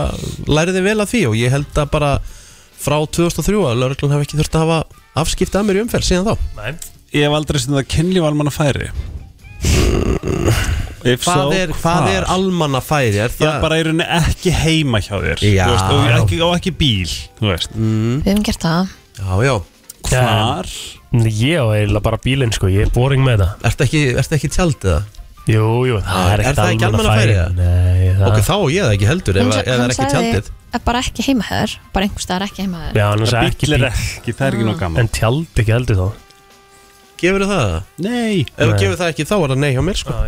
S1: læriði vel af því og ég held að bara frá 2003 að lauruglan hafi ekki þurft að hafa afskipta að mér í umferð síðan þá
S3: Nei.
S7: Ég hef aldrei stundið að kynlíf almanna færi If
S1: hvað,
S7: so,
S1: er, hvað er almanna færi? Er
S7: Ég er
S1: það
S7: bara í rauninni ekki heima hjá þér
S1: Já.
S7: þú veist, Og ekki, og ekki bíl Þú veist
S2: Við hefum gert það
S1: Já, já
S7: Hvar?
S3: Nei, Ég á eiginlega bara bílinn sko, ég er boring með það
S1: Ertu ekki, ertu ekki tjaldið það?
S3: Jú, jú, það er
S1: Ah, Er
S3: ekkert
S1: það ekki almannafæri, eða?
S3: Nei, það
S1: Ok, þá á ég það ekki heldur ef,
S2: Hann sa-
S1: ef það
S2: hann
S1: er ekki
S2: sagði
S1: tjaldið
S2: að Bara ekki heima hér Bara einhvers staðar ekki heima hér
S3: Já, annars
S7: Það
S3: ekki
S7: bíl er
S3: bíl
S7: ekki, það er
S1: Ah.
S7: ekki nóg gaman
S3: En tjald ekki heldur þá
S1: Gefur það það?
S7: Nei
S1: Ef þú
S3: Nei.
S1: gefur það ekki þá er það nei hjá mér sko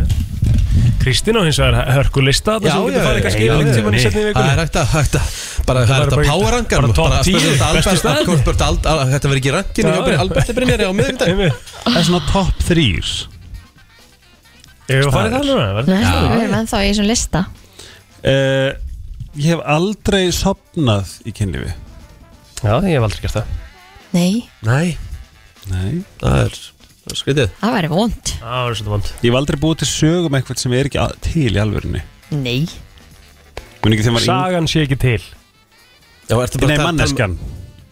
S3: Kristín á hins vegar hörkulista Það
S1: Já,
S3: sem
S1: já,
S3: getur farið
S1: já,
S3: kannski
S1: já,
S3: einhvern
S1: já,
S3: tímann í setni
S1: Það er
S3: vikunni
S1: hægt að, hægt að bara það
S3: Bara
S1: er hægt að
S3: bara-
S1: powerrangar
S3: bara top
S1: bara
S3: 10,
S1: spurðu þetta
S3: bestu
S1: Albert-
S3: staðirnir.
S1: Albert- Albert- Albert- Al- þetta verður ekki rankinu
S3: Já, já.
S1: hjá Alberti Brynjari á miðvikdag
S3: Einmitt.
S7: Það er svona top 3
S3: Ég hef farið það núna verður-
S2: Nei, við erum ennþá í þessum lista
S7: uh, Ég hef aldrei sopnað í kynlífi
S3: Já, ég hef aldrei gert það
S2: Nei,
S1: Nei,
S7: Nei
S1: það er það er skrítið
S2: það væri vond
S3: Já, það er svona vond
S7: Ég hef aldrei búið til sögum eitthvað sem er ekki að- til í alvörinni
S2: Nei
S7: Mun ekki þegar maður yng-
S3: Sagan sé ekki til
S1: Já, ertu
S7: Nei,
S1: að tala-
S7: manneskjan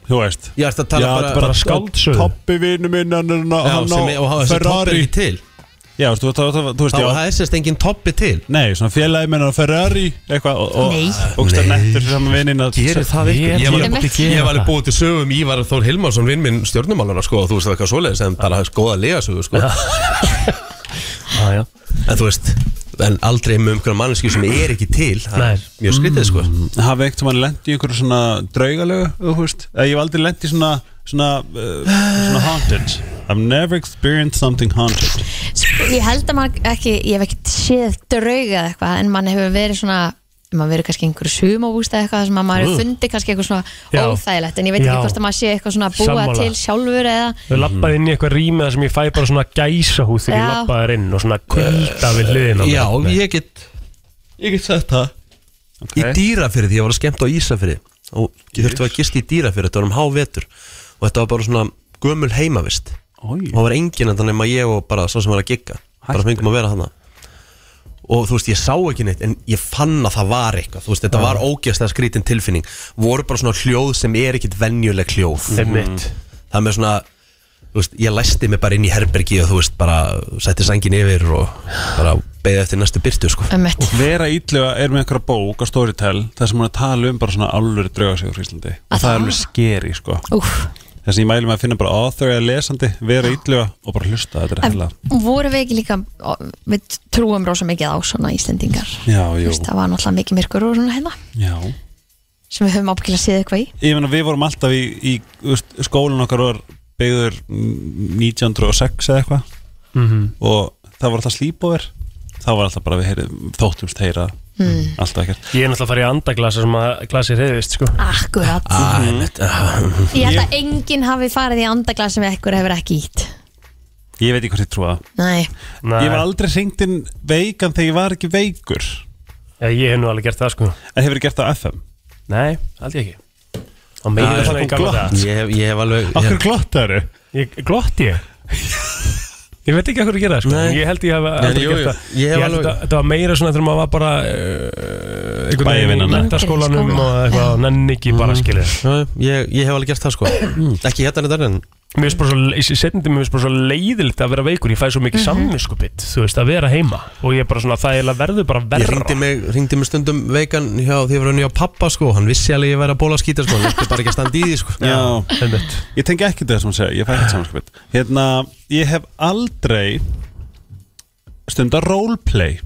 S7: Þú veist
S1: Já, ertu að tala
S7: Já,
S1: bara,
S7: þetta er bara
S3: skáldsögu.
S7: Toppi vinnu minn, hann er
S1: Já,
S7: hann
S1: sem er, og
S7: á
S1: hafa þessi toppi
S7: Ferrari
S1: ekki til
S7: Já, þú veist, þú veist, þú veist,
S1: Þá
S7: já
S1: það er sérst engin toppi til
S7: Nei, svona félagi minn á Ferrari eitthvað og, og,
S2: Nei.
S7: og stær nettur saman vinnin að
S1: Gerir það
S3: Ég-
S1: vikið? Ég var
S2: ég
S1: alveg
S2: myndi
S1: ég
S3: gera
S1: var alveg
S3: það.
S1: búið til sögum Ívar Þór Hilmarsson, vinn minn stjórnumáluna sko, og þú veist það eitthvað svoleiðis, en bara góða legasögu sko. Ah,
S3: Já, já
S1: En þú veist, en aldrei með einhverja manneski sem er ekki til Það
S3: Nei.
S1: er mjög skrítið sko
S7: Mm, hafi eitt sem hann lendi í einhverju svona draugalögu, þú veist Eh, ég hef aldrei lendi í svona svona, uh, svona haunted I've never experienced something haunted
S2: Sko, Ég held að maður ekki, ég hef ekkert séð drauga eða eitthvað en mann hefur verið svona maður verið kannski í einhverju sumabústa eitthvað þar sem að maður hefur fundið kannski eitthvað svona
S3: Mm. Já.
S2: óþægilegt en ég veit ekki
S3: Já.
S2: hvort að maður sé eitthvað svona búa
S3: Sammála.
S2: til sjálfur eða
S3: Við lappaði inn í eitthvað rými þar sem ég fæ bara svona gæsa húð þegar ég
S2: Já.
S3: lappaði þar inn og svona kulda við hliðin á mér.
S1: Já, ég get Ég get sagt það Í dýrafyrði, ég var að skemmta á Ísafyrði og ég þurfti að gista í dýrafyrði, þetta var um hávetur og þetta var bara svona gömul heimavist
S7: Oj.
S1: og það var enginn en nema ég og bara sá sem var að gigga bara fengum að vera hana og þú veist, ég sá ekki neitt en ég fann að það var eitthvað þú veist, þetta var ógeðslega skrítin tilfinning voru bara svona hljóð sem er ekkit venjuleg hljóð
S3: Einmitt.
S1: Mhm. það með svona þú veist, ég læsti mig bara inn í herbergi og þú veist, bara setti sangin yfir og bara beðið eftir næstu byrtu sko.
S2: ömmett
S7: Vera Ídlega er með einhverja bók á Storytel þar sem hann er að tala um bara svona alvöru draugasegur í Íslandi og það er alveg skeri sko
S2: Úf,
S7: þess að ég mæli með að finna bara author eða lesandi Vera Ídlega og bara hlusta þetta er
S2: en
S7: hella
S2: voru við ekki líka ó, við trúum rosa mikið á svona Íslendingar
S7: Já,
S2: Þú
S7: jú,
S2: veist, það var náttúrulega mikið myrkur og svona hérna
S7: já
S2: sem við höfum ábyggilega séð eitthvað í
S7: Ég meina við vorum alltaf í, í þú veist, skólinn okkar var byggður mm, 1906 eða eitthvað og það var alltaf slípover það var alltaf bara við heyrið þóttumst heyra
S2: Mm.
S7: alltaf ekkert
S3: Ég er náttúrulega að fara í andaglasa sem að glasi reyðist sko. Mhm.
S2: Akkurat Ah.
S1: Ah,
S2: Ég held að enginn hafi farið í andagla sem ekkur hefur ekki ít
S7: Ég veit ekki hvort ég trúa það
S2: Nei,
S3: Nei,
S7: Ég var aldrei hringt inn veikan þegar ég var ekki veikur
S3: Já, ég hef nú alveg gert það sko
S7: en hefur gert það á FM
S3: Nei, aldrei ekki Og meira
S7: Já,
S3: svona
S7: það
S1: Ah,
S3: í
S7: kom
S3: gamla
S7: glott.
S3: daga.
S1: ég, hef- ég hef alveg
S7: Akkur
S1: ég,
S7: glottaru
S3: Ég glotti ég Ég veit ekki hvað þú gera það sko.
S1: Nei.
S3: Ég held ég hef
S1: Nei,
S3: aldrei
S1: jú,
S3: gert
S1: jú.
S3: það
S1: Ég hef
S3: held
S1: alveg-
S3: þetta- þetta var meira svona þegar maður var bara uh, einhvern veginn í
S1: Bæjarvinnan.
S3: mentaskólanum
S1: Skóla.
S3: og eitthvað og nenni ekki bara skilja
S1: Mhm. Já, ég, ég hef alveg gert það sko Ekki hérna þetta en
S3: Mér finnst bara svo, í setjandi mér finnst bara svo leiðilegt að vera veikur, ég fæ svo mikið mm
S1: Mhm.
S3: þú veist, að vera heima og ég er bara svona, það eiginlega verður bara
S1: Ég
S3: verra
S1: ringdi mig, ringdi mig stundum veikan hjá því að vera unni á pappa sko Hann vissi alveg ég væri að bóla skýta sko Hann vissi bara ekki að standa í því sko
S7: Já, ég tengi ekki þetta sem hún segja, ég fæ ekki samanskapit Hérna, ég hef aldrei stundar roleplay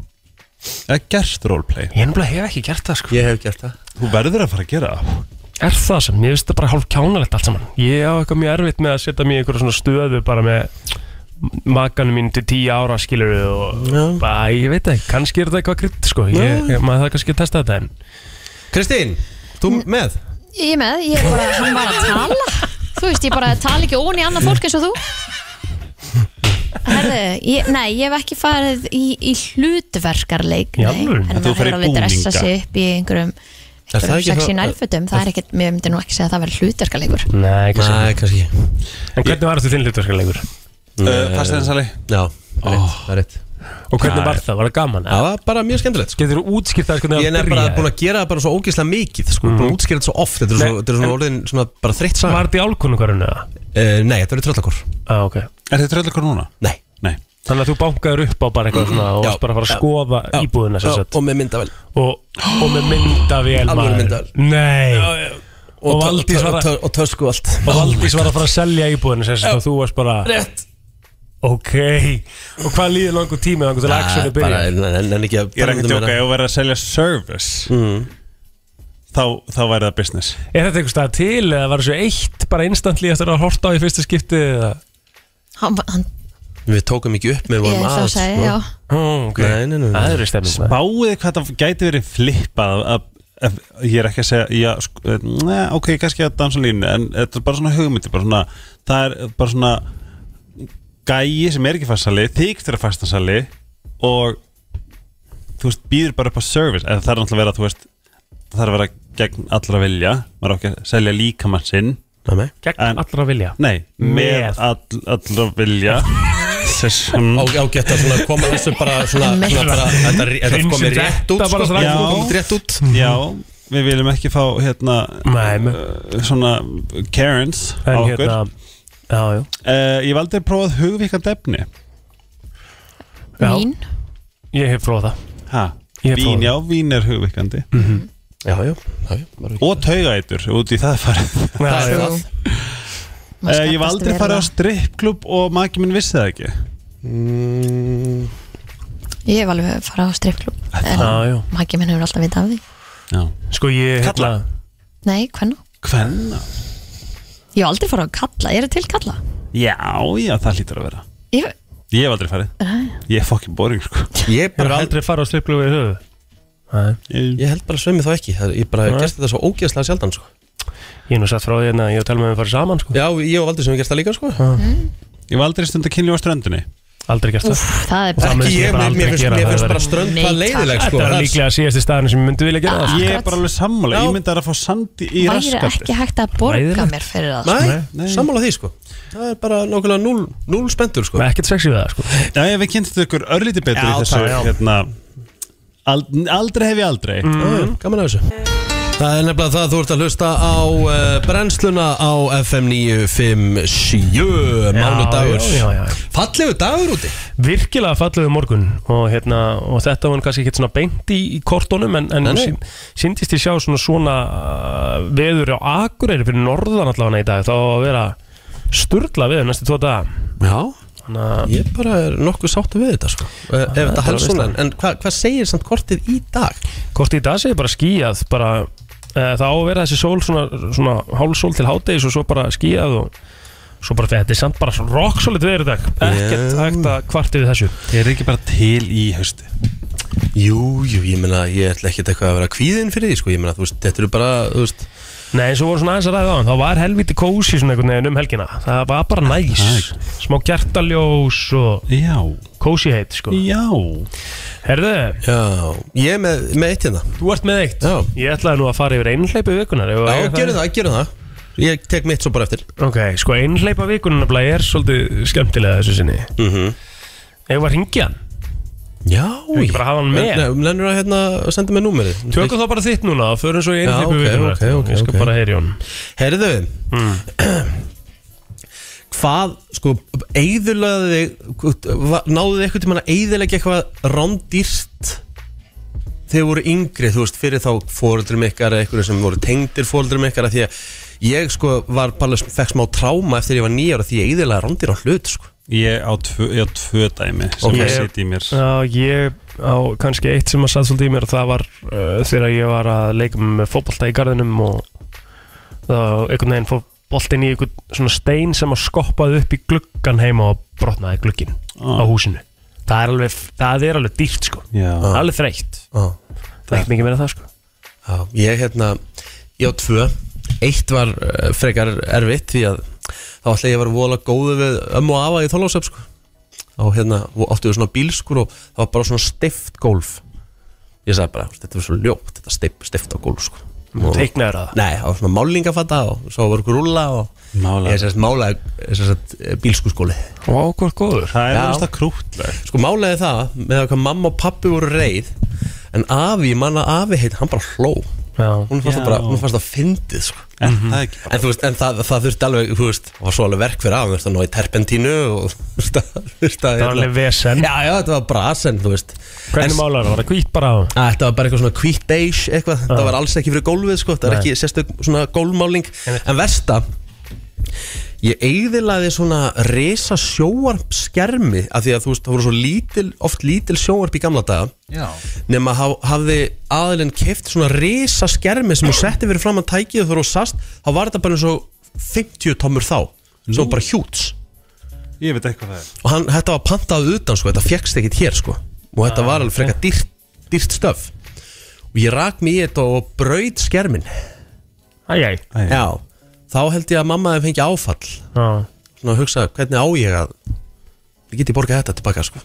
S7: eða gert roleplay
S3: Ég ennbla hef ekki gert það sko
S1: Ég hef gert það
S7: Þú verður að fara að gera það
S3: Er það sem, ég finnst það bara hálf kjánalegt allt saman Ég á eitthvað mjög erfitt með að setja mig í einhverja svona stöðu bara með makanum mín til tíu ára skilur við og bara, ég veit það ekki, kannski er þetta eitthvað krydd sko, ég, ég, maður það kannski að testa þetta en
S1: Kristín, þú með?
S2: Ég er með, ég er bara, hann var að tala Þú veist, ég bara tala ekki ón í annað fólk eins og þú Herðu, ég, nei, ég hef ekki farið í, í hlutverkarleik
S1: Í
S2: nei.
S1: alvöru?
S2: En
S1: En þú
S2: maður
S1: ferð í
S2: er alveg að dressa
S1: búninga?
S2: sig upp í einhverjum,
S1: Er
S2: einhverjum
S1: það ekki
S2: sexy
S1: þá-
S2: nælfötum Það er ekkert, mér myndi nú ekki segja að það verið hlutverkarleikur
S3: Nei,
S1: kannski Nei, kannski ekki.
S3: En hvernig var þetta þinn hlutverkarleikur?
S1: Eh,
S7: fasteignasali.
S1: Já, það er rétt, það er rétt
S3: Og hvernig var það? Var það gaman?
S1: Það var bara mjög skemmtilegt sko.
S3: Getur þú útskýrt það hvernig
S1: Ég er
S3: það
S1: bara
S3: byrjaði?
S1: búin að gera það bara svo ógeðslega mikið sko,
S3: Mhm.
S1: Búin að útskýra þetta svo oft Þetta er
S3: Nei,
S1: svo- þetta er svona
S3: en-
S1: orðin svona bara þreytt saga
S3: Var þetta í álkonungvarinu?
S1: Uh, nei, þetta verður tröllakor
S3: ah, okay.
S7: Er þetta tröllakor núna?
S1: Nei, Mm.
S7: Nei.
S3: Þannig að þú bankaður upp á bara eitthvað svona og
S1: Já,
S3: varst bara að fara
S1: já,
S3: að skoða
S1: já,
S3: íbúðina sem
S1: já,
S3: sagt
S1: og með myndavél
S3: og, og með myndavél
S1: Alvöru
S3: maður.
S1: myndavél.
S3: Nei
S1: Og
S3: Og
S1: tö-
S3: Valdís
S1: tö-
S3: var
S1: og
S3: að
S1: tö- Og tösku og allt
S3: Og Valdís var að fara að selja íbúðinu sem sagt og þú varst bara
S1: Rétt
S3: Ok, og hvað líður langur tími langur til að actionu byrja?
S1: Bara, en ekki að
S7: Ég er ekki að
S1: tala um
S7: tjóka,
S1: þetta
S7: ef þú verður að selja service þá, þá væri það business
S3: Er þetta einhver stað til eða var þessu eitt bara instantly eftir að horta á í fyrsta skipti eða?
S2: Hann, hann,
S1: meira. Við tókum ekki upp með vorum
S2: Ég- þá
S1: að
S2: sagði ég, já.
S3: ok.
S1: Nei, nei, nei, nei.
S3: Það eru stemming
S7: Spáið hvað það gæti verið flippað að, að, ég er ekki að segja já, sko, ne, ok, kannski að dansa línu en þetta er bara svona hugmyndi bara svona, það er bara svona gæi sem er ekki fastasali þykst er að fastasali og þú veist, býður bara upp á service eða það er náttúrulega að vera, þú veist það þarf að vera gegn allra vilja maður á ekki að selja líkamann sinn Eh,
S3: gegn allra vilja?
S7: Nei, með,
S3: Með.
S7: all, allra vilja Sessum
S1: Á- ágætt að svona koma þessu bara svona,
S7: Með.
S1: svona bara, þetta, þetta
S7: Hreinsum
S1: komið rétt út sko.
S7: þetta bara strax. Já.
S1: komið rétt út
S7: Já, við viljum ekki fá hérna uh, svona Karens
S3: En
S7: á okkur
S3: hérna- já, já.
S7: Uh, Ég hef aldrei prófað hugvíkand efni
S3: Já. Vín? Ég hef prófað það
S7: ha,
S3: Ég Mhm. hef
S7: Vín,
S3: prófað.
S7: já, vín er hugvíkandi
S1: Já, já, já, já
S7: Og taugaeitur, út í það farið
S3: Já,
S7: Það er
S3: já.
S7: það. Eh, Ég hef
S3: Maður skaddast
S7: aldrei
S3: verulega.
S7: farið á strippklub og maki minn vissi það ekki
S1: mm.
S2: ég hef alveg farið á strippklub En
S3: Já, já.
S2: maki minn hefur alltaf vitað af því
S3: Sko ég hérna
S2: Nei, hvernig?
S7: Hvenna?
S2: Ég hef aldrei farið á kalla, ég er til kalla
S7: Já, já, það hlýtur að vera
S2: Ég,
S7: Ég hef aldrei
S3: Ah,
S7: farið
S2: Nei.
S7: Ég er fokkin boring sko
S1: Ég
S3: Hefur aldrei farið á stripplu við höfu?
S1: Ég held bara sveimi þá ekki Það- Ég bara hef
S3: Nei.
S1: gert þetta svo ógeðslega sjaldan sko.
S3: Ég hef nú satt frá því hérna að ég og Telma hefum farið saman sko
S1: Já, ég og Valdur sem hef gert það líka sko.
S7: Ég hef aldrei stund að kynlíf á ströndinni
S3: Aldrei gert það
S2: Úff, það er
S3: Og
S2: bara-
S3: myndi
S2: Ekki ég,
S3: bara
S2: mér-
S3: aldrei
S2: mér finnst-
S3: gera,
S2: mér
S3: það
S2: finnst
S3: væri-
S2: bara strönd
S3: Nei,
S2: það
S3: takk.
S2: leiðileg, sko. Það
S3: Þetta er
S2: er-
S3: líklega síðasti staðin sem ég myndi vilja gera það
S7: Ég er bara alveg sammála, ég
S3: Já.
S7: myndi að fá sandi í
S2: væri
S7: raskatið
S2: ekki hægt að borga
S7: Hræðilegt.
S2: mér fyrir það sko.
S1: Nei, sammála því sko Það er bara nákvæmlega núl, núl spendur sko
S3: Ekkert sexy við það sko
S7: Já, ég við kynntum ykkur örlítið betur
S1: Já,
S7: í þessu
S1: takk, já.
S7: hérna, ald, Aldrei hef ég aldrei
S1: mm. Gaman að þessu Það er nefnilega það að þú ert að hlusta á uh, brennsluna á FM 957 Mánudagur
S3: já, já, já.
S1: Fallegu dagur úti
S3: Virkilega fallegu morgun og, hérna, og þetta var nú kannski ekkert svona beint í, í kortónum en, en
S1: Nei, nei.
S3: sín, síndist ég sjá svona svona uh, veður á Akureyri fyrir norðan allavega í dag þá á að vera sturla veður næstu tvo daga
S1: Já
S3: Þannig
S1: Ég bara er nokkuð sáttu við þetta sko uh, Ef
S3: þetta
S1: þetta
S3: er
S1: helst svona
S3: veistlan.
S1: En hvað hva segir samt kortið í dag?
S3: Hvort í dag segir bara skíjað bara, uh, Það á að vera þessi sól svona, svona hálsól til hádegis og svo bara skíjað og svo bara þetta er samt bara rokksolid veður í dag ekkert hægt að kvarti við þessu
S7: Er ekki bara til í hausti?
S1: Jú, jú, ég meina Ég ætla ekkert eitthvað að vera kvíðin fyrir því sko Ég meina, þú veist, þetta eru bara, þú veist
S3: Nei, eins og voru svona aðeins að ræða á hann þá var helviti kósi svona einhvern veginn um helgina það var bara næs, smá gert og
S7: Já.
S3: kósi heit sko
S7: Já
S3: Herðu
S1: Já, ég með, með eitt hérna
S3: Þú ert með eitt
S1: Já
S3: Ég ætlaði nú að fara yfir einhleipi vikunar
S1: Já, gerum það, gerum það Ég tek mitt svo bara eftir
S3: Ok, sko einhleipa vikunum nefnilega er svolítið skemmtilega þessu sinni mm -hmm. Ég var hringjan
S1: Mhm. Já
S3: Ég ekki bara hafa hann með
S1: Nei, Lennur að hérna, senda mig númerið
S3: Tökum þá bara þitt núna og förum svo í
S1: Já,
S3: einhleipu
S1: ok,
S3: vikunum
S1: ok, ok,
S3: Ég skal
S1: ok.
S3: bara heyri hún
S1: Herðu
S7: Hmm.
S1: Hvað, sko, eigðurlaði þig Náðu þið eitthvað til mann að eigðurlega eitthvað rándýrt Þegar þið voru yngri, þú veist, fyrir þá fóreldrum ykkar eða eitthvað sem voru tengdir fóreldrum ykkar af Því að ég, sko, var bara fekk smá tráma eftir ég var nýjar Því ég eigðurlega rándýr á hlut, sko
S7: Ég á tvö, ég á tvö dæmi sem
S3: Ok.
S7: okay. sitt í mér
S3: Já, ég á kannski eitt sem að satt svolítið í mér og það var uh, þegar ég var að leika með fótbolta í garðinum og þá einhvern veginn fór boltinn í einhvern svona stein sem að skoppaði upp í gluggan heima og brotnaði glugginn
S7: Ah.
S3: á húsinu það er alveg, það er alveg dýrt sko
S7: Já.
S3: alveg þreytt
S1: ah.
S3: það er ekki mikið meira en það sko
S1: Já, ég hérna, ég á tvö Eitt var uh, frekar erfitt því að þá ætla ég að vera vola góðu við ömmu og afa í þólásöf sko. og hérna og áttu við svona bílskur og það var bara svona stift gólf Ég sagði bara, þetta var svo ljótt, þetta stift, stift á gólf sko. Og-
S3: Teiknaðir það?
S1: Nei, það var svona málingafatta og svo var okkur rúlla og
S7: Málaði.
S1: ég sérst málaði eh, sérst, bílskurskóli
S3: Vá, hvað góður
S7: Það er
S1: Já.
S7: verðast að krútleg
S1: Sko málaði það með að hvað mamma og pappi voru reið en afi, manna afi heit, hann bara hló
S3: Já.
S1: Hún fannst það
S7: Já.
S1: bara, hún fannst það fyndið sko.
S7: En það er ekki
S1: En þú veist, en það, það þurfti alveg, þú veist, það var svo alveg verk fyrir af, þú veist, að ná í terpentínu og þú veist, að- þú veist, að...
S3: það var alveg vesen
S1: Já, já, þetta var brasen, þú veist. En-
S3: hvernig málar það, var það hvít bara á
S1: Að Þetta var bara eitthvað svona hvít beige, eitthvað, það var alls ekki fyrir gólfið, sko, það var
S3: Nei.
S1: ekki sérstök svona gólmáling. En versta, ég eigðilaði svona resa sjóarpskermi, af því að þú veist, það voru svo lítil, oft lítil sjóarp í gamla daga
S7: Já
S1: nema haf, hafði aðilinn keift svona risa skermi sem hún setti fyrir fram að tækið og þú sast þá var þetta bara eins og 50 tommur þá sem var bara hjúts
S7: Ég veit eitthvað það er
S1: og hann, þetta var pantað utan sko, þetta fjekkst ekkit hér sko og þetta var alveg frekar dýrt, dýrt stöf og ég rak mig í þetta og braut skermin
S3: æjæ
S7: Æ.
S1: já, þá held ég að mamma hefði fengið áfall svona að hugsa hvernig á ég að ég geti borgað þetta tilbaka sko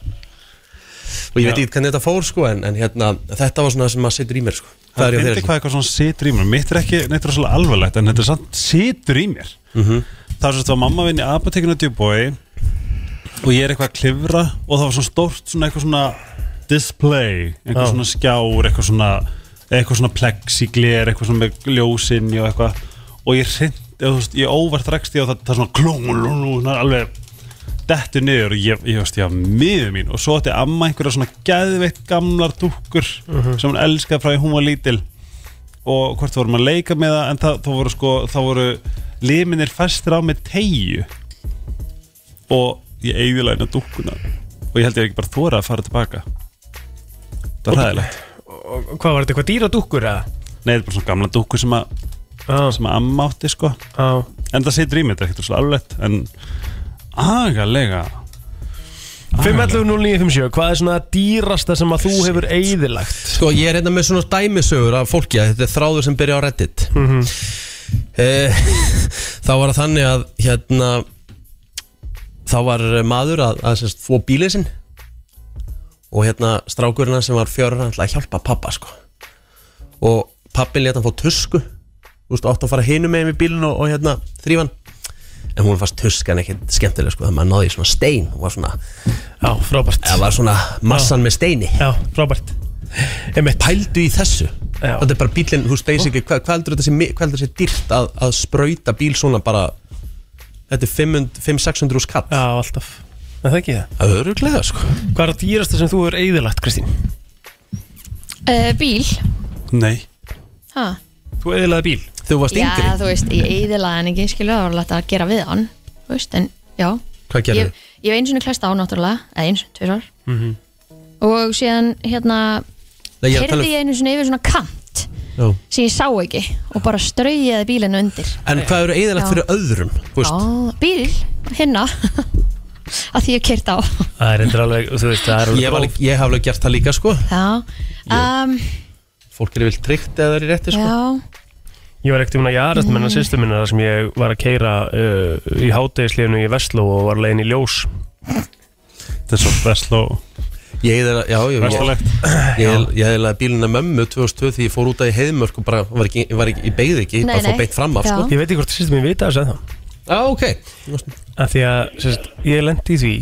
S1: og ég veit ekki hvernig þetta fór sko en, en hérna, þetta var svona það sem maður setur í mér sko það
S7: Það
S1: er
S7: er
S1: ég
S7: fyndi
S1: þeirri
S7: hvað eitthvað svona situr í mér Mitt er ekki neitt rosalega alvarlegt En þetta er samt situr í mér
S1: Mhm.
S7: Það var svona að mamma vinn í apotekinu á Djúbói Og ég er eitthvað að klifra Og það var svona stórt svona eitthvað svona Display, eitthvað
S3: Já.
S7: svona skjár Eitthvað svona, eitthvað svona plexigler Eitthvað svona með ljósinni og eitthvað Og ég hrind, eða þú veist Ég óvart rekst ég og það, það er svona klung, klung, klung, Alveg dettu niður og ég, ég veist, ég var miður mín og svo átti amma einhverja svona geðveitt gamlar dúkkur sem hún elskaði frá því hún var lítil og hvort vorum að leika með það en það, það voru sko, það voru liminir festir á með tegju og ég eigðilega eina dúkkuna og ég held ég ekki bara þóra að fara tilbaka það var hræðilegt
S3: hvað var þetta, eitthvað dýra dúkkur eða?
S7: Nei, það er bara svona gamla dúkku sem að
S3: Já,
S7: sem að amma átti sko
S3: já.
S7: en það situr í mig, þetta er ekkert svo alveg en agalega
S3: 5.11.09.57, hvað er svona dýrasta sem að þú hefur eigðilagt?
S1: Sko ég er hérna með svona dæmisögur af fólki að þetta er þráður sem byrja á Reddit mm Þá var það þannig að hérna þá var maður að, að sérst, fó bílið sinn og hérna strákurina sem var fjörur hann ætlaði að hjálpa pappa sko og pappin leta hann fá tusku þú veist, átt að fara hinum með í bílinn og, og hérna þrýfan en hún fannst tuskan ekkert skemmtileg sko þannig að maður náði í svona stein hún var svona,
S3: Já, frábært
S1: það var svona massan með steini
S3: Já, frábært Einmitt.
S1: pældu í þessu
S3: Já.
S1: þetta er bara bílinn, þú veist, basically hvað hva heldur þetta sé, mi- hvað heldur þetta sé dýrt að, að sprauta bíl svona bara þetta er 500 500-600 úr skatt
S3: Já, alltaf Er Það ekki það
S1: það er öruglega sko
S3: Hvað er það dýrasta sem þú hefur eigðilagt, Kristín?
S2: uh, Bíl
S7: Nei,
S2: ha.
S3: Þú eigðilaði bíl
S1: þú varst
S2: Já,
S1: yngri,
S2: þú veist, ég eiðilaði hann ekki skilu, það var alveg að gera við hann þú veist, en já
S1: hvað gerðu?
S2: ég, ég hef eins og klæst á náttúrulega, eða eins, tvisar mm
S3: Mhm.
S2: og síðan hérna
S1: Nei, ég er að tala
S2: heyrði ég einu svona yfir svona kant
S1: um,
S2: sem ég sá ekki og bara straujaði bílinu undir
S1: en hvað eru eigðilegt
S2: Já.
S1: fyrir öðrum
S2: Já,
S1: þú veist,
S2: bíl, hinna að því ég kyrt á
S3: Það er endur alveg, þú veist, það er
S1: ég, var, ég haf alveg gert það líka sko
S2: Já, um,
S1: fólk eru vilt tryggt eða það er í rétti sko
S2: já
S3: Ég var ekkert um að jarast með hennar sýstu minna þar sem ég var að keira uh, í hátegisliðinu í Vestló og var leiðin í ljós
S7: þetta er svo Vestló
S1: Ég hefði já, já, ég-
S7: Vestalegt.
S1: Ég ég hefði laðið bílina mömmu 2002 því ég fór út að í heiðmörk og bara var ekki, var ekki, ég beigði ekki,
S2: Nei,
S1: bara
S2: nei.
S1: fór beint fram af sko.
S3: Ég veit ekki hvort það sýstum ég vita þess að það
S1: Já, ok
S3: að Því að sérst, ég lendi í því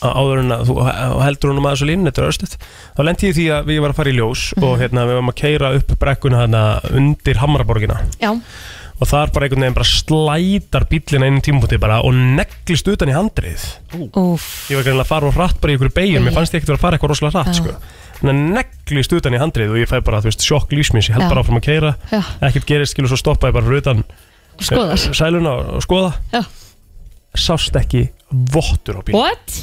S3: að áður en að þú og heldur honum að þessu línu, þetta er örstuð þá lendi ég í því að ég var að fara í ljós og hérna, við varum að keira upp brekkuna hana, undir Hamraborgina
S2: Já,
S3: og þar bara einhvern veginn bara slætar bílina inn í tímapunkti bara og neglist utan í handrið
S2: Úf.
S3: ég var greinlega að fara og hratt bara í ykkur beigjum mér fannst ég ekkert vera að fara eitthvað rosalega hratt
S2: Já.
S3: sko. en að neglist utan í handrið og ég fæ bara, þú veist, sjokk lífsmins ég held
S2: Já.
S3: bara áfram að keira,
S2: Já.
S3: ekkert gerist skilur svo stoppa ég bara fyrir utan
S2: Og skoðar.
S3: eh, sæluna og, og skoða
S2: Já.
S3: sást ekki vottur á bíl
S2: what?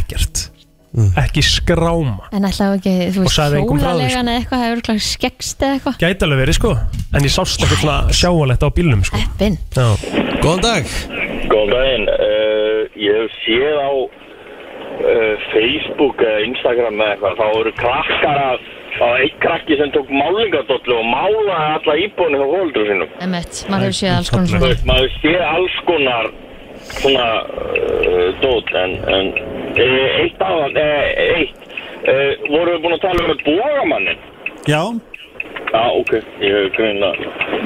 S3: ekkert,
S1: Mm.
S3: ekki skráma
S2: En ætlaðu ekki, þú
S3: Og
S2: veist,
S3: sagði engum frá því, sko.
S2: hjólalega eða eitthvað hefur klart skeggst eða eitthvað
S3: gæti alveg verið sko, en ég sást ekkert svona sjáalegt á bílnum sko
S2: Eppin
S3: Já.
S1: Góðan dag
S11: Góðan daginn, uh, ég hef séð á uh, Facebook eða Instagram eða eitthvað, þá eru krakkar að, þá er einn krakki sem tók málingadollu og málaði alla íbúinu hjá fólöldur sínum.
S2: Emmett, maður hefur séð alls konar
S11: Þú
S2: svona
S11: veist, maður séð alls konar svona uh, dót, en, en uh, eitt af, uh, eitt, uh, vorum við búin að tala um bógamannin?
S7: Já
S11: Já, ok, ég hef grunna.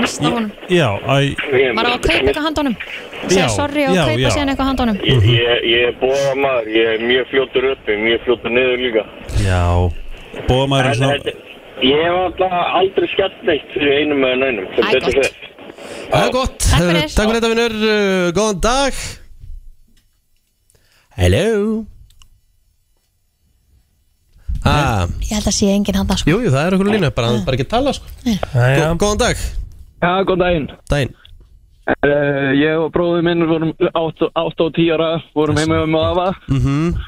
S2: Mist á honum
S7: Já, æ,
S2: Maður á að kaupa eitthvað handónum Segja
S11: Já,
S2: sorry og
S11: já,
S2: kaupa
S11: já.
S2: síðan eitthvað handónum
S11: Ég, ég, ég er bóðamaður, ég er mjög fljótur uppi, mjög fljótur niður líka.
S7: já Bóðamaður er
S11: En
S7: svona
S11: þetta- Ég hef alltaf aldrei skemmt neitt fyrir einum eða neinum sem
S1: Æ,
S11: betur
S1: gott.
S11: fer.
S1: Það er gott,
S11: Takk fyrir.
S1: Eh, takk fyrir þetta vinnur, eh, góðan dag Hello ah,
S2: Ég held að sé engin handa sko
S1: Jú, jú, það er okkur á línu, bara, hann bara ekki að tala sko.
S3: Gó,
S1: Góðan dag
S12: Já, góðan daginn.
S1: Daginn.
S12: Uh, ég og bróður minn vorum 8 og 10 ára, vorum heima um afa
S1: Mhm.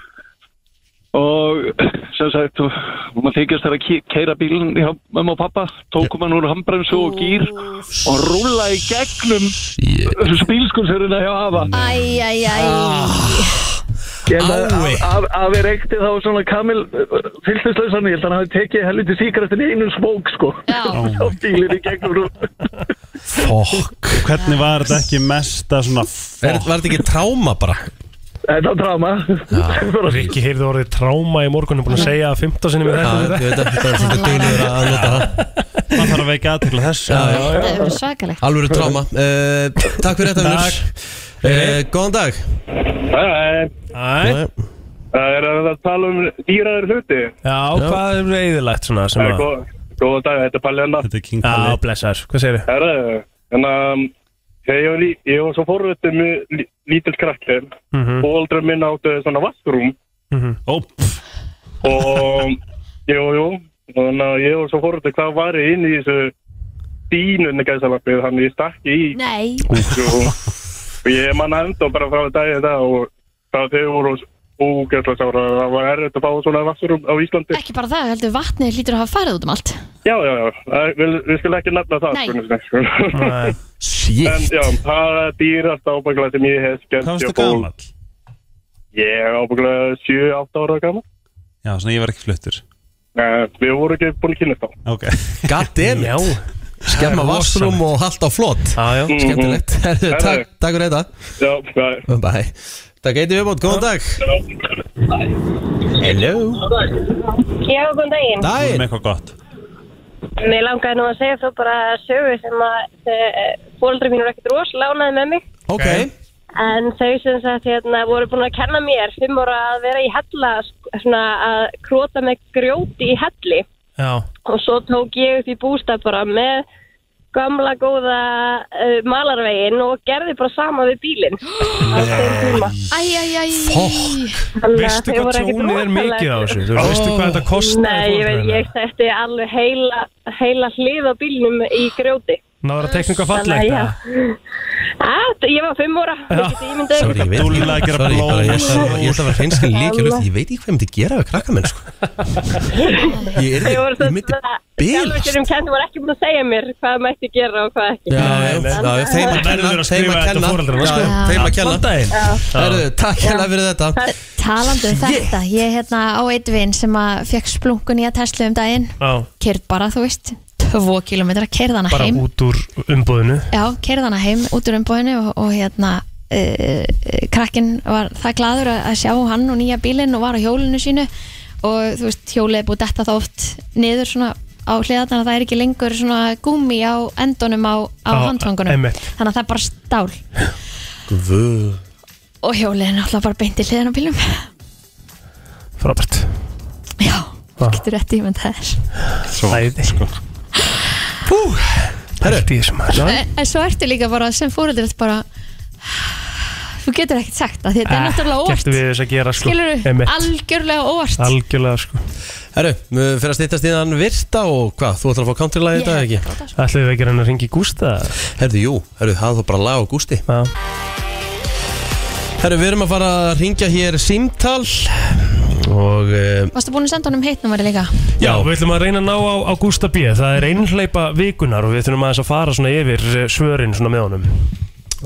S12: og sem sagt, maður þykist þegar að keira bílinn hjá mamma og pappa, tókum hann úr handbremsu og gýr og rúla í gegnum bílskursöruna hjá afa.
S2: Æj, æj,
S3: Ah.
S2: æj
S12: Ég held að- að- að- að við reykti þá svona kamil fylgdislausan, ég held að hann hafi tekið helviti síkrastin í einu smók sko. Já. Og bílinn í gegnum rúla.
S1: Fokk
S7: Hvernig var þetta ekki mesta svona fokk?
S1: Var þetta ekki tráma bara?
S12: Þetta var tráma
S3: Rikki heyrði orðið tráma í morgunum búin að segja 15 sinni með
S1: Já,
S3: þetta
S1: ég veit að þetta er svolítið duglegur að nota það
S7: Maður þarf að veika aðtekla þessu
S1: Já, já, já.
S2: Það hefur verið svakalegt
S1: Alvöru tráma uh, Takk fyrir þetta vinnur uh, Góðan dag
S12: Hæ,
S3: hæ
S12: Það er að tala um dýraður hluti
S3: Já, hvað er reyðilegt svona sem að
S12: Góða dag, þetta er Palli Anna
S7: Þetta er King
S3: Já, blessar, hvað segir þið?
S12: Herra, en að þegar ég var, lí- ég var svo forvöldið með lí- lítill krakkir
S3: Mhm.
S12: og aldrei minn áttu svona vassrúm
S7: Ó, pff,
S12: og jú, jú þannig að ég var svo forvöldið hvað var ég inn í þessu dýnunni gæðsalappið þannig að ég stakk í
S2: Nei
S12: Jú. og ég manna enda bara frá daginn það og það þau voru ógæðslega sára það var erfitt að fá svona vassrúm á Íslandi
S2: Ekki bara það, heldur vatnið lítur að hafa farið út um allt
S12: Já, já, já, Það- við, við skulum ekki nefna það
S2: Nei.
S12: sko, sko.
S1: Shit
S12: En já, það er dýrast ábygglega sem ég hef skemmt
S7: hvað varst
S12: ég
S7: það gamall?
S12: Ég er ábygglega 7-8 ára gammal
S7: Já, svona ég var ekki fluttur
S12: Nei, Við vorum ekki búin að kynna þá
S7: Ok
S1: Goddammit
S3: Já,
S1: Skemma vassrum og halda á flott
S3: já, já
S1: Skemmtilegt Herðu,
S12: Herðu.
S1: Takk takk fyrir þetta
S12: Já, já,
S1: Bæ Takk eitthvað viðbót, góðan dag Hello
S13: Já, góðan daginn.
S7: Þú erum
S1: Dæin
S7: eitthvað gott
S13: Mér langaði nú að segja þú bara sögu sem að fólkdur mín voru ekkert rosalega ánæði með mig.
S1: Ok
S13: En þau sem sagt hérna voru búin að kenna mér fimm ára að vera í hella, sk- svona að króta með grjóti í helli.
S3: Já,
S13: Og svo tók ég upp í bústað bara með gamla góða uh, malarvegin og gerði bara sama við bílinn. á þeim tíma.
S2: Æj, æj, æj
S13: Þannig að
S3: veistu
S13: þau
S3: hvað
S13: voru ekkert
S3: tjónið er mikið á
S13: rosalega-
S3: þessu? Þú veistu hvað þetta kostar?
S13: Nei, ég veit, ég setti alveg heila, heila hlið á bílnum í grjóti.
S3: Náður að tekninga fallegt
S13: Þannig að
S3: eða?
S13: Að, ég var fimm ára,
S3: Já.
S13: ég geti ímyndað
S1: Sorry, ég veit
S7: Dúlla að
S1: ekki
S7: gera
S1: Sorry, ég bara- ég ætla að- ég ætla að vera hreinskil líka
S13: Alla.
S1: Ég veit ekki hvað ég myndi gera við krakkamenn sko. Ég er
S13: Þau voru
S1: ég myndi
S13: svona,
S1: bilast.
S13: sjálfur sérum kendi voru ekki búin að segja mér hvað mætti gera og hvað ekki.
S1: Já, já, já, þeim að
S3: verður
S1: kenna Þeim
S3: að
S1: að
S3: skrifa þetta
S1: kenna
S3: foreldrana, sko.
S1: Já, Þeim að kenna
S3: Allan daginn.
S1: Herðu, Takk hérna fyrir þetta
S2: Talandi um þetta, ég hérna á eitt vinn sem að fekk splunkun í að Tesla um daginn
S3: Já,
S2: Kyrð bara, þú veist, 2 kilometra, kyrð hana
S3: bara
S2: heim
S3: út úr umbúðinu
S2: Já, kærði hana heim út úr umbóðinu og, og hérna e, uh, krakkin var það gladur að, að sjá hann og nýja bílinn og var á hjólinu sínu og og þú veist, hjólið er búið að detta það oft niður svona á hliðarnar að það er ekki lengur svona gúmi á endunum á, á
S1: Á,
S3: Ah,
S2: handfangunum
S1: einmitt.
S2: þannig að það er bara stál
S1: Guð
S2: og hjólið er náttúrulega bara beint í hliðan á bílum
S3: Frábært
S2: Já,
S3: Ah.
S2: getur rétt ímynd það er
S3: Æði sko. Fú Pælt í þessum maður
S2: en, en svo ertu líka bara sem fóreldur bara þú getur ekkert sagt það því þetta
S3: Ah,
S2: er náttúrulega óvart
S3: Gertu Eh, við þess að gera sko
S2: skilur
S3: Einmitt.
S2: algjörlega óvart
S3: Algjörlega sko
S1: Herru, við fyrir að stýttast í þann virta og hvað, þú ætlar að fá country-lagið í dag ekki?
S2: sko.
S3: Ætlum við ekki að reyna að ringi Gústa?
S1: Herru, jú, herru, það er bara lag á Gústi
S3: Já
S1: Herru, við erum að fara að ringja hér símtal og uh,
S2: varstu búin að senda honum heitt númeri líka
S3: Já, við ætlum að reyna að ná á, á Gústa B Það er einhleipa vikunar og við þurfum aðeins að fara svona yfir eh, svörin svona með honum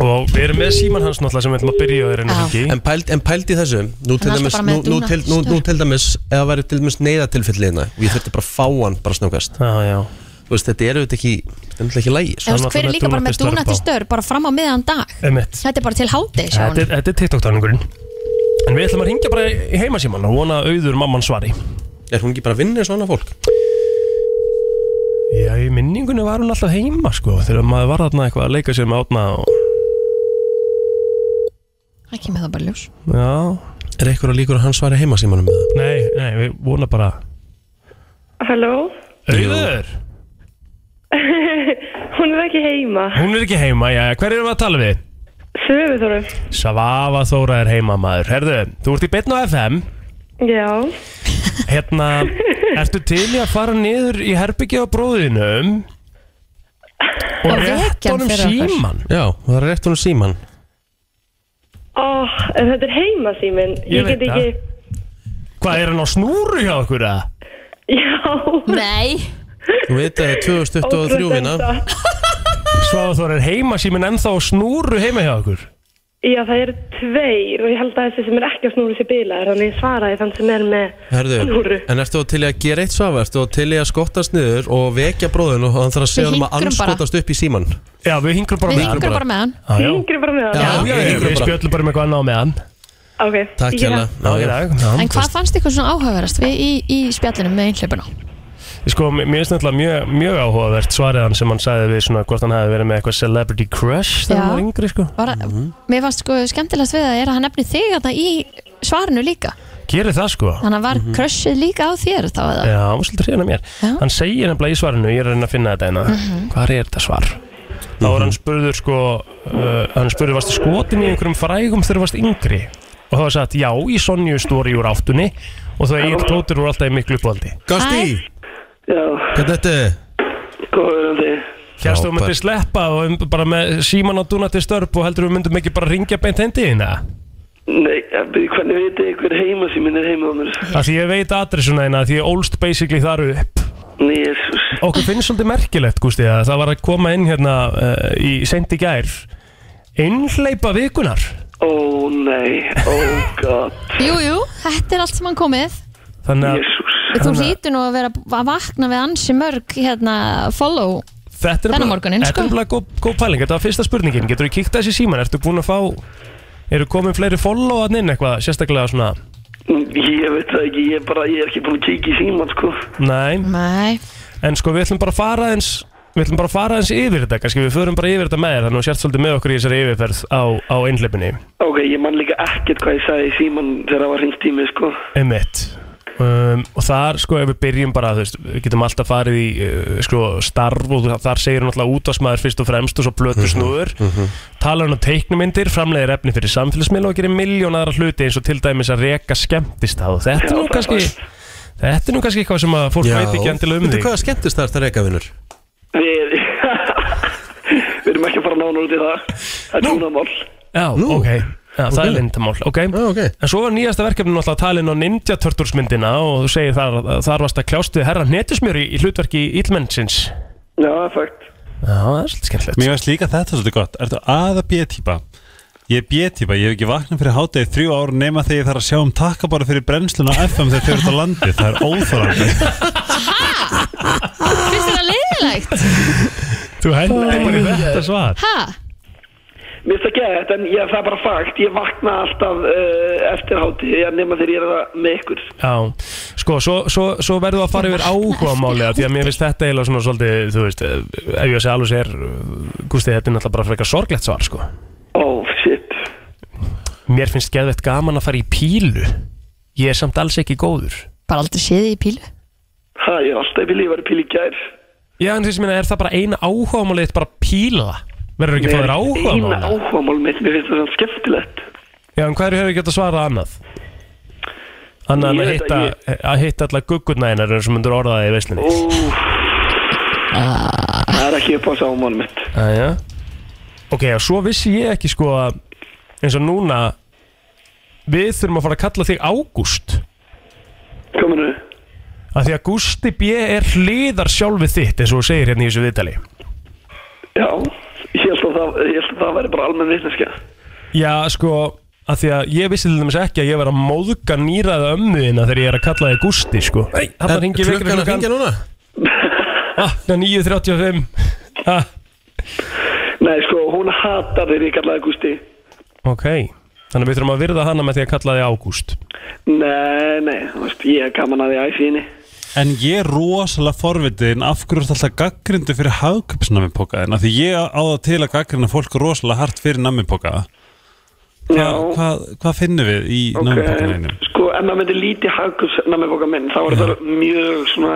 S3: Og við erum með síman hans náttúrulega sem við ætlum að byrja að reyna að ringi
S1: en, pæld, en pæld í þessu nú til,
S3: Hann er alltaf
S1: dæmis,
S3: bara
S1: nú,
S3: með
S1: nú,
S3: dúna,
S1: til, nú, nú
S3: stöð.
S1: til dæmis eða væri til dæmis neyðatilfellina og ég þurfti bara að fá hann bara snöggast
S3: Já, já
S1: Þú veist, þetta eru þetta ekki, þetta er náttúrulega ekki lægi sko.
S2: Eða, þú veist, hver er líka bara með dúnati stör bara fram á miðan dag
S3: Einmitt.
S2: þetta er bara til hátið sjá
S3: Þetta er, þetta er TikTok-táningurinn En við ætlum að ringja bara í heimasíman og vona að auður mamman svari
S1: Er hún ekki bara að vinna svona fólk?
S3: Já, í minningunni var hún alltaf heima sko Þegar maður var þarna eitthvað að leika sér með átna og...
S2: það kemur það bara í ljós
S3: Já
S1: Er eitthvað líkur að hann svari heima símanum með það?
S3: Nei, nei, við vona bara
S14: Halló?
S3: Auður,
S14: Hún er ekki heima.
S3: hún er ekki heima, já, hver erum við að tala við?
S14: Svöfuþóru.
S3: Svava Þóra er heima maður Herðu, þú ert í beinn á FM
S14: Já.
S3: Hérna, ertu til í að fara niður í herbyggja á bróðinum Og
S14: Og
S3: rétt
S14: vekja hann
S3: honum
S14: fyrir okkur.
S3: síman
S1: Já, það er rétt honum síman
S14: Ó, en þetta er heima síminn.
S3: Ég
S14: Ég,
S3: veit
S14: get
S3: það.
S14: ekki...
S3: Hvað, er hann á snúru hjá okkur að?
S14: Já.
S2: Nei.
S1: Þú veit að 2023 vinna
S3: Svava Þóra er heima síminn ennþá á snúru heima hjá okkur
S14: Já, það eru tveir og ég held að þessi sem er ekki á snúru sé bilaður, þannig ég svaraði þann sem er með
S1: Herðu,
S14: snúru.
S1: en ertu til í að gera eitt svafa? Ertu til í að skottast niður og vekja bróðun og hann þarf að segja
S2: Við
S1: hann að
S2: hinkrum bara.
S1: anskotast upp í síman?
S3: Já, við hingrum
S2: við hingur bara með hann
S3: Ah,
S14: Hringir bara með
S1: Já,
S14: það.
S1: já, já,
S3: Við
S1: bara.
S3: spjöllum bara um eitthvað annað á meðan
S14: Ok.
S1: Takk
S14: ég-
S1: hérna
S3: Já, já.
S2: en hvað fannst ykkur svona áhugaverðast við í, í spjallinu með einhleipuna
S3: Sko, mér mér finnst náttúrulega mjög, mjög áhugavert svarið hann sem hann sagði við svona hvort hann hefði verið með eitthvað celebrity crush þegar hann var yngri sko
S2: var, mér fannst sko skemmtilegast við það er að hann nefni þig þarna í svarinu líka
S3: Gerir það sko
S2: þannig að var mm
S3: Mhm.
S2: líka á þér þá eða
S3: Já, hann var svolítið hrifin af mér Hann segir nefnilega í svarinu, ég er að reyna að finna þetta hérna
S2: Mhm.
S3: Hvað er þetta svar? Þá er
S1: Mhm.
S3: hann spurður sko uh, Hann spurður, varstu skotin í einhverjum frægum þegar þú varst yngri? Og þá er sagt, já, í Sonju stóri úr áttunni Og þá er ég tóttur úr alltaf í miklu uppvaldi
S1: Gasti!
S12: Já,
S1: Hvernig þetta er?
S12: góðverandi
S3: Hérstu þú myndir sleppa og um- bara með síman á dúnati störp og heldur þú myndum ekki bara ringja beint hendi þína?
S12: Nei, ja, byrju, hvernig veit ég hver heima sem minn er heima á mér?
S3: Það því ég veit adressuna þína því ég ólst basically þar upp
S12: Nei, jésús
S3: Okkur finnst svolítið merkilegt, Gústi, að það var að koma inn hérna uh, í seint í gær Innleipa vikunar
S12: Ó nei, ó god
S2: Jú, jú, þetta er allt sem hann komið
S3: Þannig að
S2: Þú
S3: Þannig að-
S2: hlýtur nú að vera að vakna við ansi mörg hérna, follow
S3: Þetta er
S2: Þennan
S3: bara-
S2: morguninn,
S3: Þetta
S2: sko.
S3: er bara góð, góð pæling, þetta var fyrsta spurningin Getur þú kíkt þessi síman, ertu búin að fá Eru komin fleiri follow að inn eitthvað Sérstaklega svona,
S12: Ég veit það ekki, ég bara, ég er ekki búin að kíkja í síman, sko
S3: nei
S2: Nei
S3: En sko við ætlum bara að fara aðeins Við ætlum bara að fara aðeins yfir þetta Kannski við förum bara yfir þetta með þér Þannig að þú sért svolítið með okkur í þessari yfirferð á, á einhleipinni
S12: Ok, ég man líka ekkert hvað ég sagði í síman þegar það var hringt í mig, sko
S3: Emmett um, Og þar sko ef við byrjum bara þú veist, Við getum alltaf farið í uh, sko, starf Og þar segir hún alltaf útvarsmaður fyrst og fremst Og svo
S1: Mhm.
S3: blötu snúður Talar hann um teiknumyndir, framleiðir efni fyrir samfélagsmiðla Og gerir miljón aðra hluti eins og til dæmis að reka skemmtistað Þetta er nú kannski Þetta er nú kannski eitthvað sem að fólk veit ekki endilega um
S1: Veitu
S3: þig
S1: hvaða skemmtist það er þetta reykavinur?
S12: Við, við erum ekki að fara nánar út í það Það er túnamál
S3: Já, ok Já, það
S12: Ok.
S3: er lindamál, okay.
S1: ok
S3: En svo var nýjasta verkefni náttúrulega talin á Ninja Turtles myndina og þú segir þar, þar varst að kljást við herra hnetismjöri í hlutverki Íllmennsins
S12: Já, fakt
S3: Já, það er svolítið skemmtilegt
S7: Mér veist líka þetta svolítið gott Ertu aða B-típa? Ég er B-típa, ég hef ekki vaknað fyrir hátegi þrjú ár nema þegar ég þarf að sjá um takka bara fyrir brennsluna á FM þegar þau eru út á landi Það er óþorandi
S2: Finnst þér það leiðilegt?
S3: Þú hendur bara í þetta svar
S2: Ha?
S12: Mér finnst það gett, en ég, eh, það er bara fakt Ég vakna alltaf uh, eftir hátíð Ég nema þegar ég er það með ykkur
S3: Já, sko Sko, svo, svo, svo verðum við að fara yfir áhugamáli af Því að mér finnst þetta eiginlega svona svolítið Þú veist, eh, ef ég sé alveg sér Gústi, þetta er náttúrulega bara frekar sorglegt svar, sko
S12: Oh, shit
S3: Mér finnst geðvett gaman að fara í pílu Ég er samt alls ekki góður
S2: Bara aldrei séði í pílu
S12: Ha, ég er alltaf viljið að vera píl í gær
S3: Já, en þessi minna, er það bara eina áhugamálið þitt bara píla það? Verður ekki að fá þér
S12: Eina
S3: áhugamálið?
S12: áhugamál mitt, mér finnst það skemmtilegt
S3: Já, en hvað hefur getað svarað annað? Annað
S12: Ég
S3: en að
S12: veit
S3: hitta, að hitta alla guggurnæðinar sem myndur orðaði í veislinni
S12: Úf
S2: Ah.
S12: Það er ekki upp á sámál mitt
S3: Æja Ok, og svo vissi ég ekki sko að eins og núna við þurfum að fara að kalla þig Ágúst
S12: Kominu
S3: að því að Gústi B. er hliðar sjálfið þitt eins og þú segir hérna í þessu viðtali
S12: Já, ég held að það, ég held að það væri bara almenn vitneskja
S3: Já, sko, að því að ég vissi til dæmis ekki að ég var að móðga nýraða ömmuðina þegar ég er að kalla þig Gústi, sko Nei, hann
S1: En
S3: var hringið
S1: klukkan að hringja núna?
S3: Ah, það er 9.35 ah,
S12: Nei, sko, hún hatar þér í kallaði Gusti
S3: Ok, þannig að við þurfum að virða hana með því að kalla þig Ágúst
S12: Nei, nei, þú veist, ég er gaman að því æfíni
S7: En ég er rosalega forvitin af hverju er alltaf gaggrindu fyrir hagköpsnamipokaðin af því ég á það til að gaggrina fólk rosalega hart fyrir namipokaða Hva, hvað, hvað finnum við í okay. namipokaðinu?
S12: Sko, ef maður myndi lítið hagkursnamipoka minn þá er það mjög svona,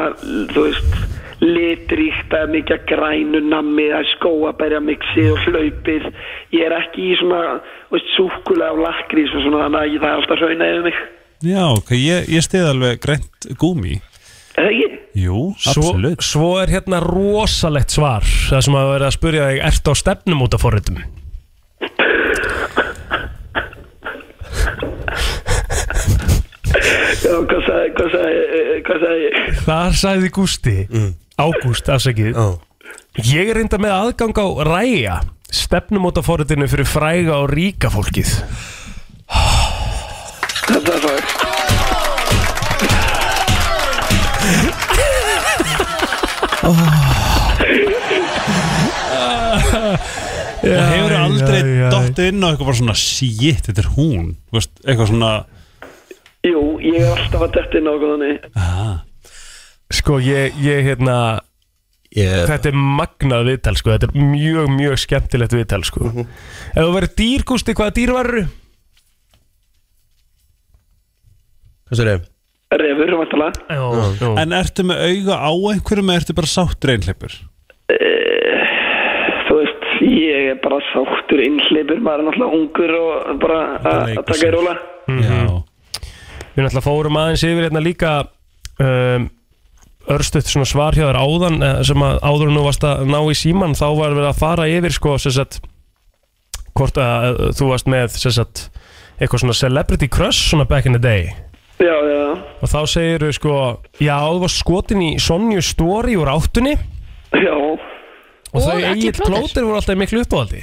S12: þú veist litríkt, það er mikið af grænu nammi, það er skóabærjamixi og hlaupið, ég er ekki í svona, þú veist, súkulega og lakrís og svona, þannig að ég- það er alltaf hrauna yfir mig
S7: Já, ok, ég, ég stið alveg greint gúmi
S12: Er það ekki?
S7: Jú,
S3: Svo,
S7: absolutt
S3: svo er hérna rosalegt svar Það sem að vera að spyrja þig Ertu á stefnum út af forritum?
S12: Já, hvað sagði, hvað sagði, eh, hvað sagði ég?
S3: Þar sagði Gústi Ágúst, afsakið Ég er reynda með aðgang á ræja Stefnum út af forritinu fyrir fræga og ríka fólkið
S12: Þetta er svo
S2: Mhm.
S7: Það hefur aldrei dottið inn á eitthvað bara svona shit, þetta er hún Þú veist, eitthvað svona
S12: Jú, ég er alltaf að detta inn á okkur þannig
S7: Ah.
S3: Sko, ég, ég hérna Þetta er magnað viðtal, sko Þetta er mjög, mjög skemmtilegt viðtal, sko Ef þú verður dýr, Gústi, hvaða dýr varur?
S1: Hvað sér ég?
S12: Refur, vantalega
S3: Já,
S7: En ertu með auga á einhverjum eða ertu bara sáttur einhleipur?
S12: Eh, Þú veist, ég er bara sáttur innhlipur, maður er náttúrulega ungur og bara að að taka í róla
S7: Já
S3: Mhm. Við náttúrulega fórum aðeins yfir hérna líka um, örstuðt svona svar hjá þér áðan eh, sem að áður en þú varst að ná í síman þá var við að fara yfir sko sem sagt hvort að eh, þú varst með sem sagt eitthvað svona celebrity crush svona back in the day
S12: Já, já,
S3: og þá segir þau sko já þú varst skotin í Sonju Story úr áttunni
S12: já,
S3: og,
S12: Og
S3: þau
S12: Atli
S3: eigið
S12: Plóter.
S3: plóter voru alltaf í miklu uppáhaldi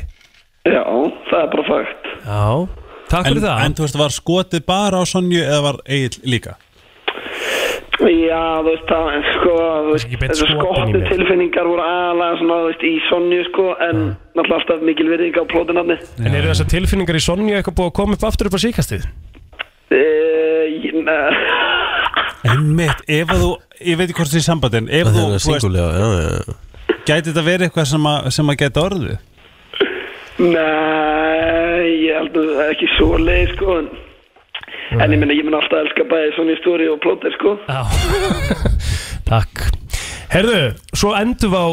S12: já, það er bara fakt
S3: Já, takk
S7: fyrir það En þú veist, var skotið bara á Sonju eða var Egil líka?
S12: Já, þú veist, það er sko, þú veist,
S7: beint
S12: þessu
S7: skotin í
S12: skottu
S7: mér.
S12: tilfinningar voru aðalega svona, þú veist, í sonju sko, en náttúrulega alltaf mikil virðing á plótinarni
S3: en eru þessar tilfinningar í Sonju eitthvað búið að koma upp aftur upp á síkastið?
S12: Eh,
S7: Einmitt, ef að þú, ég veit ekki hvort þið er sambandin Ef þú,
S1: er single, já,
S7: já Gæti þetta verið eitthvað sem að, sem að geta orðið?
S12: Nei, ég held að það er ekki svo leið sko, en, en ég minna, ég minna alltaf elska bæði svona í stóri og plótir sko
S3: Já Takk Herðu, svo endur við á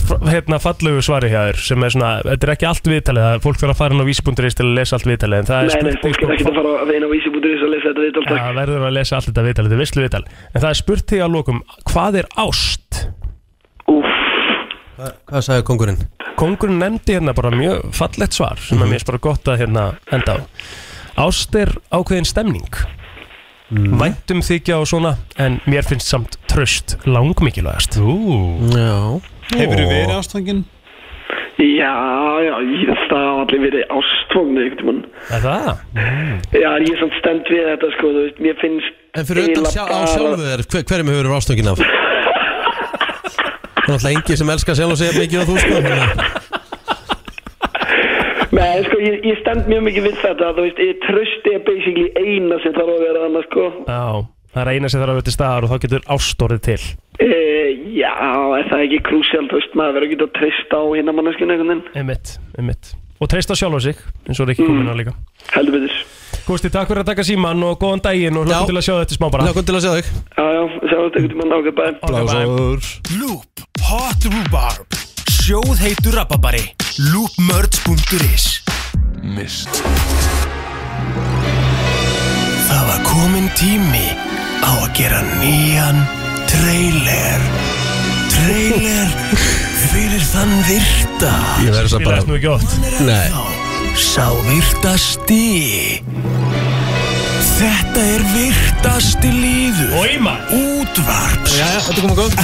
S3: fr- hérna fallegu svari hjá þér sem er svona, þetta er ekki allt viðtalið það er fólk þarf að fara inn á vísbúnduris til að lesa allt viðtalið en það er um
S12: Nei, nei,
S3: spurt
S12: fólk er ekkert að fara að veina á vísi.is að lesa þetta viðtal, takk
S3: það verður að lesa allt þetta viðtalið, þetta er visslu viðtal en það er spurt þig að lokum, hvað er ást?
S1: Hvað, hvað sagði kongurinn?
S3: Kongurinn nefndi hérna bara mjög fallegt svar sem mm -hmm. er mér bara gott að hérna enda á Ást er ákveðin stemning mm. væntum þykja og svona en mér finnst samt tröst langmikilvægast
S1: Já
S7: Hefurðu verið ástfangin?
S12: Já, já, ég, það hafa allir verið ástfóngni einhvern tímann Mm.
S3: Er það?
S12: Já, en ég er samt stend við þetta sko, þú veist, mér finnst
S1: En fyrir utan
S12: eiginlega
S1: sjá, á
S12: bara-
S1: sjálfu þér, hver, hverjum hefur verið ástöngin af? Það er náttúrulega engi sem elskar sjálf og segja mikið á þú sko þannig að-
S12: Nei, sko, ég, ég stend mjög mikið við þetta, þú veist, ég trösti er basically eina sem þarf að vera annars sko
S3: Já, Það er eina sem þarf að vera til staðar og þá getur ástorðið til
S12: Uh, já, er það ekki krúsjál, þú veist, maður verður ekki að treysta á hérna manneskinu einhvern veginn.
S3: Einmitt, einmitt Og treysta sjálf á sig, eins og Rikki mm. komin á líka
S12: Heldur betur
S3: Gústi, takk fyrir að taka síman og góðan daginn og hlökkum til að sjá þetta smá bara
S1: Hlökkum til að sjá þig
S12: Já, já, sjáumst ekkert í mann ákveð bæm.
S5: Loop Hot Rhubarb Sjóð heitur rababari Loopmerge.is Mist Það var komin tími á að gera nýjan trailer Trailer fyrir þann virta
S1: Ég verður svo bara
S3: nú ekki oft
S1: Nei
S5: Sá virtasti Þetta er virtasti líður
S3: Óima
S5: Útvarps Jæja,
S1: þetta kom að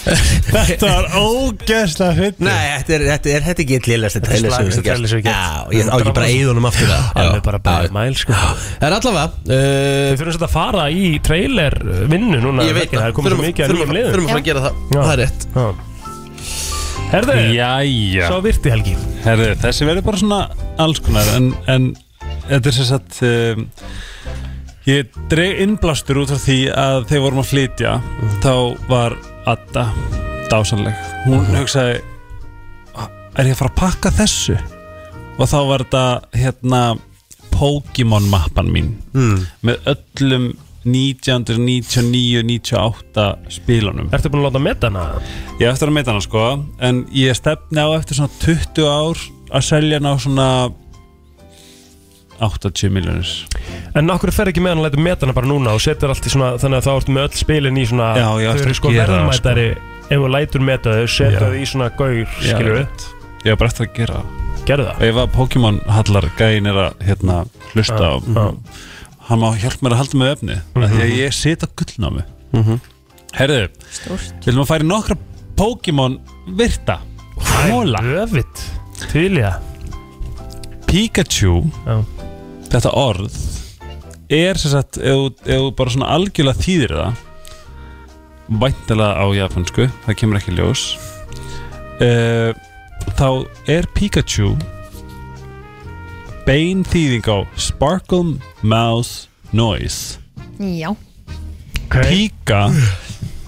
S7: Þetta var ógeðslega fyndið
S15: Nei, þetta er, þetta er, þetta er ekki eitt liðlega
S3: Þetta er slæmasta trailer sem við gert.
S15: Já, ég á ekki bara
S3: 100%.
S15: eigðunum aftur það
S3: Alveg bara bæði mæl sko
S1: Það er allavega Við
S3: þurfum svolítið að fara í trailer eh, vinnu núna
S1: Ég veit
S3: það Það er komið svo mikið að nýjum liðum
S1: Þurfum að fara að gera það Það er rétt
S3: Herðu,
S7: Jæja
S3: Sá virti Helgi
S7: Herðu, þessi verður bara svona alls konar En, en þetta er sem sagt um, Ég dreig innblástur út frá því að þegar vorum að flytja
S1: Mhm.
S7: Þá var Adda dásanleg Hún
S1: Mhm.
S7: hugsaði Er ég að fara að pakka þessu? Og þá var þetta hérna Pokémon mappan mín
S15: Mm.
S7: Með öllum 1999-98 spilunum
S3: Ertu búin að láta meta hana?
S7: Ég á eftir að meita hana sko En ég stefni á eftir svona 20 ár Að selja hana á svona 80 miljonir
S3: En okkur fer ekki með hann að læta metana bara núna og setur allt í svona, þannig að þá ertu með öll spilin í svona
S7: Já, já,
S3: Þau
S7: eftir
S3: eru
S7: að
S3: sko
S7: gera það,
S3: verðmætari ef þú lætur meta þau,
S7: Já.
S3: setur þau í svona gaur,
S7: Já,
S3: skilur við
S7: rétt. Ég var bara eftir að gera það
S3: Gerðu það?
S7: Og Ef að Pokémon hallar gæin er að hérna, hlusta á Hann má hjálpa mér að halda með efni mm Því að ég sit á gullnámi mm
S3: Mhm.
S7: -hmm. Herðu, viljum að færi nokkra Pokémon virta Hóla
S3: Öfitt, til í það
S7: Pikachu
S3: Já.
S7: Þetta orð Er sem sagt, ef þú- ef þú bara svona algjörlega þýðir það Væntalega á japansku Það kemur ekki í ljós uh, Þá er Pikachu Bein þýðing á Sparkle Mouth Noise
S2: Já,
S7: Pika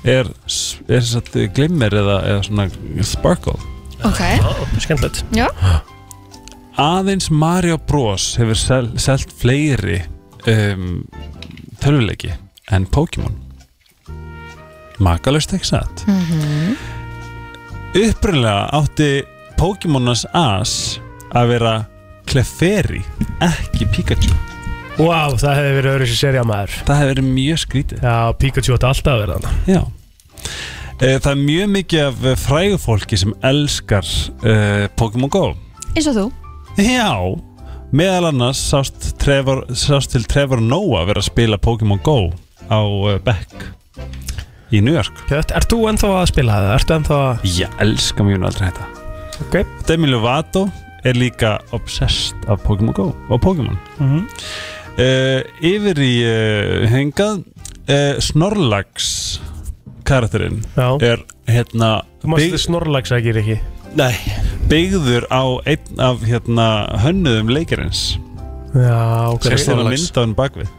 S7: er, er sem sagt glimmer eða, eða svona sparkle
S2: ok
S3: Skemmtilegt
S2: Já,
S7: aðeins Mario Bros hefur sel, selt fleiri um, tölvuleiki en Pokémon makalust ekki satt
S4: Mhm.
S7: upprunlega átti Pokémonas as að vera Clefairy ekki Pikachu
S3: Vá, það hefði verið öðru sér serið maður
S7: Það hefði verið mjög skrítið
S3: Já, Pikachu átti alltaf að vera þannig
S7: Já Eh, Það er mjög mikið af eh, frægu fólki sem elskar uh, Pokémon Go
S2: eins og þú
S7: Já, meðal annars sást, Trevor, sást til Trevor Noah vera að spila Pokémon Go á uh, Beck í New York
S3: Kjöft, ert þú ennþá að spila það? Ertu ennþá að...
S7: Ég elska mjög aldrei þetta
S3: Ok.
S7: Demi Lovato er líka obsessed af Pokémon Go og Pokémon
S3: Mhm.
S7: Eh, Yfir í uh, hengað uh, Snorlax karakterinn
S3: Já.
S7: er hérna
S3: Þú mást þið snorlags ekki, Riki
S7: Nei Byggður á einn af hérna hönnuðum leikarins
S3: Já, ok
S7: Sérst það mynda hann bakvið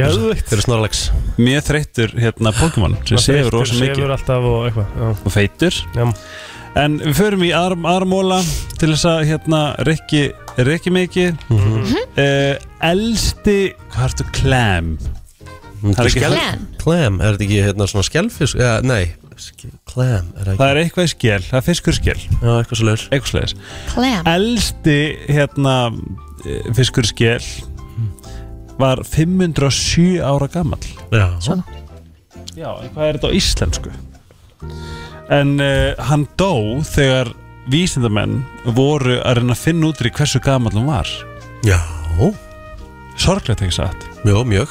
S3: Geðveikt.
S1: Þeir eru snorlags
S7: Mjög þreyttur hérna Pokémon sem sefur rosa mikið
S3: Sefur alltaf og eitthvað já.
S7: og feitur
S3: Já.
S7: En við förum í aðra aðra móla til þess að hérna Rikki, Rikki mikið mm
S1: Mhm.
S7: Elsti, hvað ertu klem? Það er ekki- Clam.
S1: Mm-hmm. Clam, er þetta ekki hérna svona skjálfisk? Ja, nei, sk- clam er ekki
S7: Það er eitthvað í skél, það er fiskur í skél
S1: Já, eitthvað svo leiðis
S7: Eitthvað svo leiðis
S2: Clam.
S7: Elsti hérna eh, fiskur í skél var 507 ára gamall
S1: Já
S7: Svona Já, en hvað er þetta á íslensku? En uh, hann dó þegar vísindamenn voru að reyna að finna út í hversu gamall hann var
S1: Já
S7: Sorglegt ekki satt
S1: Jó, mjög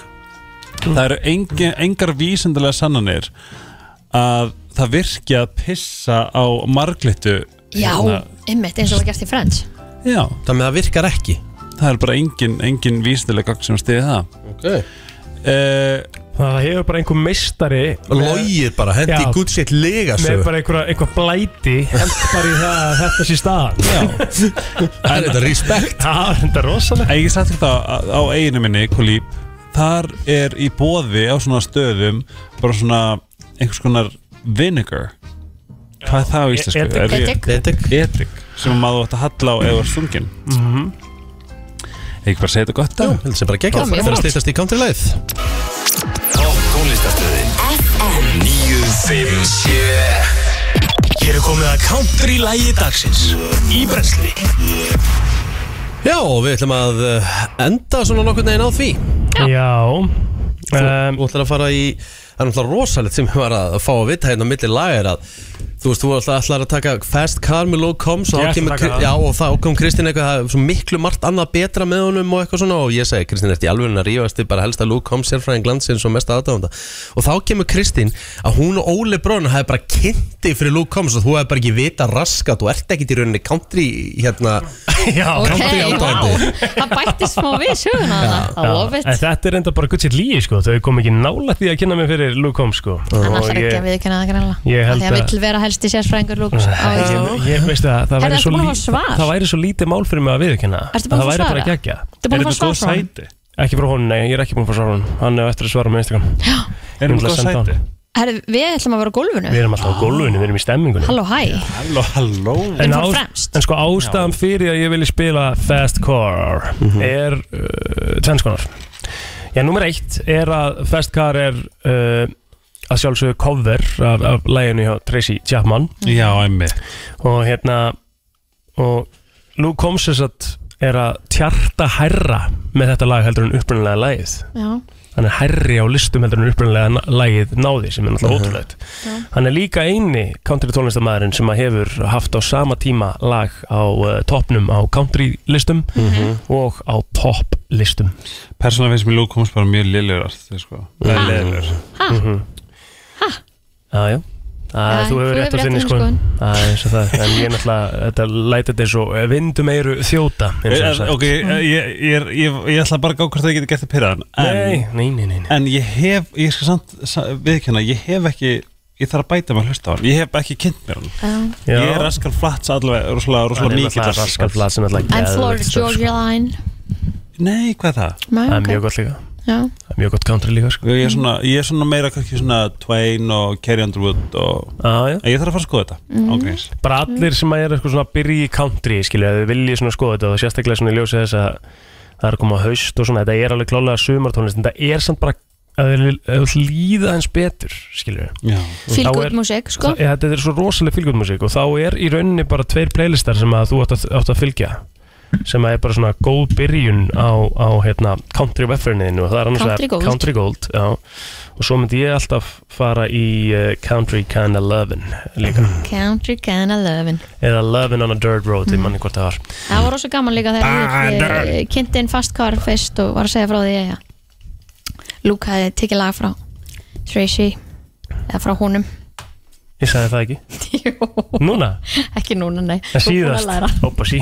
S7: Það eru engi, engar vísindalega sannanir að það virki að pissa á marglitu hérna.
S2: já,
S3: Hérna-
S2: ymmit, eins og það gerst í Friends
S7: Já
S1: Það með það virkar ekki
S7: Það er bara engin, engin vísindalega gang sem stiði það Eh,
S1: Ok
S3: Það hefur bara einhver meistari
S1: Logið bara, hendi
S3: Já.
S1: gutt sétt lega
S3: Með bara einhver, einhver blæti Hent bara í það að þetta sé staðan
S7: Já
S1: Það er þetta respekt
S3: Já, þetta er rosalegt
S7: Ég satt þetta á, á eiginu minni, Kulíp þar er í bóði á svona stöðum bara svona einhvers konar vinegar hvað er það á
S3: e-
S7: íslensku?
S3: edik.
S7: Er ég-
S3: Edik.
S7: Edik sem maður átt að halla á eða var stungin
S3: Mhm.
S7: ekki bara segja þetta gott
S1: Jú, heldur sem bara
S7: geggjað.
S1: geggjað Það er að stýttast í countrylæð
S5: Topp tónlistastöðin FM 957 Hér er komið að country lægi dagsins Í brensli
S1: Já, og við ætlum að eh, enda svona nokkurn veginn á því
S3: Já
S1: Þú þú ætlar að fara í Það er náttúrulega rosalegt sem ég var að fá að vita hérna á milli lagar að Þú veist, þú ætlar- ætlar að taka Fast Car með Low Coms og, þá
S3: Ég ætla að
S1: kemur
S3: taka
S1: Kri-
S3: það.
S1: já, og þá kom Kristinn eitthvað það er svo miklu margt annað betra með honum og eitthvað svona og ég segi, Kristinn, ertu í alveg að rífast þið bara helst að Low Coms sérfræðing landsins og mest aðdáðanda og þá kemur Kristinn að hún og Óli Brón hafi bara kynnti fyrir Low Coms og þú hefði bara ekki vita raskat og ert ekkit í rauninni country hérna
S3: Já,
S2: Ok,
S1: country
S2: wow,
S1: aðdáandi.
S2: það bætti smá við söguna það Ah, I love
S3: En
S2: it
S3: þetta er enda bara gutt sér líi sko Þau kom ekki nálægt því að kynna mig fyrir Luke Combs sko
S2: Hann
S3: Og
S2: ætlar ekki
S3: ég-
S2: að viðkynna það
S3: Ég
S2: grannlega
S3: held
S2: Því að
S3: að-
S2: vill vera helsti sérfræðingur lúks á
S3: Ég, ég- ég veist að það
S2: Herra,
S3: væri,
S2: ertu
S3: svo
S2: búin að
S3: lí...
S2: fá svar?
S3: það væri svo lítið mál fyrir mig að viðkynna
S2: Ertu búin að
S3: það
S2: fá
S3: væri bara
S2: svara?
S3: gegja
S2: Ertu búin að Er fá þetta góð svar frá honum? sæti?
S3: Ekki frá honum, nei, ég er ekki búin að fá svara honum Hann er eftir að svara með Instagram Ég
S7: Erum við
S3: ætla að
S7: góð
S3: senda
S7: sæti?
S3: honum.
S2: Herra, Við ætlum að vera á gólfinu
S3: Við erum alltaf á gólfinu, við erum í stemmingunni
S2: Halló, hæ
S7: Halló, halló
S2: Erum
S3: En,
S2: fór
S3: ás,
S2: fremst.
S3: en sko ástæðan fyrir að ég vilji spila Fast Car
S7: Mhm.
S3: er uh, tvennskonar Já, nummer eitt er að Fast Car er uh, að sjálfsögðu cover af, af læginu hjá Tracy Chapman
S7: Mhm. Já, emmi
S3: og hérna og Luke Combs þess að er að tjarta hærra með þetta lag heldur en upprunalega lagið
S2: Já.
S3: hann er hærri á listum heldur en upprunalega na- lagið náði sem er náttúrulega
S1: Mhm.
S3: ótrúlegt hann er líka eini country tónlistamæðurinn sem að hefur haft á sama tíma lag á uh, topnum á country listum og á pop listum
S7: Persónulega finnst mér Luke Combs bara mjög lillur sko. Það er leðilegur
S3: -hmm. Ah, Já, já Það,
S7: Já,
S3: þú hefur rétt á þinni sko
S7: skoðun.
S3: Það er eins og það En ég náttúrulega, þetta læti þetta eins og Vindum eiru þjóta eins og
S7: Eh,
S3: er sagt.
S7: Ok, ég, ég, ég, ég, ég ætla bara að gá hvort það getur gett að pyrra hann
S3: Nei, nei, nei, nei,
S7: En ég hef, ég skal samt sa- viðkynna Ég hef ekki, ég þarf að bæta maður hlusta á hann Ég hef ekki kynnt mér hann
S3: Já.
S7: Ég er raskal flats allavega, rosalega, rosalega
S3: Hann er
S7: mikið
S3: náttúrulega Rascal Flatts sem náttúrulega
S2: I'm Florida Georgia Line
S7: Nei, hvað er það?
S2: Nei,
S3: Það er
S2: ok.
S3: mjög gott líka
S2: Já.
S3: Það er mjög gott country líka sko
S7: Ég er svona, ég er svona meira kannski svona Twain og Carrie Underwood og
S3: ah,
S7: Ég þarf að fara að skoða þetta
S3: Mhm.
S7: ángríns.
S3: Bara allir sem að er eitthvað svona að byrja í country Skilju, að þau vilji svona skoða þetta Og sérstaklega svona í ljósi þess að Það er að koma haust og svona Þetta er alveg klálega sumartónlist En þetta er samt bara að þau- að þau líða hans betur Skilju
S2: Feel good music, sko.
S3: það, ja, Þetta er svo rosaleg feel good music Og þá er í rauninni bara tveir playlistar Sem að þú átt að, átt að fylgja Sem að er bara svona góð byrjun Á, á hérna, country vefferniðinu Og það er annars vegar
S2: Country Gold.
S3: country gold já. Og svo myndi ég alltaf fara í uh, Country Kinda Lovin' líka
S2: Country can I love it
S3: eða Lovin' on a Dirt Road,
S2: Mm.
S3: ég manni hvort það var
S2: Það var rosa gaman líka þegar
S3: Ah,
S2: við
S3: nei.
S2: kynnti inn fast car fyrst og var að segja frá því að Luke hefði tekið lag frá Tracy eða frá honum,
S3: Ég sagði það ekki Jú Núna?
S2: ekki núna, nei
S3: En
S2: Þú ert búin að
S3: síðast
S2: læra.
S3: Hoppa sí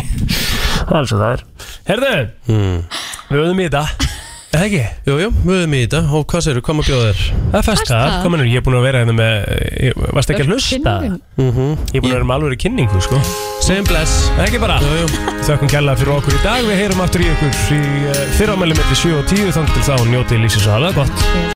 S3: Það er eins og það er Herðu Við höfum í þetta Er það ekki?
S1: Jú, jú, við höfum í þetta og hvað segir þú, hvað maður bjóða þér?
S3: Það er festkar,
S1: Festkar?
S3: komin er, ég er búin að vera hérna með, ég, varst ekki að hlusta?
S1: Kynning.
S3: Ég er búin að vera með alveg kynningu, sko.
S1: Segjum bless.
S3: Ekki bara.
S1: Jú, jú.
S3: Þökkum kærlega fyrir okkur í eh, dag, við heyrum aftur í ykkur í uh, fyrramæli mellir 7 og 10, þannig til þá njótið lífsins aðalega gott.